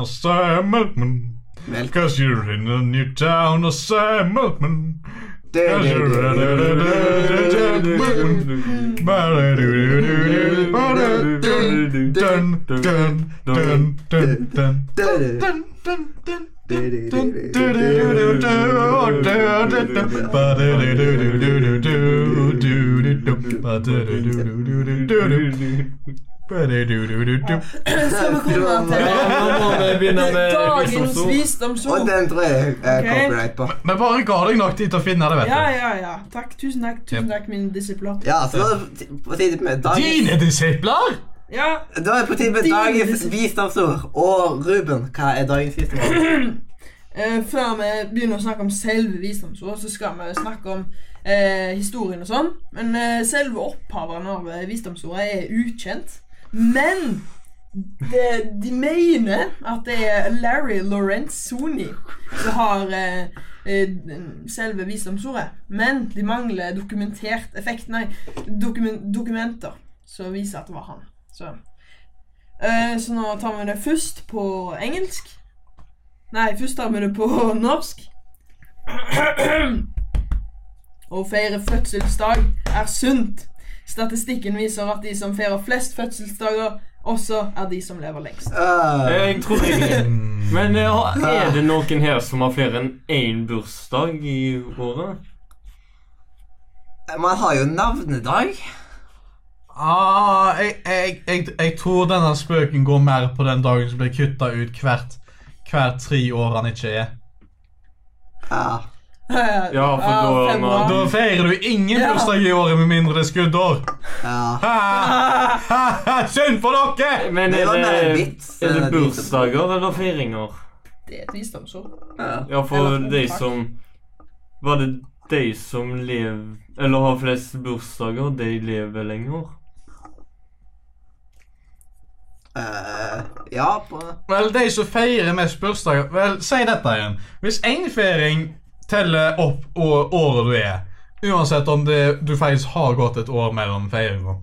[SPEAKER 2] I say milkman.
[SPEAKER 3] Melk.
[SPEAKER 2] Cause you're in a new town, I say milkman.
[SPEAKER 3] Du, du, du, du, du, du, du, du, du, du, du.
[SPEAKER 2] Dun, dun, dun, dun, dun. Dun, dun, dun.
[SPEAKER 4] Skal vi komme til
[SPEAKER 1] Nå må vi begynne med
[SPEAKER 4] dagens
[SPEAKER 1] visdomsord.
[SPEAKER 3] Og
[SPEAKER 4] visdomsord?
[SPEAKER 3] den tror jeg er
[SPEAKER 4] Ok.
[SPEAKER 3] copyright på.
[SPEAKER 2] Men bare ga deg nok tid til å finne det,
[SPEAKER 4] Ja,
[SPEAKER 2] vet du.
[SPEAKER 4] ja, ja. Takk. Tusen takk, tusen takk, min disipler.
[SPEAKER 3] Ja, så da er det på tide med dagens,
[SPEAKER 2] Dine disipler!
[SPEAKER 4] Ja,
[SPEAKER 3] da er det på tide med
[SPEAKER 4] Dine
[SPEAKER 3] dagens
[SPEAKER 4] disipp-
[SPEAKER 3] visdomsord. Og Ruben, hva er dagens visdomsord?
[SPEAKER 4] Eh, før vi begynner å snakke om selve visdomsord, så skal vi snakke om eh, historien og sånn. Men eh, selve opphaveren av eh, visdomsordet er ukjent. Men det, de mener at det er Larry Lorenzoni som har eh, eh, selve visdomsordet. Men de mangler dokumentert effekt, nei, dokumen, dokumenter som viser at det var han. Så. Eh, så nå tar vi det først på engelsk. Nei, først tar vi det på norsk. Å feire fødselsdag er sunt. Statistikken viser at de som feirer flest fødselsdager, også er de som lever lengst.
[SPEAKER 3] Øh,
[SPEAKER 1] Jeg tror ikke Men eh, har- er det noen her som har flere enn én bursdag i året?
[SPEAKER 3] man har jo navnedag.
[SPEAKER 2] Ah, jeg, jeg, jeg, jeg tror denne spøken går mer på den dagen som blir kutta ut hvert, hvert tre år han ikke er.
[SPEAKER 3] Ja.
[SPEAKER 1] Ja, for da er man-
[SPEAKER 2] Da feirer du ingen
[SPEAKER 4] Ja.
[SPEAKER 2] bursdag i året med mindre det er skuddår.
[SPEAKER 3] ja.
[SPEAKER 2] Ha, ha, ha, Synd for dere!
[SPEAKER 1] Men
[SPEAKER 3] Det
[SPEAKER 1] er
[SPEAKER 3] var mer en
[SPEAKER 1] det,
[SPEAKER 3] vits,
[SPEAKER 1] er
[SPEAKER 3] eh,
[SPEAKER 1] det
[SPEAKER 3] de som-
[SPEAKER 1] bursdager eller feiringer?
[SPEAKER 4] Det er et visdomsord.
[SPEAKER 1] Ja, for
[SPEAKER 4] Eller
[SPEAKER 1] de
[SPEAKER 4] kontrakt.
[SPEAKER 1] som Var det de som lever Eller har flest bursdager, de lever lenger?
[SPEAKER 3] Øh, ja, på
[SPEAKER 2] Vel, de som feirer mest bursdager Vel, si dette igjen. Hvis én feiring teller opp å- året du er, uansett om det, du faktisk har gått et år mellom feiringa,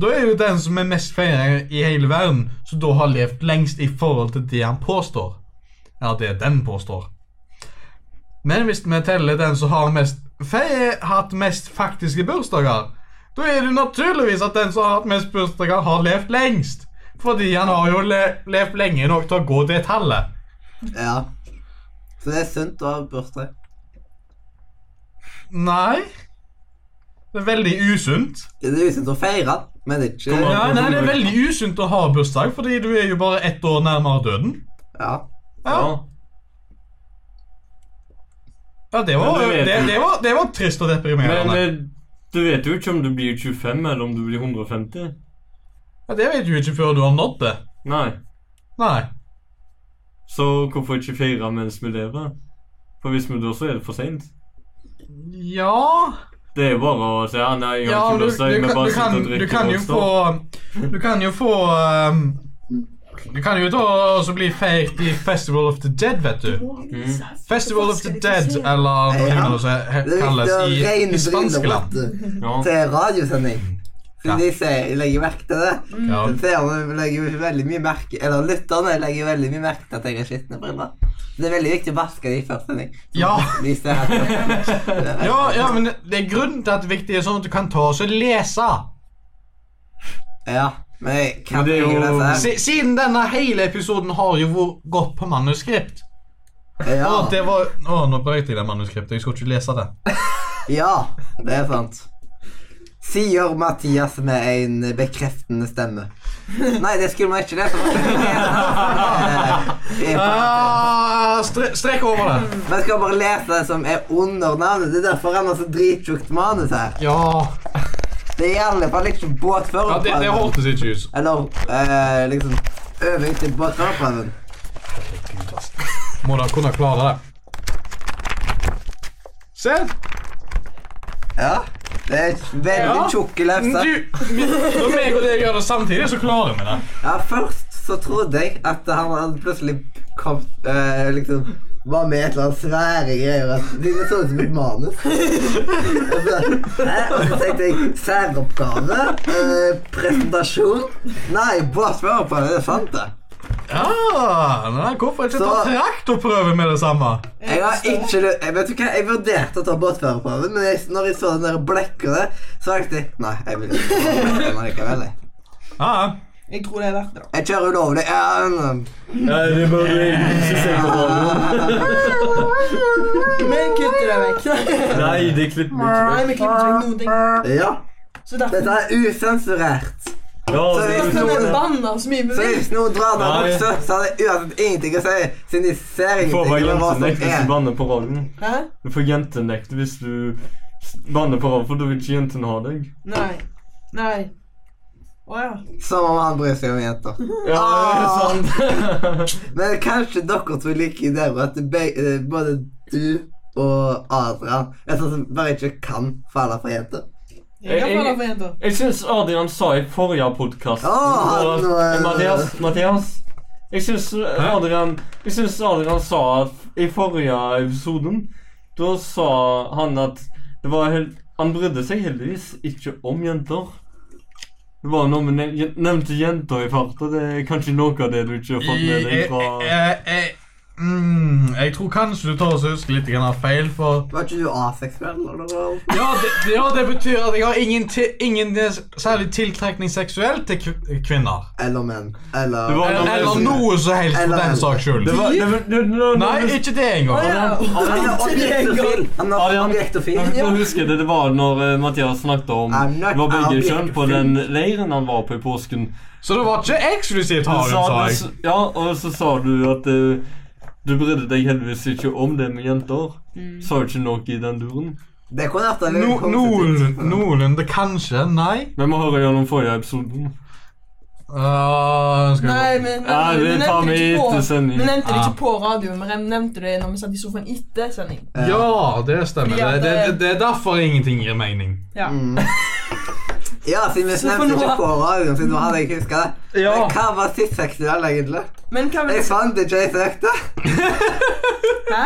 [SPEAKER 2] da er jo den som er mest feiringer i hele verden, som da har levd lengst i forhold til det han påstår. Ja, det den påstår. Men hvis vi teller den som har mest fe hatt mest faktiske bursdager, da er det naturligvis at den som har hatt mest bursdager, har levd lengst. Fordi han har jo le levd lenge nok til å gå det tallet.
[SPEAKER 3] Ja. Så det er sunt å ha bursdag.
[SPEAKER 2] Nei. Det er veldig usunt.
[SPEAKER 3] Det er usunt å feire, men det er ikke
[SPEAKER 1] Kommer-
[SPEAKER 2] Ja, nei, det er veldig usunt å ha bursdag, fordi du er jo bare ett år nærmere døden.
[SPEAKER 3] Ja.
[SPEAKER 2] Ja, ja det, var,
[SPEAKER 1] Men du
[SPEAKER 2] det,
[SPEAKER 1] vet jo-
[SPEAKER 2] det, var, det var trist og
[SPEAKER 1] Men
[SPEAKER 2] deprimerende.
[SPEAKER 1] eh, du vet jo ikke om du blir 25, eller om du blir 150.
[SPEAKER 2] Ja, det vet du ikke før du har nådd det.
[SPEAKER 1] Nei.
[SPEAKER 2] Nei.
[SPEAKER 1] Så hvorfor ikke feire mens vi lever? For hvis vi dør, så er det for seint.
[SPEAKER 2] Ja
[SPEAKER 1] Det er jo bare å si ja, nei, jeg
[SPEAKER 2] Ja,
[SPEAKER 1] har
[SPEAKER 2] du,
[SPEAKER 1] ikke
[SPEAKER 2] du,
[SPEAKER 1] bursdag,
[SPEAKER 2] kan-
[SPEAKER 1] vi
[SPEAKER 2] du,
[SPEAKER 1] bare sitter
[SPEAKER 2] kan,
[SPEAKER 1] og
[SPEAKER 2] du
[SPEAKER 1] drikker
[SPEAKER 2] kan jo
[SPEAKER 1] vodka.
[SPEAKER 2] få Du kan jo få ehm, Du kan jo ta og så bli feirt i Festival of the Dead, vet du. Festival of the Dead, eller hva
[SPEAKER 3] Ja.
[SPEAKER 2] det nå så he-
[SPEAKER 3] Det er
[SPEAKER 2] kalles
[SPEAKER 3] viktig å
[SPEAKER 2] i, i
[SPEAKER 3] reinbrylle
[SPEAKER 2] spanske land.
[SPEAKER 3] vet du,
[SPEAKER 1] Ja.
[SPEAKER 3] til radiosending.
[SPEAKER 2] Ja.
[SPEAKER 3] Siden de ser, legger merke til det.
[SPEAKER 2] Ja.
[SPEAKER 3] Så Seerne legger jo veldig mye merke Eller lytterne legger veldig mye merke til at jeg har skitne briller. Så Det er veldig viktig å vaske de før sending. Så
[SPEAKER 2] Ja.
[SPEAKER 3] De ser at
[SPEAKER 2] Ja, ja, men det er grunnen til at det er viktig er sånn at du kan ta og så lese.
[SPEAKER 3] Ja. Men jeg kan
[SPEAKER 1] Men det er jo-
[SPEAKER 3] ikke lese.
[SPEAKER 2] Si- Siden denne hele episoden har jo vært gått på manuskript. Å,
[SPEAKER 3] her. Ja.
[SPEAKER 2] det var, å nå brøt jeg det manuskriptet. Jeg skulle ikke lese det.
[SPEAKER 3] ja, det er sant. Sier Mathias med en bekreftende stemme. Nei, det skulle Eh, man ikke lese.
[SPEAKER 2] Ah, stre, strek over det.
[SPEAKER 3] Man skal bare lese det som er under navnet. Det er derfor han har så drittjukt manus her.
[SPEAKER 2] Ja,
[SPEAKER 3] Det er liksom i alle fall ikke båtfører.
[SPEAKER 2] ja det, det hørtes ikke ut.
[SPEAKER 3] Eller eh, liksom øving til båtførerprøven.
[SPEAKER 2] Må da kunne klare det. Se!
[SPEAKER 3] Ja. Det er veldig
[SPEAKER 2] Ja.
[SPEAKER 3] tjukke lefser.
[SPEAKER 2] Du, vi- når meg og deg gjør det samtidig, så klarer vi det.
[SPEAKER 3] Ja, først så trodde jeg at han hadde plutselig kom, eh, liksom var med i et eller annet svære greier. At det så ut som et manus. og, så, eh, og så tenkte jeg særoppgave, eh, presentasjon Nei, båtførerprøven. Det er sant, det.
[SPEAKER 2] Ja, nei, Hvorfor ikke ta
[SPEAKER 3] Så-
[SPEAKER 2] traktorprøve med det samme?
[SPEAKER 3] Jeg har ikke lyst jeg, Vet du hva, jeg vurderte å ta båtførerprøven, men jeg, når jeg så den der blekka der, så tenkte jeg sånn, Nei, jeg vil ikke ta den likevel. jeg.
[SPEAKER 2] Ja,
[SPEAKER 4] Jeg tror det er verdt det, da.
[SPEAKER 3] Jeg kjører ulovlig. Ja, men,
[SPEAKER 1] Nei, det er bare jeg som sier på
[SPEAKER 4] Vi kutter det vekk.
[SPEAKER 1] Nei, det klipper vi
[SPEAKER 4] Nei, vi klipper ikke vekk noen ting.
[SPEAKER 3] ja.
[SPEAKER 4] Så derfor
[SPEAKER 3] Dette er usensurert.
[SPEAKER 1] Ja,
[SPEAKER 3] Så
[SPEAKER 1] det
[SPEAKER 3] hvis
[SPEAKER 1] er
[SPEAKER 4] Sånn,
[SPEAKER 1] jo-
[SPEAKER 4] jeg banner så mye vi
[SPEAKER 3] Så
[SPEAKER 4] vil.
[SPEAKER 3] hvis noen drar ned
[SPEAKER 1] Nei.
[SPEAKER 3] buksa, så er det uansett ingenting å si, siden de ser
[SPEAKER 1] Du får bare
[SPEAKER 3] ingenting om hva som
[SPEAKER 1] jentenekt hvis du
[SPEAKER 3] er.
[SPEAKER 1] banner på radioen.
[SPEAKER 4] Hæ?
[SPEAKER 1] Du får jentenekt hvis du s- banner på radioen, for da vil ikke jentene ha deg.
[SPEAKER 4] Nei. Nei. Å ja.
[SPEAKER 3] Som om han bryr seg om jenter.
[SPEAKER 1] Ja, det er sant.
[SPEAKER 3] Men kanskje dere to liker ideer om at be, eh, både du og Adrian Jeg sånn som bare ikke kan falle for jenter.
[SPEAKER 4] Jeg
[SPEAKER 1] Jeg-
[SPEAKER 4] kan falle
[SPEAKER 1] jeg-
[SPEAKER 4] for jenter.
[SPEAKER 1] Jeg syns Adrian sa i forrige podkast
[SPEAKER 3] Å, han var-
[SPEAKER 1] Mathias, Mathias. Jeg syns Adrian, jeg synes Adrian sa at i forrige episoden Da sa han at det var hel, Han brydde seg heldigvis ikke om jenter. Det var noe med nev- jen- nevnte jenter i farta. Det er kanskje noe av det du ikke har fått med deg
[SPEAKER 2] Jeg,
[SPEAKER 1] fra
[SPEAKER 2] jeg, jeg, eh, mm, jeg tror kanskje du tar oss huske litt grann av feil, for
[SPEAKER 3] Var ikke du aseksuell? eller noe?
[SPEAKER 2] Ja, det, ja, det betyr at jeg har ingen, til, ingen særlig tiltrekning seksuelt til kv- kvinner.
[SPEAKER 3] Eller menn. Eller
[SPEAKER 1] Det var-
[SPEAKER 2] Eller, eller noe som helst for
[SPEAKER 3] Eller-
[SPEAKER 2] den saks skyld.
[SPEAKER 1] Det var- det var- det- det- det-
[SPEAKER 2] Nei, ikke det engang.
[SPEAKER 3] Han er objektofil! Han er
[SPEAKER 1] Adrian,
[SPEAKER 3] objektofil.
[SPEAKER 1] Nå husker jeg det, det var når eh, Mathias snakket om
[SPEAKER 3] I'm
[SPEAKER 1] Det
[SPEAKER 3] not
[SPEAKER 1] var begge
[SPEAKER 3] out
[SPEAKER 1] kjønn på den leiren han var på i påsken.
[SPEAKER 2] Så det var ikke eksklusivt
[SPEAKER 1] Så
[SPEAKER 2] harem, sa
[SPEAKER 1] sa
[SPEAKER 2] jeg.
[SPEAKER 1] du, ja, og så sa du at eh, du brydde deg heldigvis ikke om det med jenter. Sa jo ikke noe i den duren.
[SPEAKER 3] Det kunne vært en
[SPEAKER 2] No- noen- Noenlunde kanskje. Nei.
[SPEAKER 1] Men vi hører gjennom forrige episode.
[SPEAKER 2] Uh, skal vi-
[SPEAKER 4] Nei, men, men,
[SPEAKER 1] Ja,
[SPEAKER 4] men,
[SPEAKER 1] det
[SPEAKER 4] men,
[SPEAKER 1] tar
[SPEAKER 4] nevnte
[SPEAKER 1] vi
[SPEAKER 4] det ikke
[SPEAKER 1] etter
[SPEAKER 4] på-
[SPEAKER 1] sending.
[SPEAKER 4] men nevnte det
[SPEAKER 2] Ah.
[SPEAKER 4] ikke på radioen, men nevnte det når vi satt i sofaen etter sending.
[SPEAKER 2] Ja, det stemmer.
[SPEAKER 4] Fordi
[SPEAKER 2] Det,
[SPEAKER 4] at,
[SPEAKER 2] det,
[SPEAKER 4] eh,
[SPEAKER 2] det, det er derfor ingenting gir mening.
[SPEAKER 4] Ja.
[SPEAKER 3] Ja, siden vi
[SPEAKER 4] Så for
[SPEAKER 3] nevnte
[SPEAKER 4] nå-
[SPEAKER 3] ikke på radioen, siden nå hadde jeg ikke huska det.
[SPEAKER 2] Ja.
[SPEAKER 3] Men hva var sist seksuell, egentlig?
[SPEAKER 4] Men hva vil
[SPEAKER 3] Jeg fant ikke jeg søkte.
[SPEAKER 4] Hæ?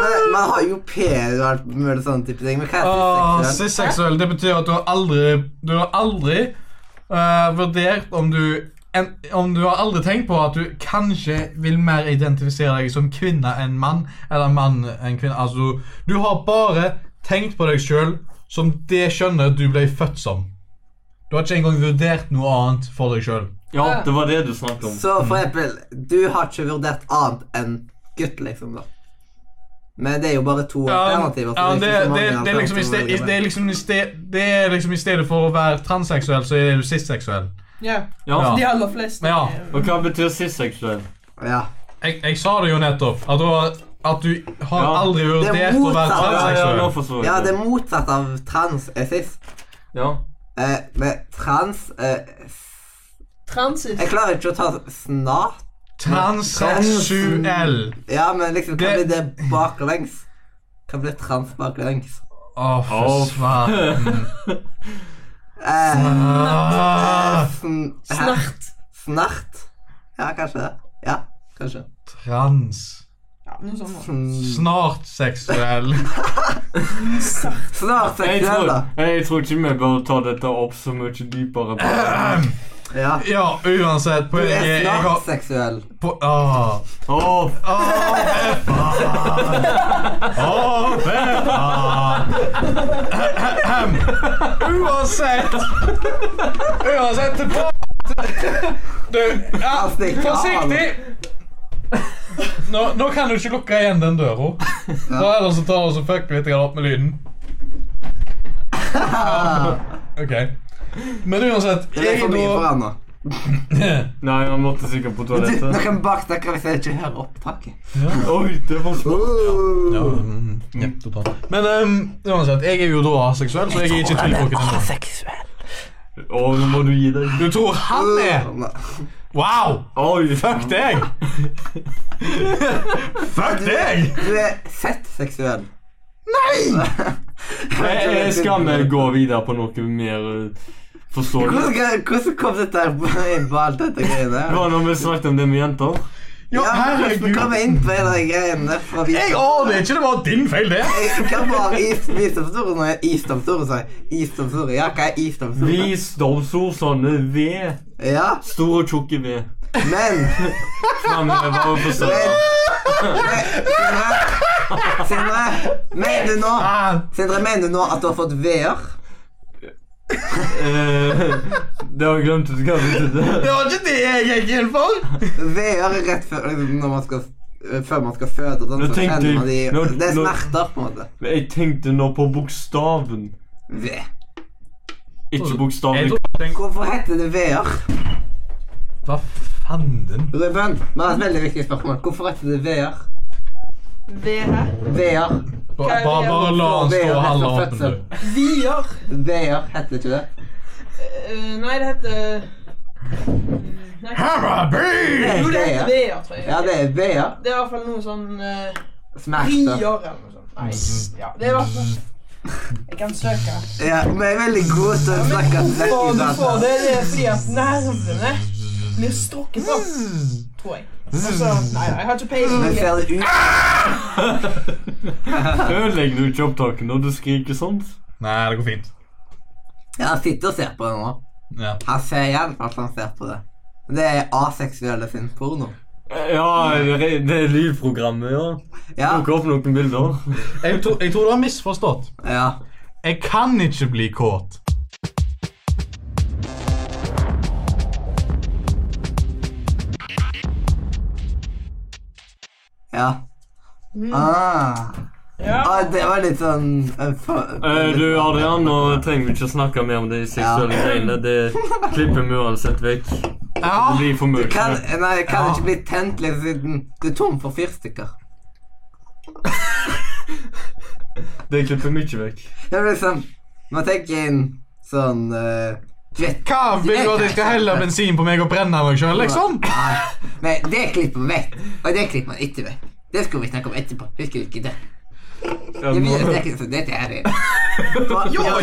[SPEAKER 3] Men man har jo pedo og alt mulig sånne type ting. Men hva
[SPEAKER 2] Uh,
[SPEAKER 3] er sist seksuell?
[SPEAKER 2] Cisseksuell, det betyr at du har aldri Du har aldri eh, vurdert om du en, Om du har aldri tenkt på at du kanskje vil mer identifisere deg som kvinne enn mann, eller mann enn kvinne. Altså, du, du har bare tenkt på deg sjøl som det skjønnet du ble født som. Du har ikke engang vurdert noe annet for deg sjøl.
[SPEAKER 1] Ja, det var det du snakket om.
[SPEAKER 3] Så for eksempel, du har ikke vurdert annet enn gutt, liksom, da. Men det er jo bare to alternativer.
[SPEAKER 2] ja,
[SPEAKER 3] så
[SPEAKER 2] det,
[SPEAKER 3] er ikke så mange
[SPEAKER 2] det, det, er liksom i sted, i, det,
[SPEAKER 3] alternativer å velge
[SPEAKER 2] er liksom i sted, det er liksom i stedet for å være transseksuell, så er du cisseksuell.
[SPEAKER 4] Ja.
[SPEAKER 1] Ja.
[SPEAKER 4] De aller fleste.
[SPEAKER 2] Ja.
[SPEAKER 1] Og hva betyr sisseksuell?
[SPEAKER 3] mellom. Ja.
[SPEAKER 2] Jeg, jeg sa det jo nettopp. At du, har- at du har
[SPEAKER 1] Ja.
[SPEAKER 2] aldri
[SPEAKER 3] Det er
[SPEAKER 2] vurdert å
[SPEAKER 3] motsatt.
[SPEAKER 2] være
[SPEAKER 1] Ja, ja, nå
[SPEAKER 2] transseksuell.
[SPEAKER 1] forstår
[SPEAKER 3] ja,
[SPEAKER 1] jeg.
[SPEAKER 3] det
[SPEAKER 1] det.
[SPEAKER 3] er motsatt av trans er sist.
[SPEAKER 1] Ja.
[SPEAKER 3] Eh, men trans eh,
[SPEAKER 4] Transit.
[SPEAKER 3] Jeg klarer ikke å ta snart.
[SPEAKER 2] Transseksuell.
[SPEAKER 3] Ja, men liksom, hva
[SPEAKER 2] Det-
[SPEAKER 3] blir det baklengs? Hva blir trans baklengs?
[SPEAKER 2] Å, for
[SPEAKER 1] Åh.
[SPEAKER 2] svarten.
[SPEAKER 3] Eh,
[SPEAKER 2] Ah,
[SPEAKER 3] sn hæ?
[SPEAKER 4] Snart.
[SPEAKER 3] Snart? Ja, kanskje det. Ja, kanskje.
[SPEAKER 2] Trans.
[SPEAKER 4] Ja, noe sånt. nå.
[SPEAKER 3] Sn-
[SPEAKER 2] Snart seksuell.
[SPEAKER 3] Snart
[SPEAKER 1] Jeg
[SPEAKER 3] seksuell,
[SPEAKER 1] tror,
[SPEAKER 3] da.
[SPEAKER 1] jeg tror ikke vi bør ta dette opp så mye dypere. Bare.
[SPEAKER 3] Ja.
[SPEAKER 2] Ja, uansett. På,
[SPEAKER 3] Du
[SPEAKER 2] jeg,
[SPEAKER 3] er
[SPEAKER 2] jeg har
[SPEAKER 3] snart seksuell.
[SPEAKER 2] på, ah.
[SPEAKER 1] Åh,
[SPEAKER 2] Å, faen! Å, faen! Uansett Uansett tilbake Du, ja,
[SPEAKER 3] Han stikker av.
[SPEAKER 2] forsiktig! Nå, nå kan du ikke lukke igjen den døra. Da Ellers så tar du og fucker litt grann opp med lyden. OK. Men uansett
[SPEAKER 3] Det er
[SPEAKER 2] jeg
[SPEAKER 3] for mye for
[SPEAKER 2] da,
[SPEAKER 3] han nå.
[SPEAKER 1] Nei, han måtte sikkert på
[SPEAKER 3] Du, nå
[SPEAKER 1] toalettet.
[SPEAKER 3] kan baksnakke hvis jeg ikke hører opptaket.
[SPEAKER 1] Oi, det var
[SPEAKER 2] ja, mm, ja, totalt. Men ehm, uansett, jeg er jo da aseksuell, så jeg er ikke tiltrukket til noen.
[SPEAKER 1] Å, nå må du gi deg.
[SPEAKER 2] Du tror han er Wow!
[SPEAKER 1] Oi,
[SPEAKER 2] Fuck deg! Fuck deg!
[SPEAKER 3] Du er fett seksuell.
[SPEAKER 1] Jeg, jeg skal vi gå videre på noe mer eh, forståelig?
[SPEAKER 3] Hvordan, kan- hvordan kom dette her på- inn på alt dette
[SPEAKER 1] Det
[SPEAKER 3] greiene?
[SPEAKER 1] var når vi snakket om det med jenter.
[SPEAKER 2] Ja,
[SPEAKER 3] hvordan
[SPEAKER 2] herregud.
[SPEAKER 3] kom jeg inn på hele de greiene fra vi-
[SPEAKER 2] Jeg aner ikke. Det var din feil, det.
[SPEAKER 3] Jeg kan bare is- visdomsord når jeg Isdomsord, sa jeg. Isdomsord. Ja, hva er isdomsord?
[SPEAKER 1] Visdomsord, sånne ved.
[SPEAKER 3] Ja,
[SPEAKER 1] Store og tjukke ved.
[SPEAKER 3] men
[SPEAKER 1] Framheva og forstå.
[SPEAKER 3] Sindre, Sindre, mener du nå
[SPEAKER 2] Ah,
[SPEAKER 3] Sindre, mener du nå at du har fått veer?
[SPEAKER 1] Eh, det har jeg glemt ut hva det betydde.
[SPEAKER 2] Det var ikke det jeg gikk inn for.
[SPEAKER 3] Veer er rett før, liksom, når man skal, før man skal føde. og Sånn,
[SPEAKER 1] Nå
[SPEAKER 3] så
[SPEAKER 1] tenkte
[SPEAKER 3] kjenner man de,
[SPEAKER 1] jeg- nå-
[SPEAKER 3] det er
[SPEAKER 1] nå-
[SPEAKER 3] smerter, på en måte.
[SPEAKER 1] Men Jeg tenkte nå på bokstaven.
[SPEAKER 3] V.
[SPEAKER 1] Ikke bokstaven.
[SPEAKER 3] Hvorfor heter det veer?
[SPEAKER 2] Hva fanden?
[SPEAKER 3] Ruben, vi har et veldig viktig spørsmål. Hvorfor heter det veer?
[SPEAKER 4] Ved her.
[SPEAKER 3] Veer.
[SPEAKER 2] Ba- Bare, bare la han stå halv åpen, du.
[SPEAKER 4] Vier.
[SPEAKER 3] Veer heter ikke det.
[SPEAKER 4] Eh, nei, det heter mm, nei, Jo, det heter Vea, tror jeg.
[SPEAKER 3] Ja, det er Bea.
[SPEAKER 4] Det er i hvert fall noe sånn eh,
[SPEAKER 3] Smash,
[SPEAKER 4] Rier
[SPEAKER 3] da.
[SPEAKER 4] eller noe sånt. Nei. Ja, det er i hvert fall Jeg kan søke.
[SPEAKER 3] Ja, vi er veldig gode til å snakke rett
[SPEAKER 4] Og
[SPEAKER 3] ut
[SPEAKER 4] du
[SPEAKER 3] av
[SPEAKER 4] får
[SPEAKER 3] det.
[SPEAKER 4] det, det er fordi at nervene blir strukket opp, tror jeg. Altså, nei, jeg har ikke peiling.
[SPEAKER 3] Vi ser det ut.
[SPEAKER 1] Ødelegger du ikke opptaket når du skriker sånt?
[SPEAKER 2] Nei, det går fint.
[SPEAKER 3] Ja, han sitter og ser på det nå.
[SPEAKER 2] Ja.
[SPEAKER 3] Han ser igjen at han ser på det. Det er aseksuelle sin porno.
[SPEAKER 1] Ja, det det er lydprogrammet, ja.
[SPEAKER 3] Ja,
[SPEAKER 1] Dukker opp noen bilder.
[SPEAKER 2] Jeg, tro, jeg tror du har misforstått.
[SPEAKER 3] ja.
[SPEAKER 2] Jeg kan ikke bli kåt.
[SPEAKER 3] ja. Ah.
[SPEAKER 4] Ja.
[SPEAKER 3] ah, det var litt sånn eh, for-
[SPEAKER 1] Eh, du, Adrian, nå trenger vi ikke snakke mer om de seksuelle greiene. Det klipper vi uansett vekk. Det
[SPEAKER 2] Ja.
[SPEAKER 1] blir for mye.
[SPEAKER 3] Kan, nei, kan
[SPEAKER 2] Ja.
[SPEAKER 3] ikke bli tent litt siden du er tom for fyrstikker.
[SPEAKER 1] Det klipper mye vekk.
[SPEAKER 3] Det er liksom Man tenker inn sånn eh, Du vet
[SPEAKER 2] Hva vil du at jeg skal helle bensin på meg og brenne meg sjøl, liksom?
[SPEAKER 3] Nei, men det klipper vi vekk. Og det klipper man ikke vekk. Det skulle vi snakke om etterpå. Husker du ikke det?
[SPEAKER 1] Ja,
[SPEAKER 3] Det
[SPEAKER 1] nå,
[SPEAKER 3] blir ikke sånn dette her er Jo,
[SPEAKER 2] eh,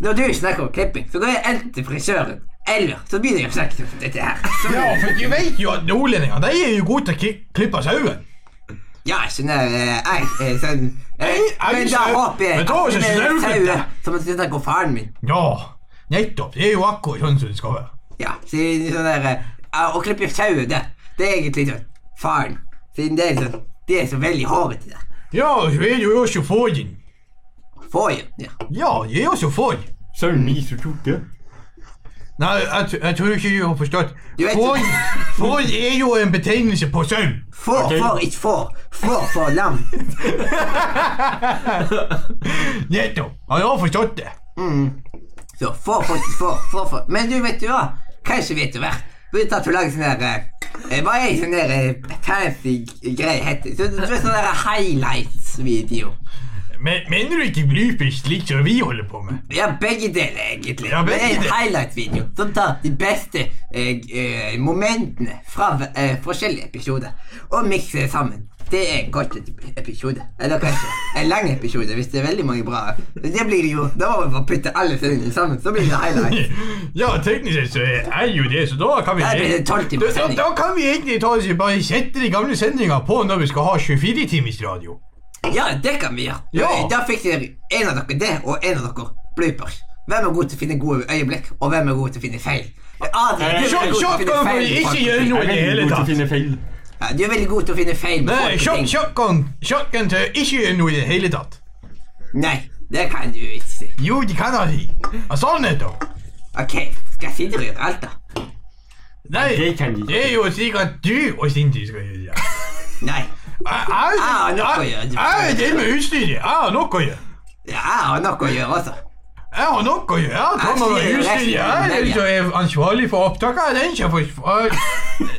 [SPEAKER 3] Når du snakker om klipping, så går jeg enten til frisøren, eller så begynner jeg å snakke om dette her. Så,
[SPEAKER 2] Ja, for jeg vet jo at nordlendinger de er jo gode til å ki- klippe sauen.
[SPEAKER 3] ja, jeg skjønner eh, Jeg er sånn eh,
[SPEAKER 2] Jeg- jeg
[SPEAKER 3] Men da
[SPEAKER 2] skjønner-
[SPEAKER 3] håper jeg
[SPEAKER 2] Men da er det ikke
[SPEAKER 3] at det
[SPEAKER 2] snaut,
[SPEAKER 3] er
[SPEAKER 2] dette.
[SPEAKER 3] tauet Som at du snakker om faren min.
[SPEAKER 2] Ja, nettopp. Det er jo akkurat sånn som det skal være.
[SPEAKER 3] Ja, siden sånn der eh, ah, Å klippe tauet, det, det er egentlig sånn Faren. Siden det er sånn De er så veldig hårete der.
[SPEAKER 2] Ja, så er det jo også fåren.
[SPEAKER 3] Får jo, ja.
[SPEAKER 2] Ja, jeg er også får.
[SPEAKER 1] Søren min, så tjukke.
[SPEAKER 2] Nei, jeg, tr- jeg tror ikke du har forstått.
[SPEAKER 3] Du vet-
[SPEAKER 2] Får, får er jo en betegnelse på sau.
[SPEAKER 3] Får,
[SPEAKER 1] Ok.
[SPEAKER 3] får, ikke får. Får, får, lam.
[SPEAKER 2] Nettopp. Ja, jeg har forstått det.
[SPEAKER 3] Så få, få, få, få, få. Men du, vet du hva? Kanskje vet du hva? Begynte at du lager sånn der eh, Hva er sånn der eh, fancy greie heter? Så, du vet sånn der highlights-video.
[SPEAKER 2] Men, mener du ikke blypist slik som vi holder på med?
[SPEAKER 3] Ja, begge deler, egentlig.
[SPEAKER 2] Ja, begge
[SPEAKER 3] det er en
[SPEAKER 2] deler.
[SPEAKER 3] highlight-video som tar de beste eh, eh, momentene fra eh, forskjellige episoder og mikser det sammen. Det er en kort ep- episode. Eller kanskje en lang episode hvis det er veldig mange bra. Det blir det jo. Da må vi bare putte alle sendingene sammen, så blir det highlight.
[SPEAKER 2] Ja, teknisk sett så er jo det, så da kan vi
[SPEAKER 3] Da blir det 12
[SPEAKER 2] da,
[SPEAKER 3] timers
[SPEAKER 2] da,
[SPEAKER 3] sending.
[SPEAKER 2] da kan vi egentlig ta oss i- bare sette de gamle sendingene på når vi skal ha 24 timers radio.
[SPEAKER 3] Ja, det kan vi gjøre. Eh,
[SPEAKER 2] Ja.
[SPEAKER 3] Da fikk dere en av dere det, og en av dere bloopers. Hvem er god til å finne gode øyeblikk, og hvem er god til å finne feil?
[SPEAKER 2] Eh,
[SPEAKER 3] Adrian, du er god til å finne
[SPEAKER 2] Shotgun får
[SPEAKER 3] feil. i
[SPEAKER 2] ikke
[SPEAKER 3] faktisk.
[SPEAKER 2] gjøre noe i det hele
[SPEAKER 1] god til å
[SPEAKER 2] tatt.
[SPEAKER 1] finne feil.
[SPEAKER 3] Ja, du er veldig god til å finne feil. med
[SPEAKER 2] Nei,
[SPEAKER 3] folk og
[SPEAKER 2] shot-
[SPEAKER 3] ting.
[SPEAKER 2] Shotgun shotgun tør ikke gjøre noe i det hele tatt.
[SPEAKER 3] Nei, det kan du ikke si.
[SPEAKER 2] Jo, de kan ha de. Ja, Sånn er det.
[SPEAKER 3] Ok, skal Sindre gjøre alt, da?
[SPEAKER 2] Nei,
[SPEAKER 1] Det kan de ikke.
[SPEAKER 2] det er jo sikkert du og Sinti skal gjøre det.
[SPEAKER 3] Nei.
[SPEAKER 2] Jeg jeg-
[SPEAKER 3] Jeg har nok å gjøre.
[SPEAKER 2] jeg- jeg er det med utstyret. Jeg har nok å gjøre.
[SPEAKER 3] Ja, jeg har nok å gjøre, altså.
[SPEAKER 2] Jeg har nok å gjøre. Jeg kommer med
[SPEAKER 3] Jeg sier
[SPEAKER 2] utstyret. Jeg er den som er ansvarlig for opptaket. Jeg er Den som er forsvar-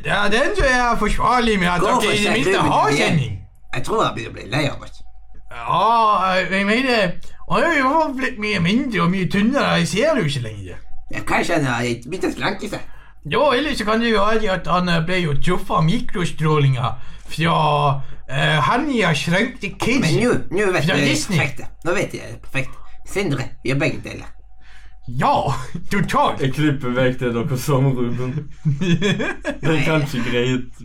[SPEAKER 2] Det er den som er forsvarlig med at
[SPEAKER 3] Hvorfor
[SPEAKER 2] dere i det
[SPEAKER 3] sier du
[SPEAKER 2] minste
[SPEAKER 3] det?
[SPEAKER 2] har sending.
[SPEAKER 3] Jeg tror jeg begynner å bli lei av oss.
[SPEAKER 2] Ja, jeg mener Og jeg har jo blitt mye mindre og mye tynnere. Jeg ser det jo ikke lenger.
[SPEAKER 3] Jeg kan skjønne at jeg begynte å slanke seg.
[SPEAKER 2] Ja, ellers så kan det jo være at han eh, ble jo truffet av mikrostrålinger fra eh, Hanja Shrengte
[SPEAKER 3] Men
[SPEAKER 2] Kids.
[SPEAKER 3] nå, nå vet
[SPEAKER 2] Fra
[SPEAKER 3] jeg det
[SPEAKER 2] Disney.
[SPEAKER 3] perfekte. Nå vet jeg det perfekte. Sindre gjør begge deler.
[SPEAKER 2] Ja, totalt.
[SPEAKER 1] Jeg klipper vekk det dere sa om Ruben. Det er kanskje greit.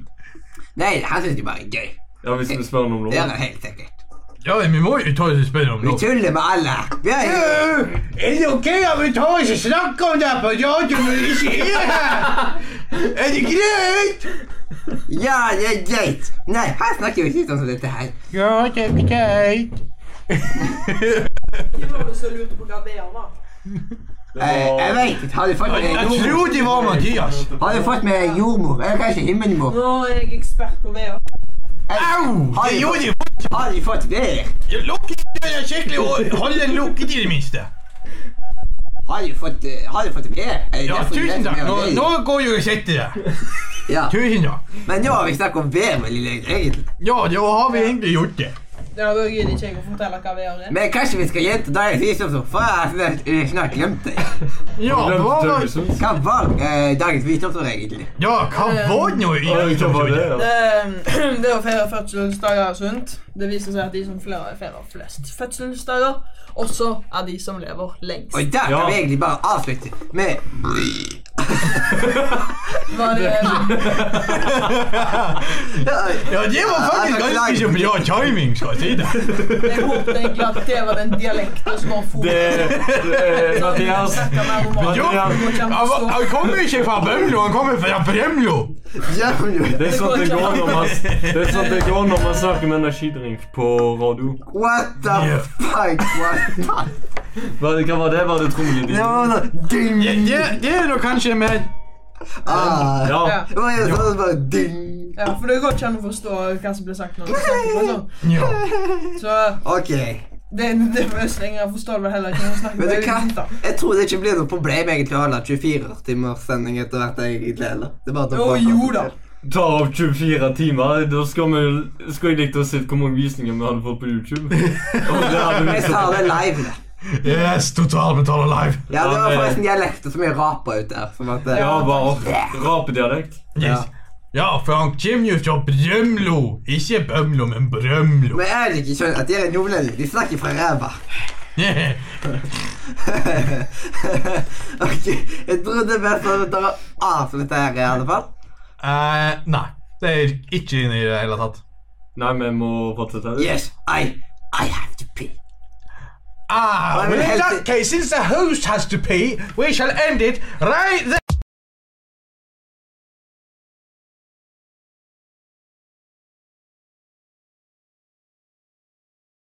[SPEAKER 3] Nei, han syns det bare er gøy.
[SPEAKER 1] Ja, hvis vi spør noen om
[SPEAKER 3] Det er
[SPEAKER 1] lov.
[SPEAKER 3] han helt sikkert.
[SPEAKER 2] Ja, vi må jo ta oss og spørre om
[SPEAKER 3] Vi
[SPEAKER 2] noe.
[SPEAKER 3] tuller med alle. her. Vi er jo
[SPEAKER 2] Er det ok at vi tar oss og snakker om det på radioen når vi ikke er her? Er det greit?
[SPEAKER 3] Ja, det er greit. Nei, han snakker jo ikke sånn som dette her.
[SPEAKER 2] Ja, det er greit.
[SPEAKER 4] Hvem var det som lurte på hva Vea var?
[SPEAKER 3] Jeg, Eh, jeg vet ikke. Har du fått
[SPEAKER 2] Jeg
[SPEAKER 3] med deg jordmor?
[SPEAKER 2] tror det var Mathias.
[SPEAKER 3] Har du fått med deg jordmor? Eller kanskje himmelmor? Eh,
[SPEAKER 4] Nå er jeg ekspert på Vea.
[SPEAKER 2] Au! Det gjorde de.
[SPEAKER 3] Har du fått det?
[SPEAKER 2] Lukketiden er skikkelig og hold den lukket i det minste.
[SPEAKER 3] Har du fått, eh, har du fått det? Er det
[SPEAKER 2] Ja,
[SPEAKER 3] derfor du
[SPEAKER 2] tusen
[SPEAKER 3] vet
[SPEAKER 2] takk.
[SPEAKER 3] mer om
[SPEAKER 2] Nå,
[SPEAKER 3] det?
[SPEAKER 2] nå går jeg og setter det.
[SPEAKER 3] Ja.
[SPEAKER 2] Tusen takk.
[SPEAKER 3] Men nå har vi snakket om vær veldig lenge, egentlig.
[SPEAKER 2] Ja, da har vi egentlig gjort det.
[SPEAKER 4] Ja, da gidder ikke jeg å fortelle hva vi gjør.
[SPEAKER 3] Men kanskje vi skal gjette dagens visdom som faen jeg snart- snart glemte.
[SPEAKER 2] Ja,
[SPEAKER 1] Glemte
[SPEAKER 2] hva var,
[SPEAKER 1] Tøvesen.
[SPEAKER 3] Hva var eh, dagens visdomsord egentlig?
[SPEAKER 2] ja, hva var det nå? i-
[SPEAKER 4] Det, det å feire fødselsdager er sunt. Det viser seg at de som flere feirer flest fødselsdager, også er de som lever lengst.
[SPEAKER 3] Og der kan
[SPEAKER 1] Ja.
[SPEAKER 3] vi egentlig bare avslutte med
[SPEAKER 4] Var det,
[SPEAKER 2] Ja, det var faktisk ganske bra timing, skal jeg si det.
[SPEAKER 4] jeg håpet egentlig at det var den dialekten som var fokus.
[SPEAKER 1] Det Mathias
[SPEAKER 2] Jo, Han var- han kommer ikke fra Bømlo, han kommer fra Bremlo.
[SPEAKER 1] Det er sånn det går når man, det er sånn det går når man snakker med energidrink på radio.
[SPEAKER 3] What the fuck was that?
[SPEAKER 1] Hva, hva var det? Var det trommelyding?
[SPEAKER 3] Det var sånn ding!
[SPEAKER 2] Det, det, det er da kanskje med
[SPEAKER 3] Ah.
[SPEAKER 1] Ja.
[SPEAKER 4] Ja.
[SPEAKER 3] Det var jo sånn bare ding.
[SPEAKER 4] Ja, for det går ikke an å forstå hva som blir sagt når du snakker på sånn.
[SPEAKER 2] Ja.
[SPEAKER 4] Så
[SPEAKER 3] Ok.
[SPEAKER 4] det, det er mest lenger, jeg forstår vel heller ikke når du snakker
[SPEAKER 3] Vet
[SPEAKER 4] på
[SPEAKER 3] du hva?
[SPEAKER 4] dialekten.
[SPEAKER 3] Jeg tror det ikke blir noe problem egentlig å holde 24 timers sending etter hvert. egentlig, eller? Det er bare til å
[SPEAKER 4] Å,
[SPEAKER 3] prate
[SPEAKER 4] jo
[SPEAKER 3] om
[SPEAKER 4] da.
[SPEAKER 3] det.
[SPEAKER 1] Ta opp 24 timer. Da skal vi skal jeg likt å se hvor mange visninger vi hadde fått på YouTube. Og det hadde vi liksom
[SPEAKER 3] Jeg
[SPEAKER 1] så-
[SPEAKER 3] sa det live. det.
[SPEAKER 2] Yes, totalmetal alive.
[SPEAKER 3] Ja, det var
[SPEAKER 1] Ja, det-
[SPEAKER 3] forresten dialekter som jeg rapa ut der. Som at, eh,
[SPEAKER 1] Ja, bare rapedialekt.
[SPEAKER 2] Yes. Ja, for han kommer jo fra Brømlo. Ikke Bømlo, men Brømlo.
[SPEAKER 3] Men jeg er ikke skjønner at de er nordlendinger. De snakker fra ræva. ok, Jeg trodde best at vi tar av som dette her i alle fall.
[SPEAKER 2] Eh, nei, det er ikke inne i det hele tatt.
[SPEAKER 1] Nei, vi må fortsette.
[SPEAKER 3] Yes, I, I have to pee.
[SPEAKER 2] Ah,
[SPEAKER 3] Nei, men
[SPEAKER 2] well, in
[SPEAKER 3] helt-
[SPEAKER 2] that case, since the host has to pee, we shall end it right there.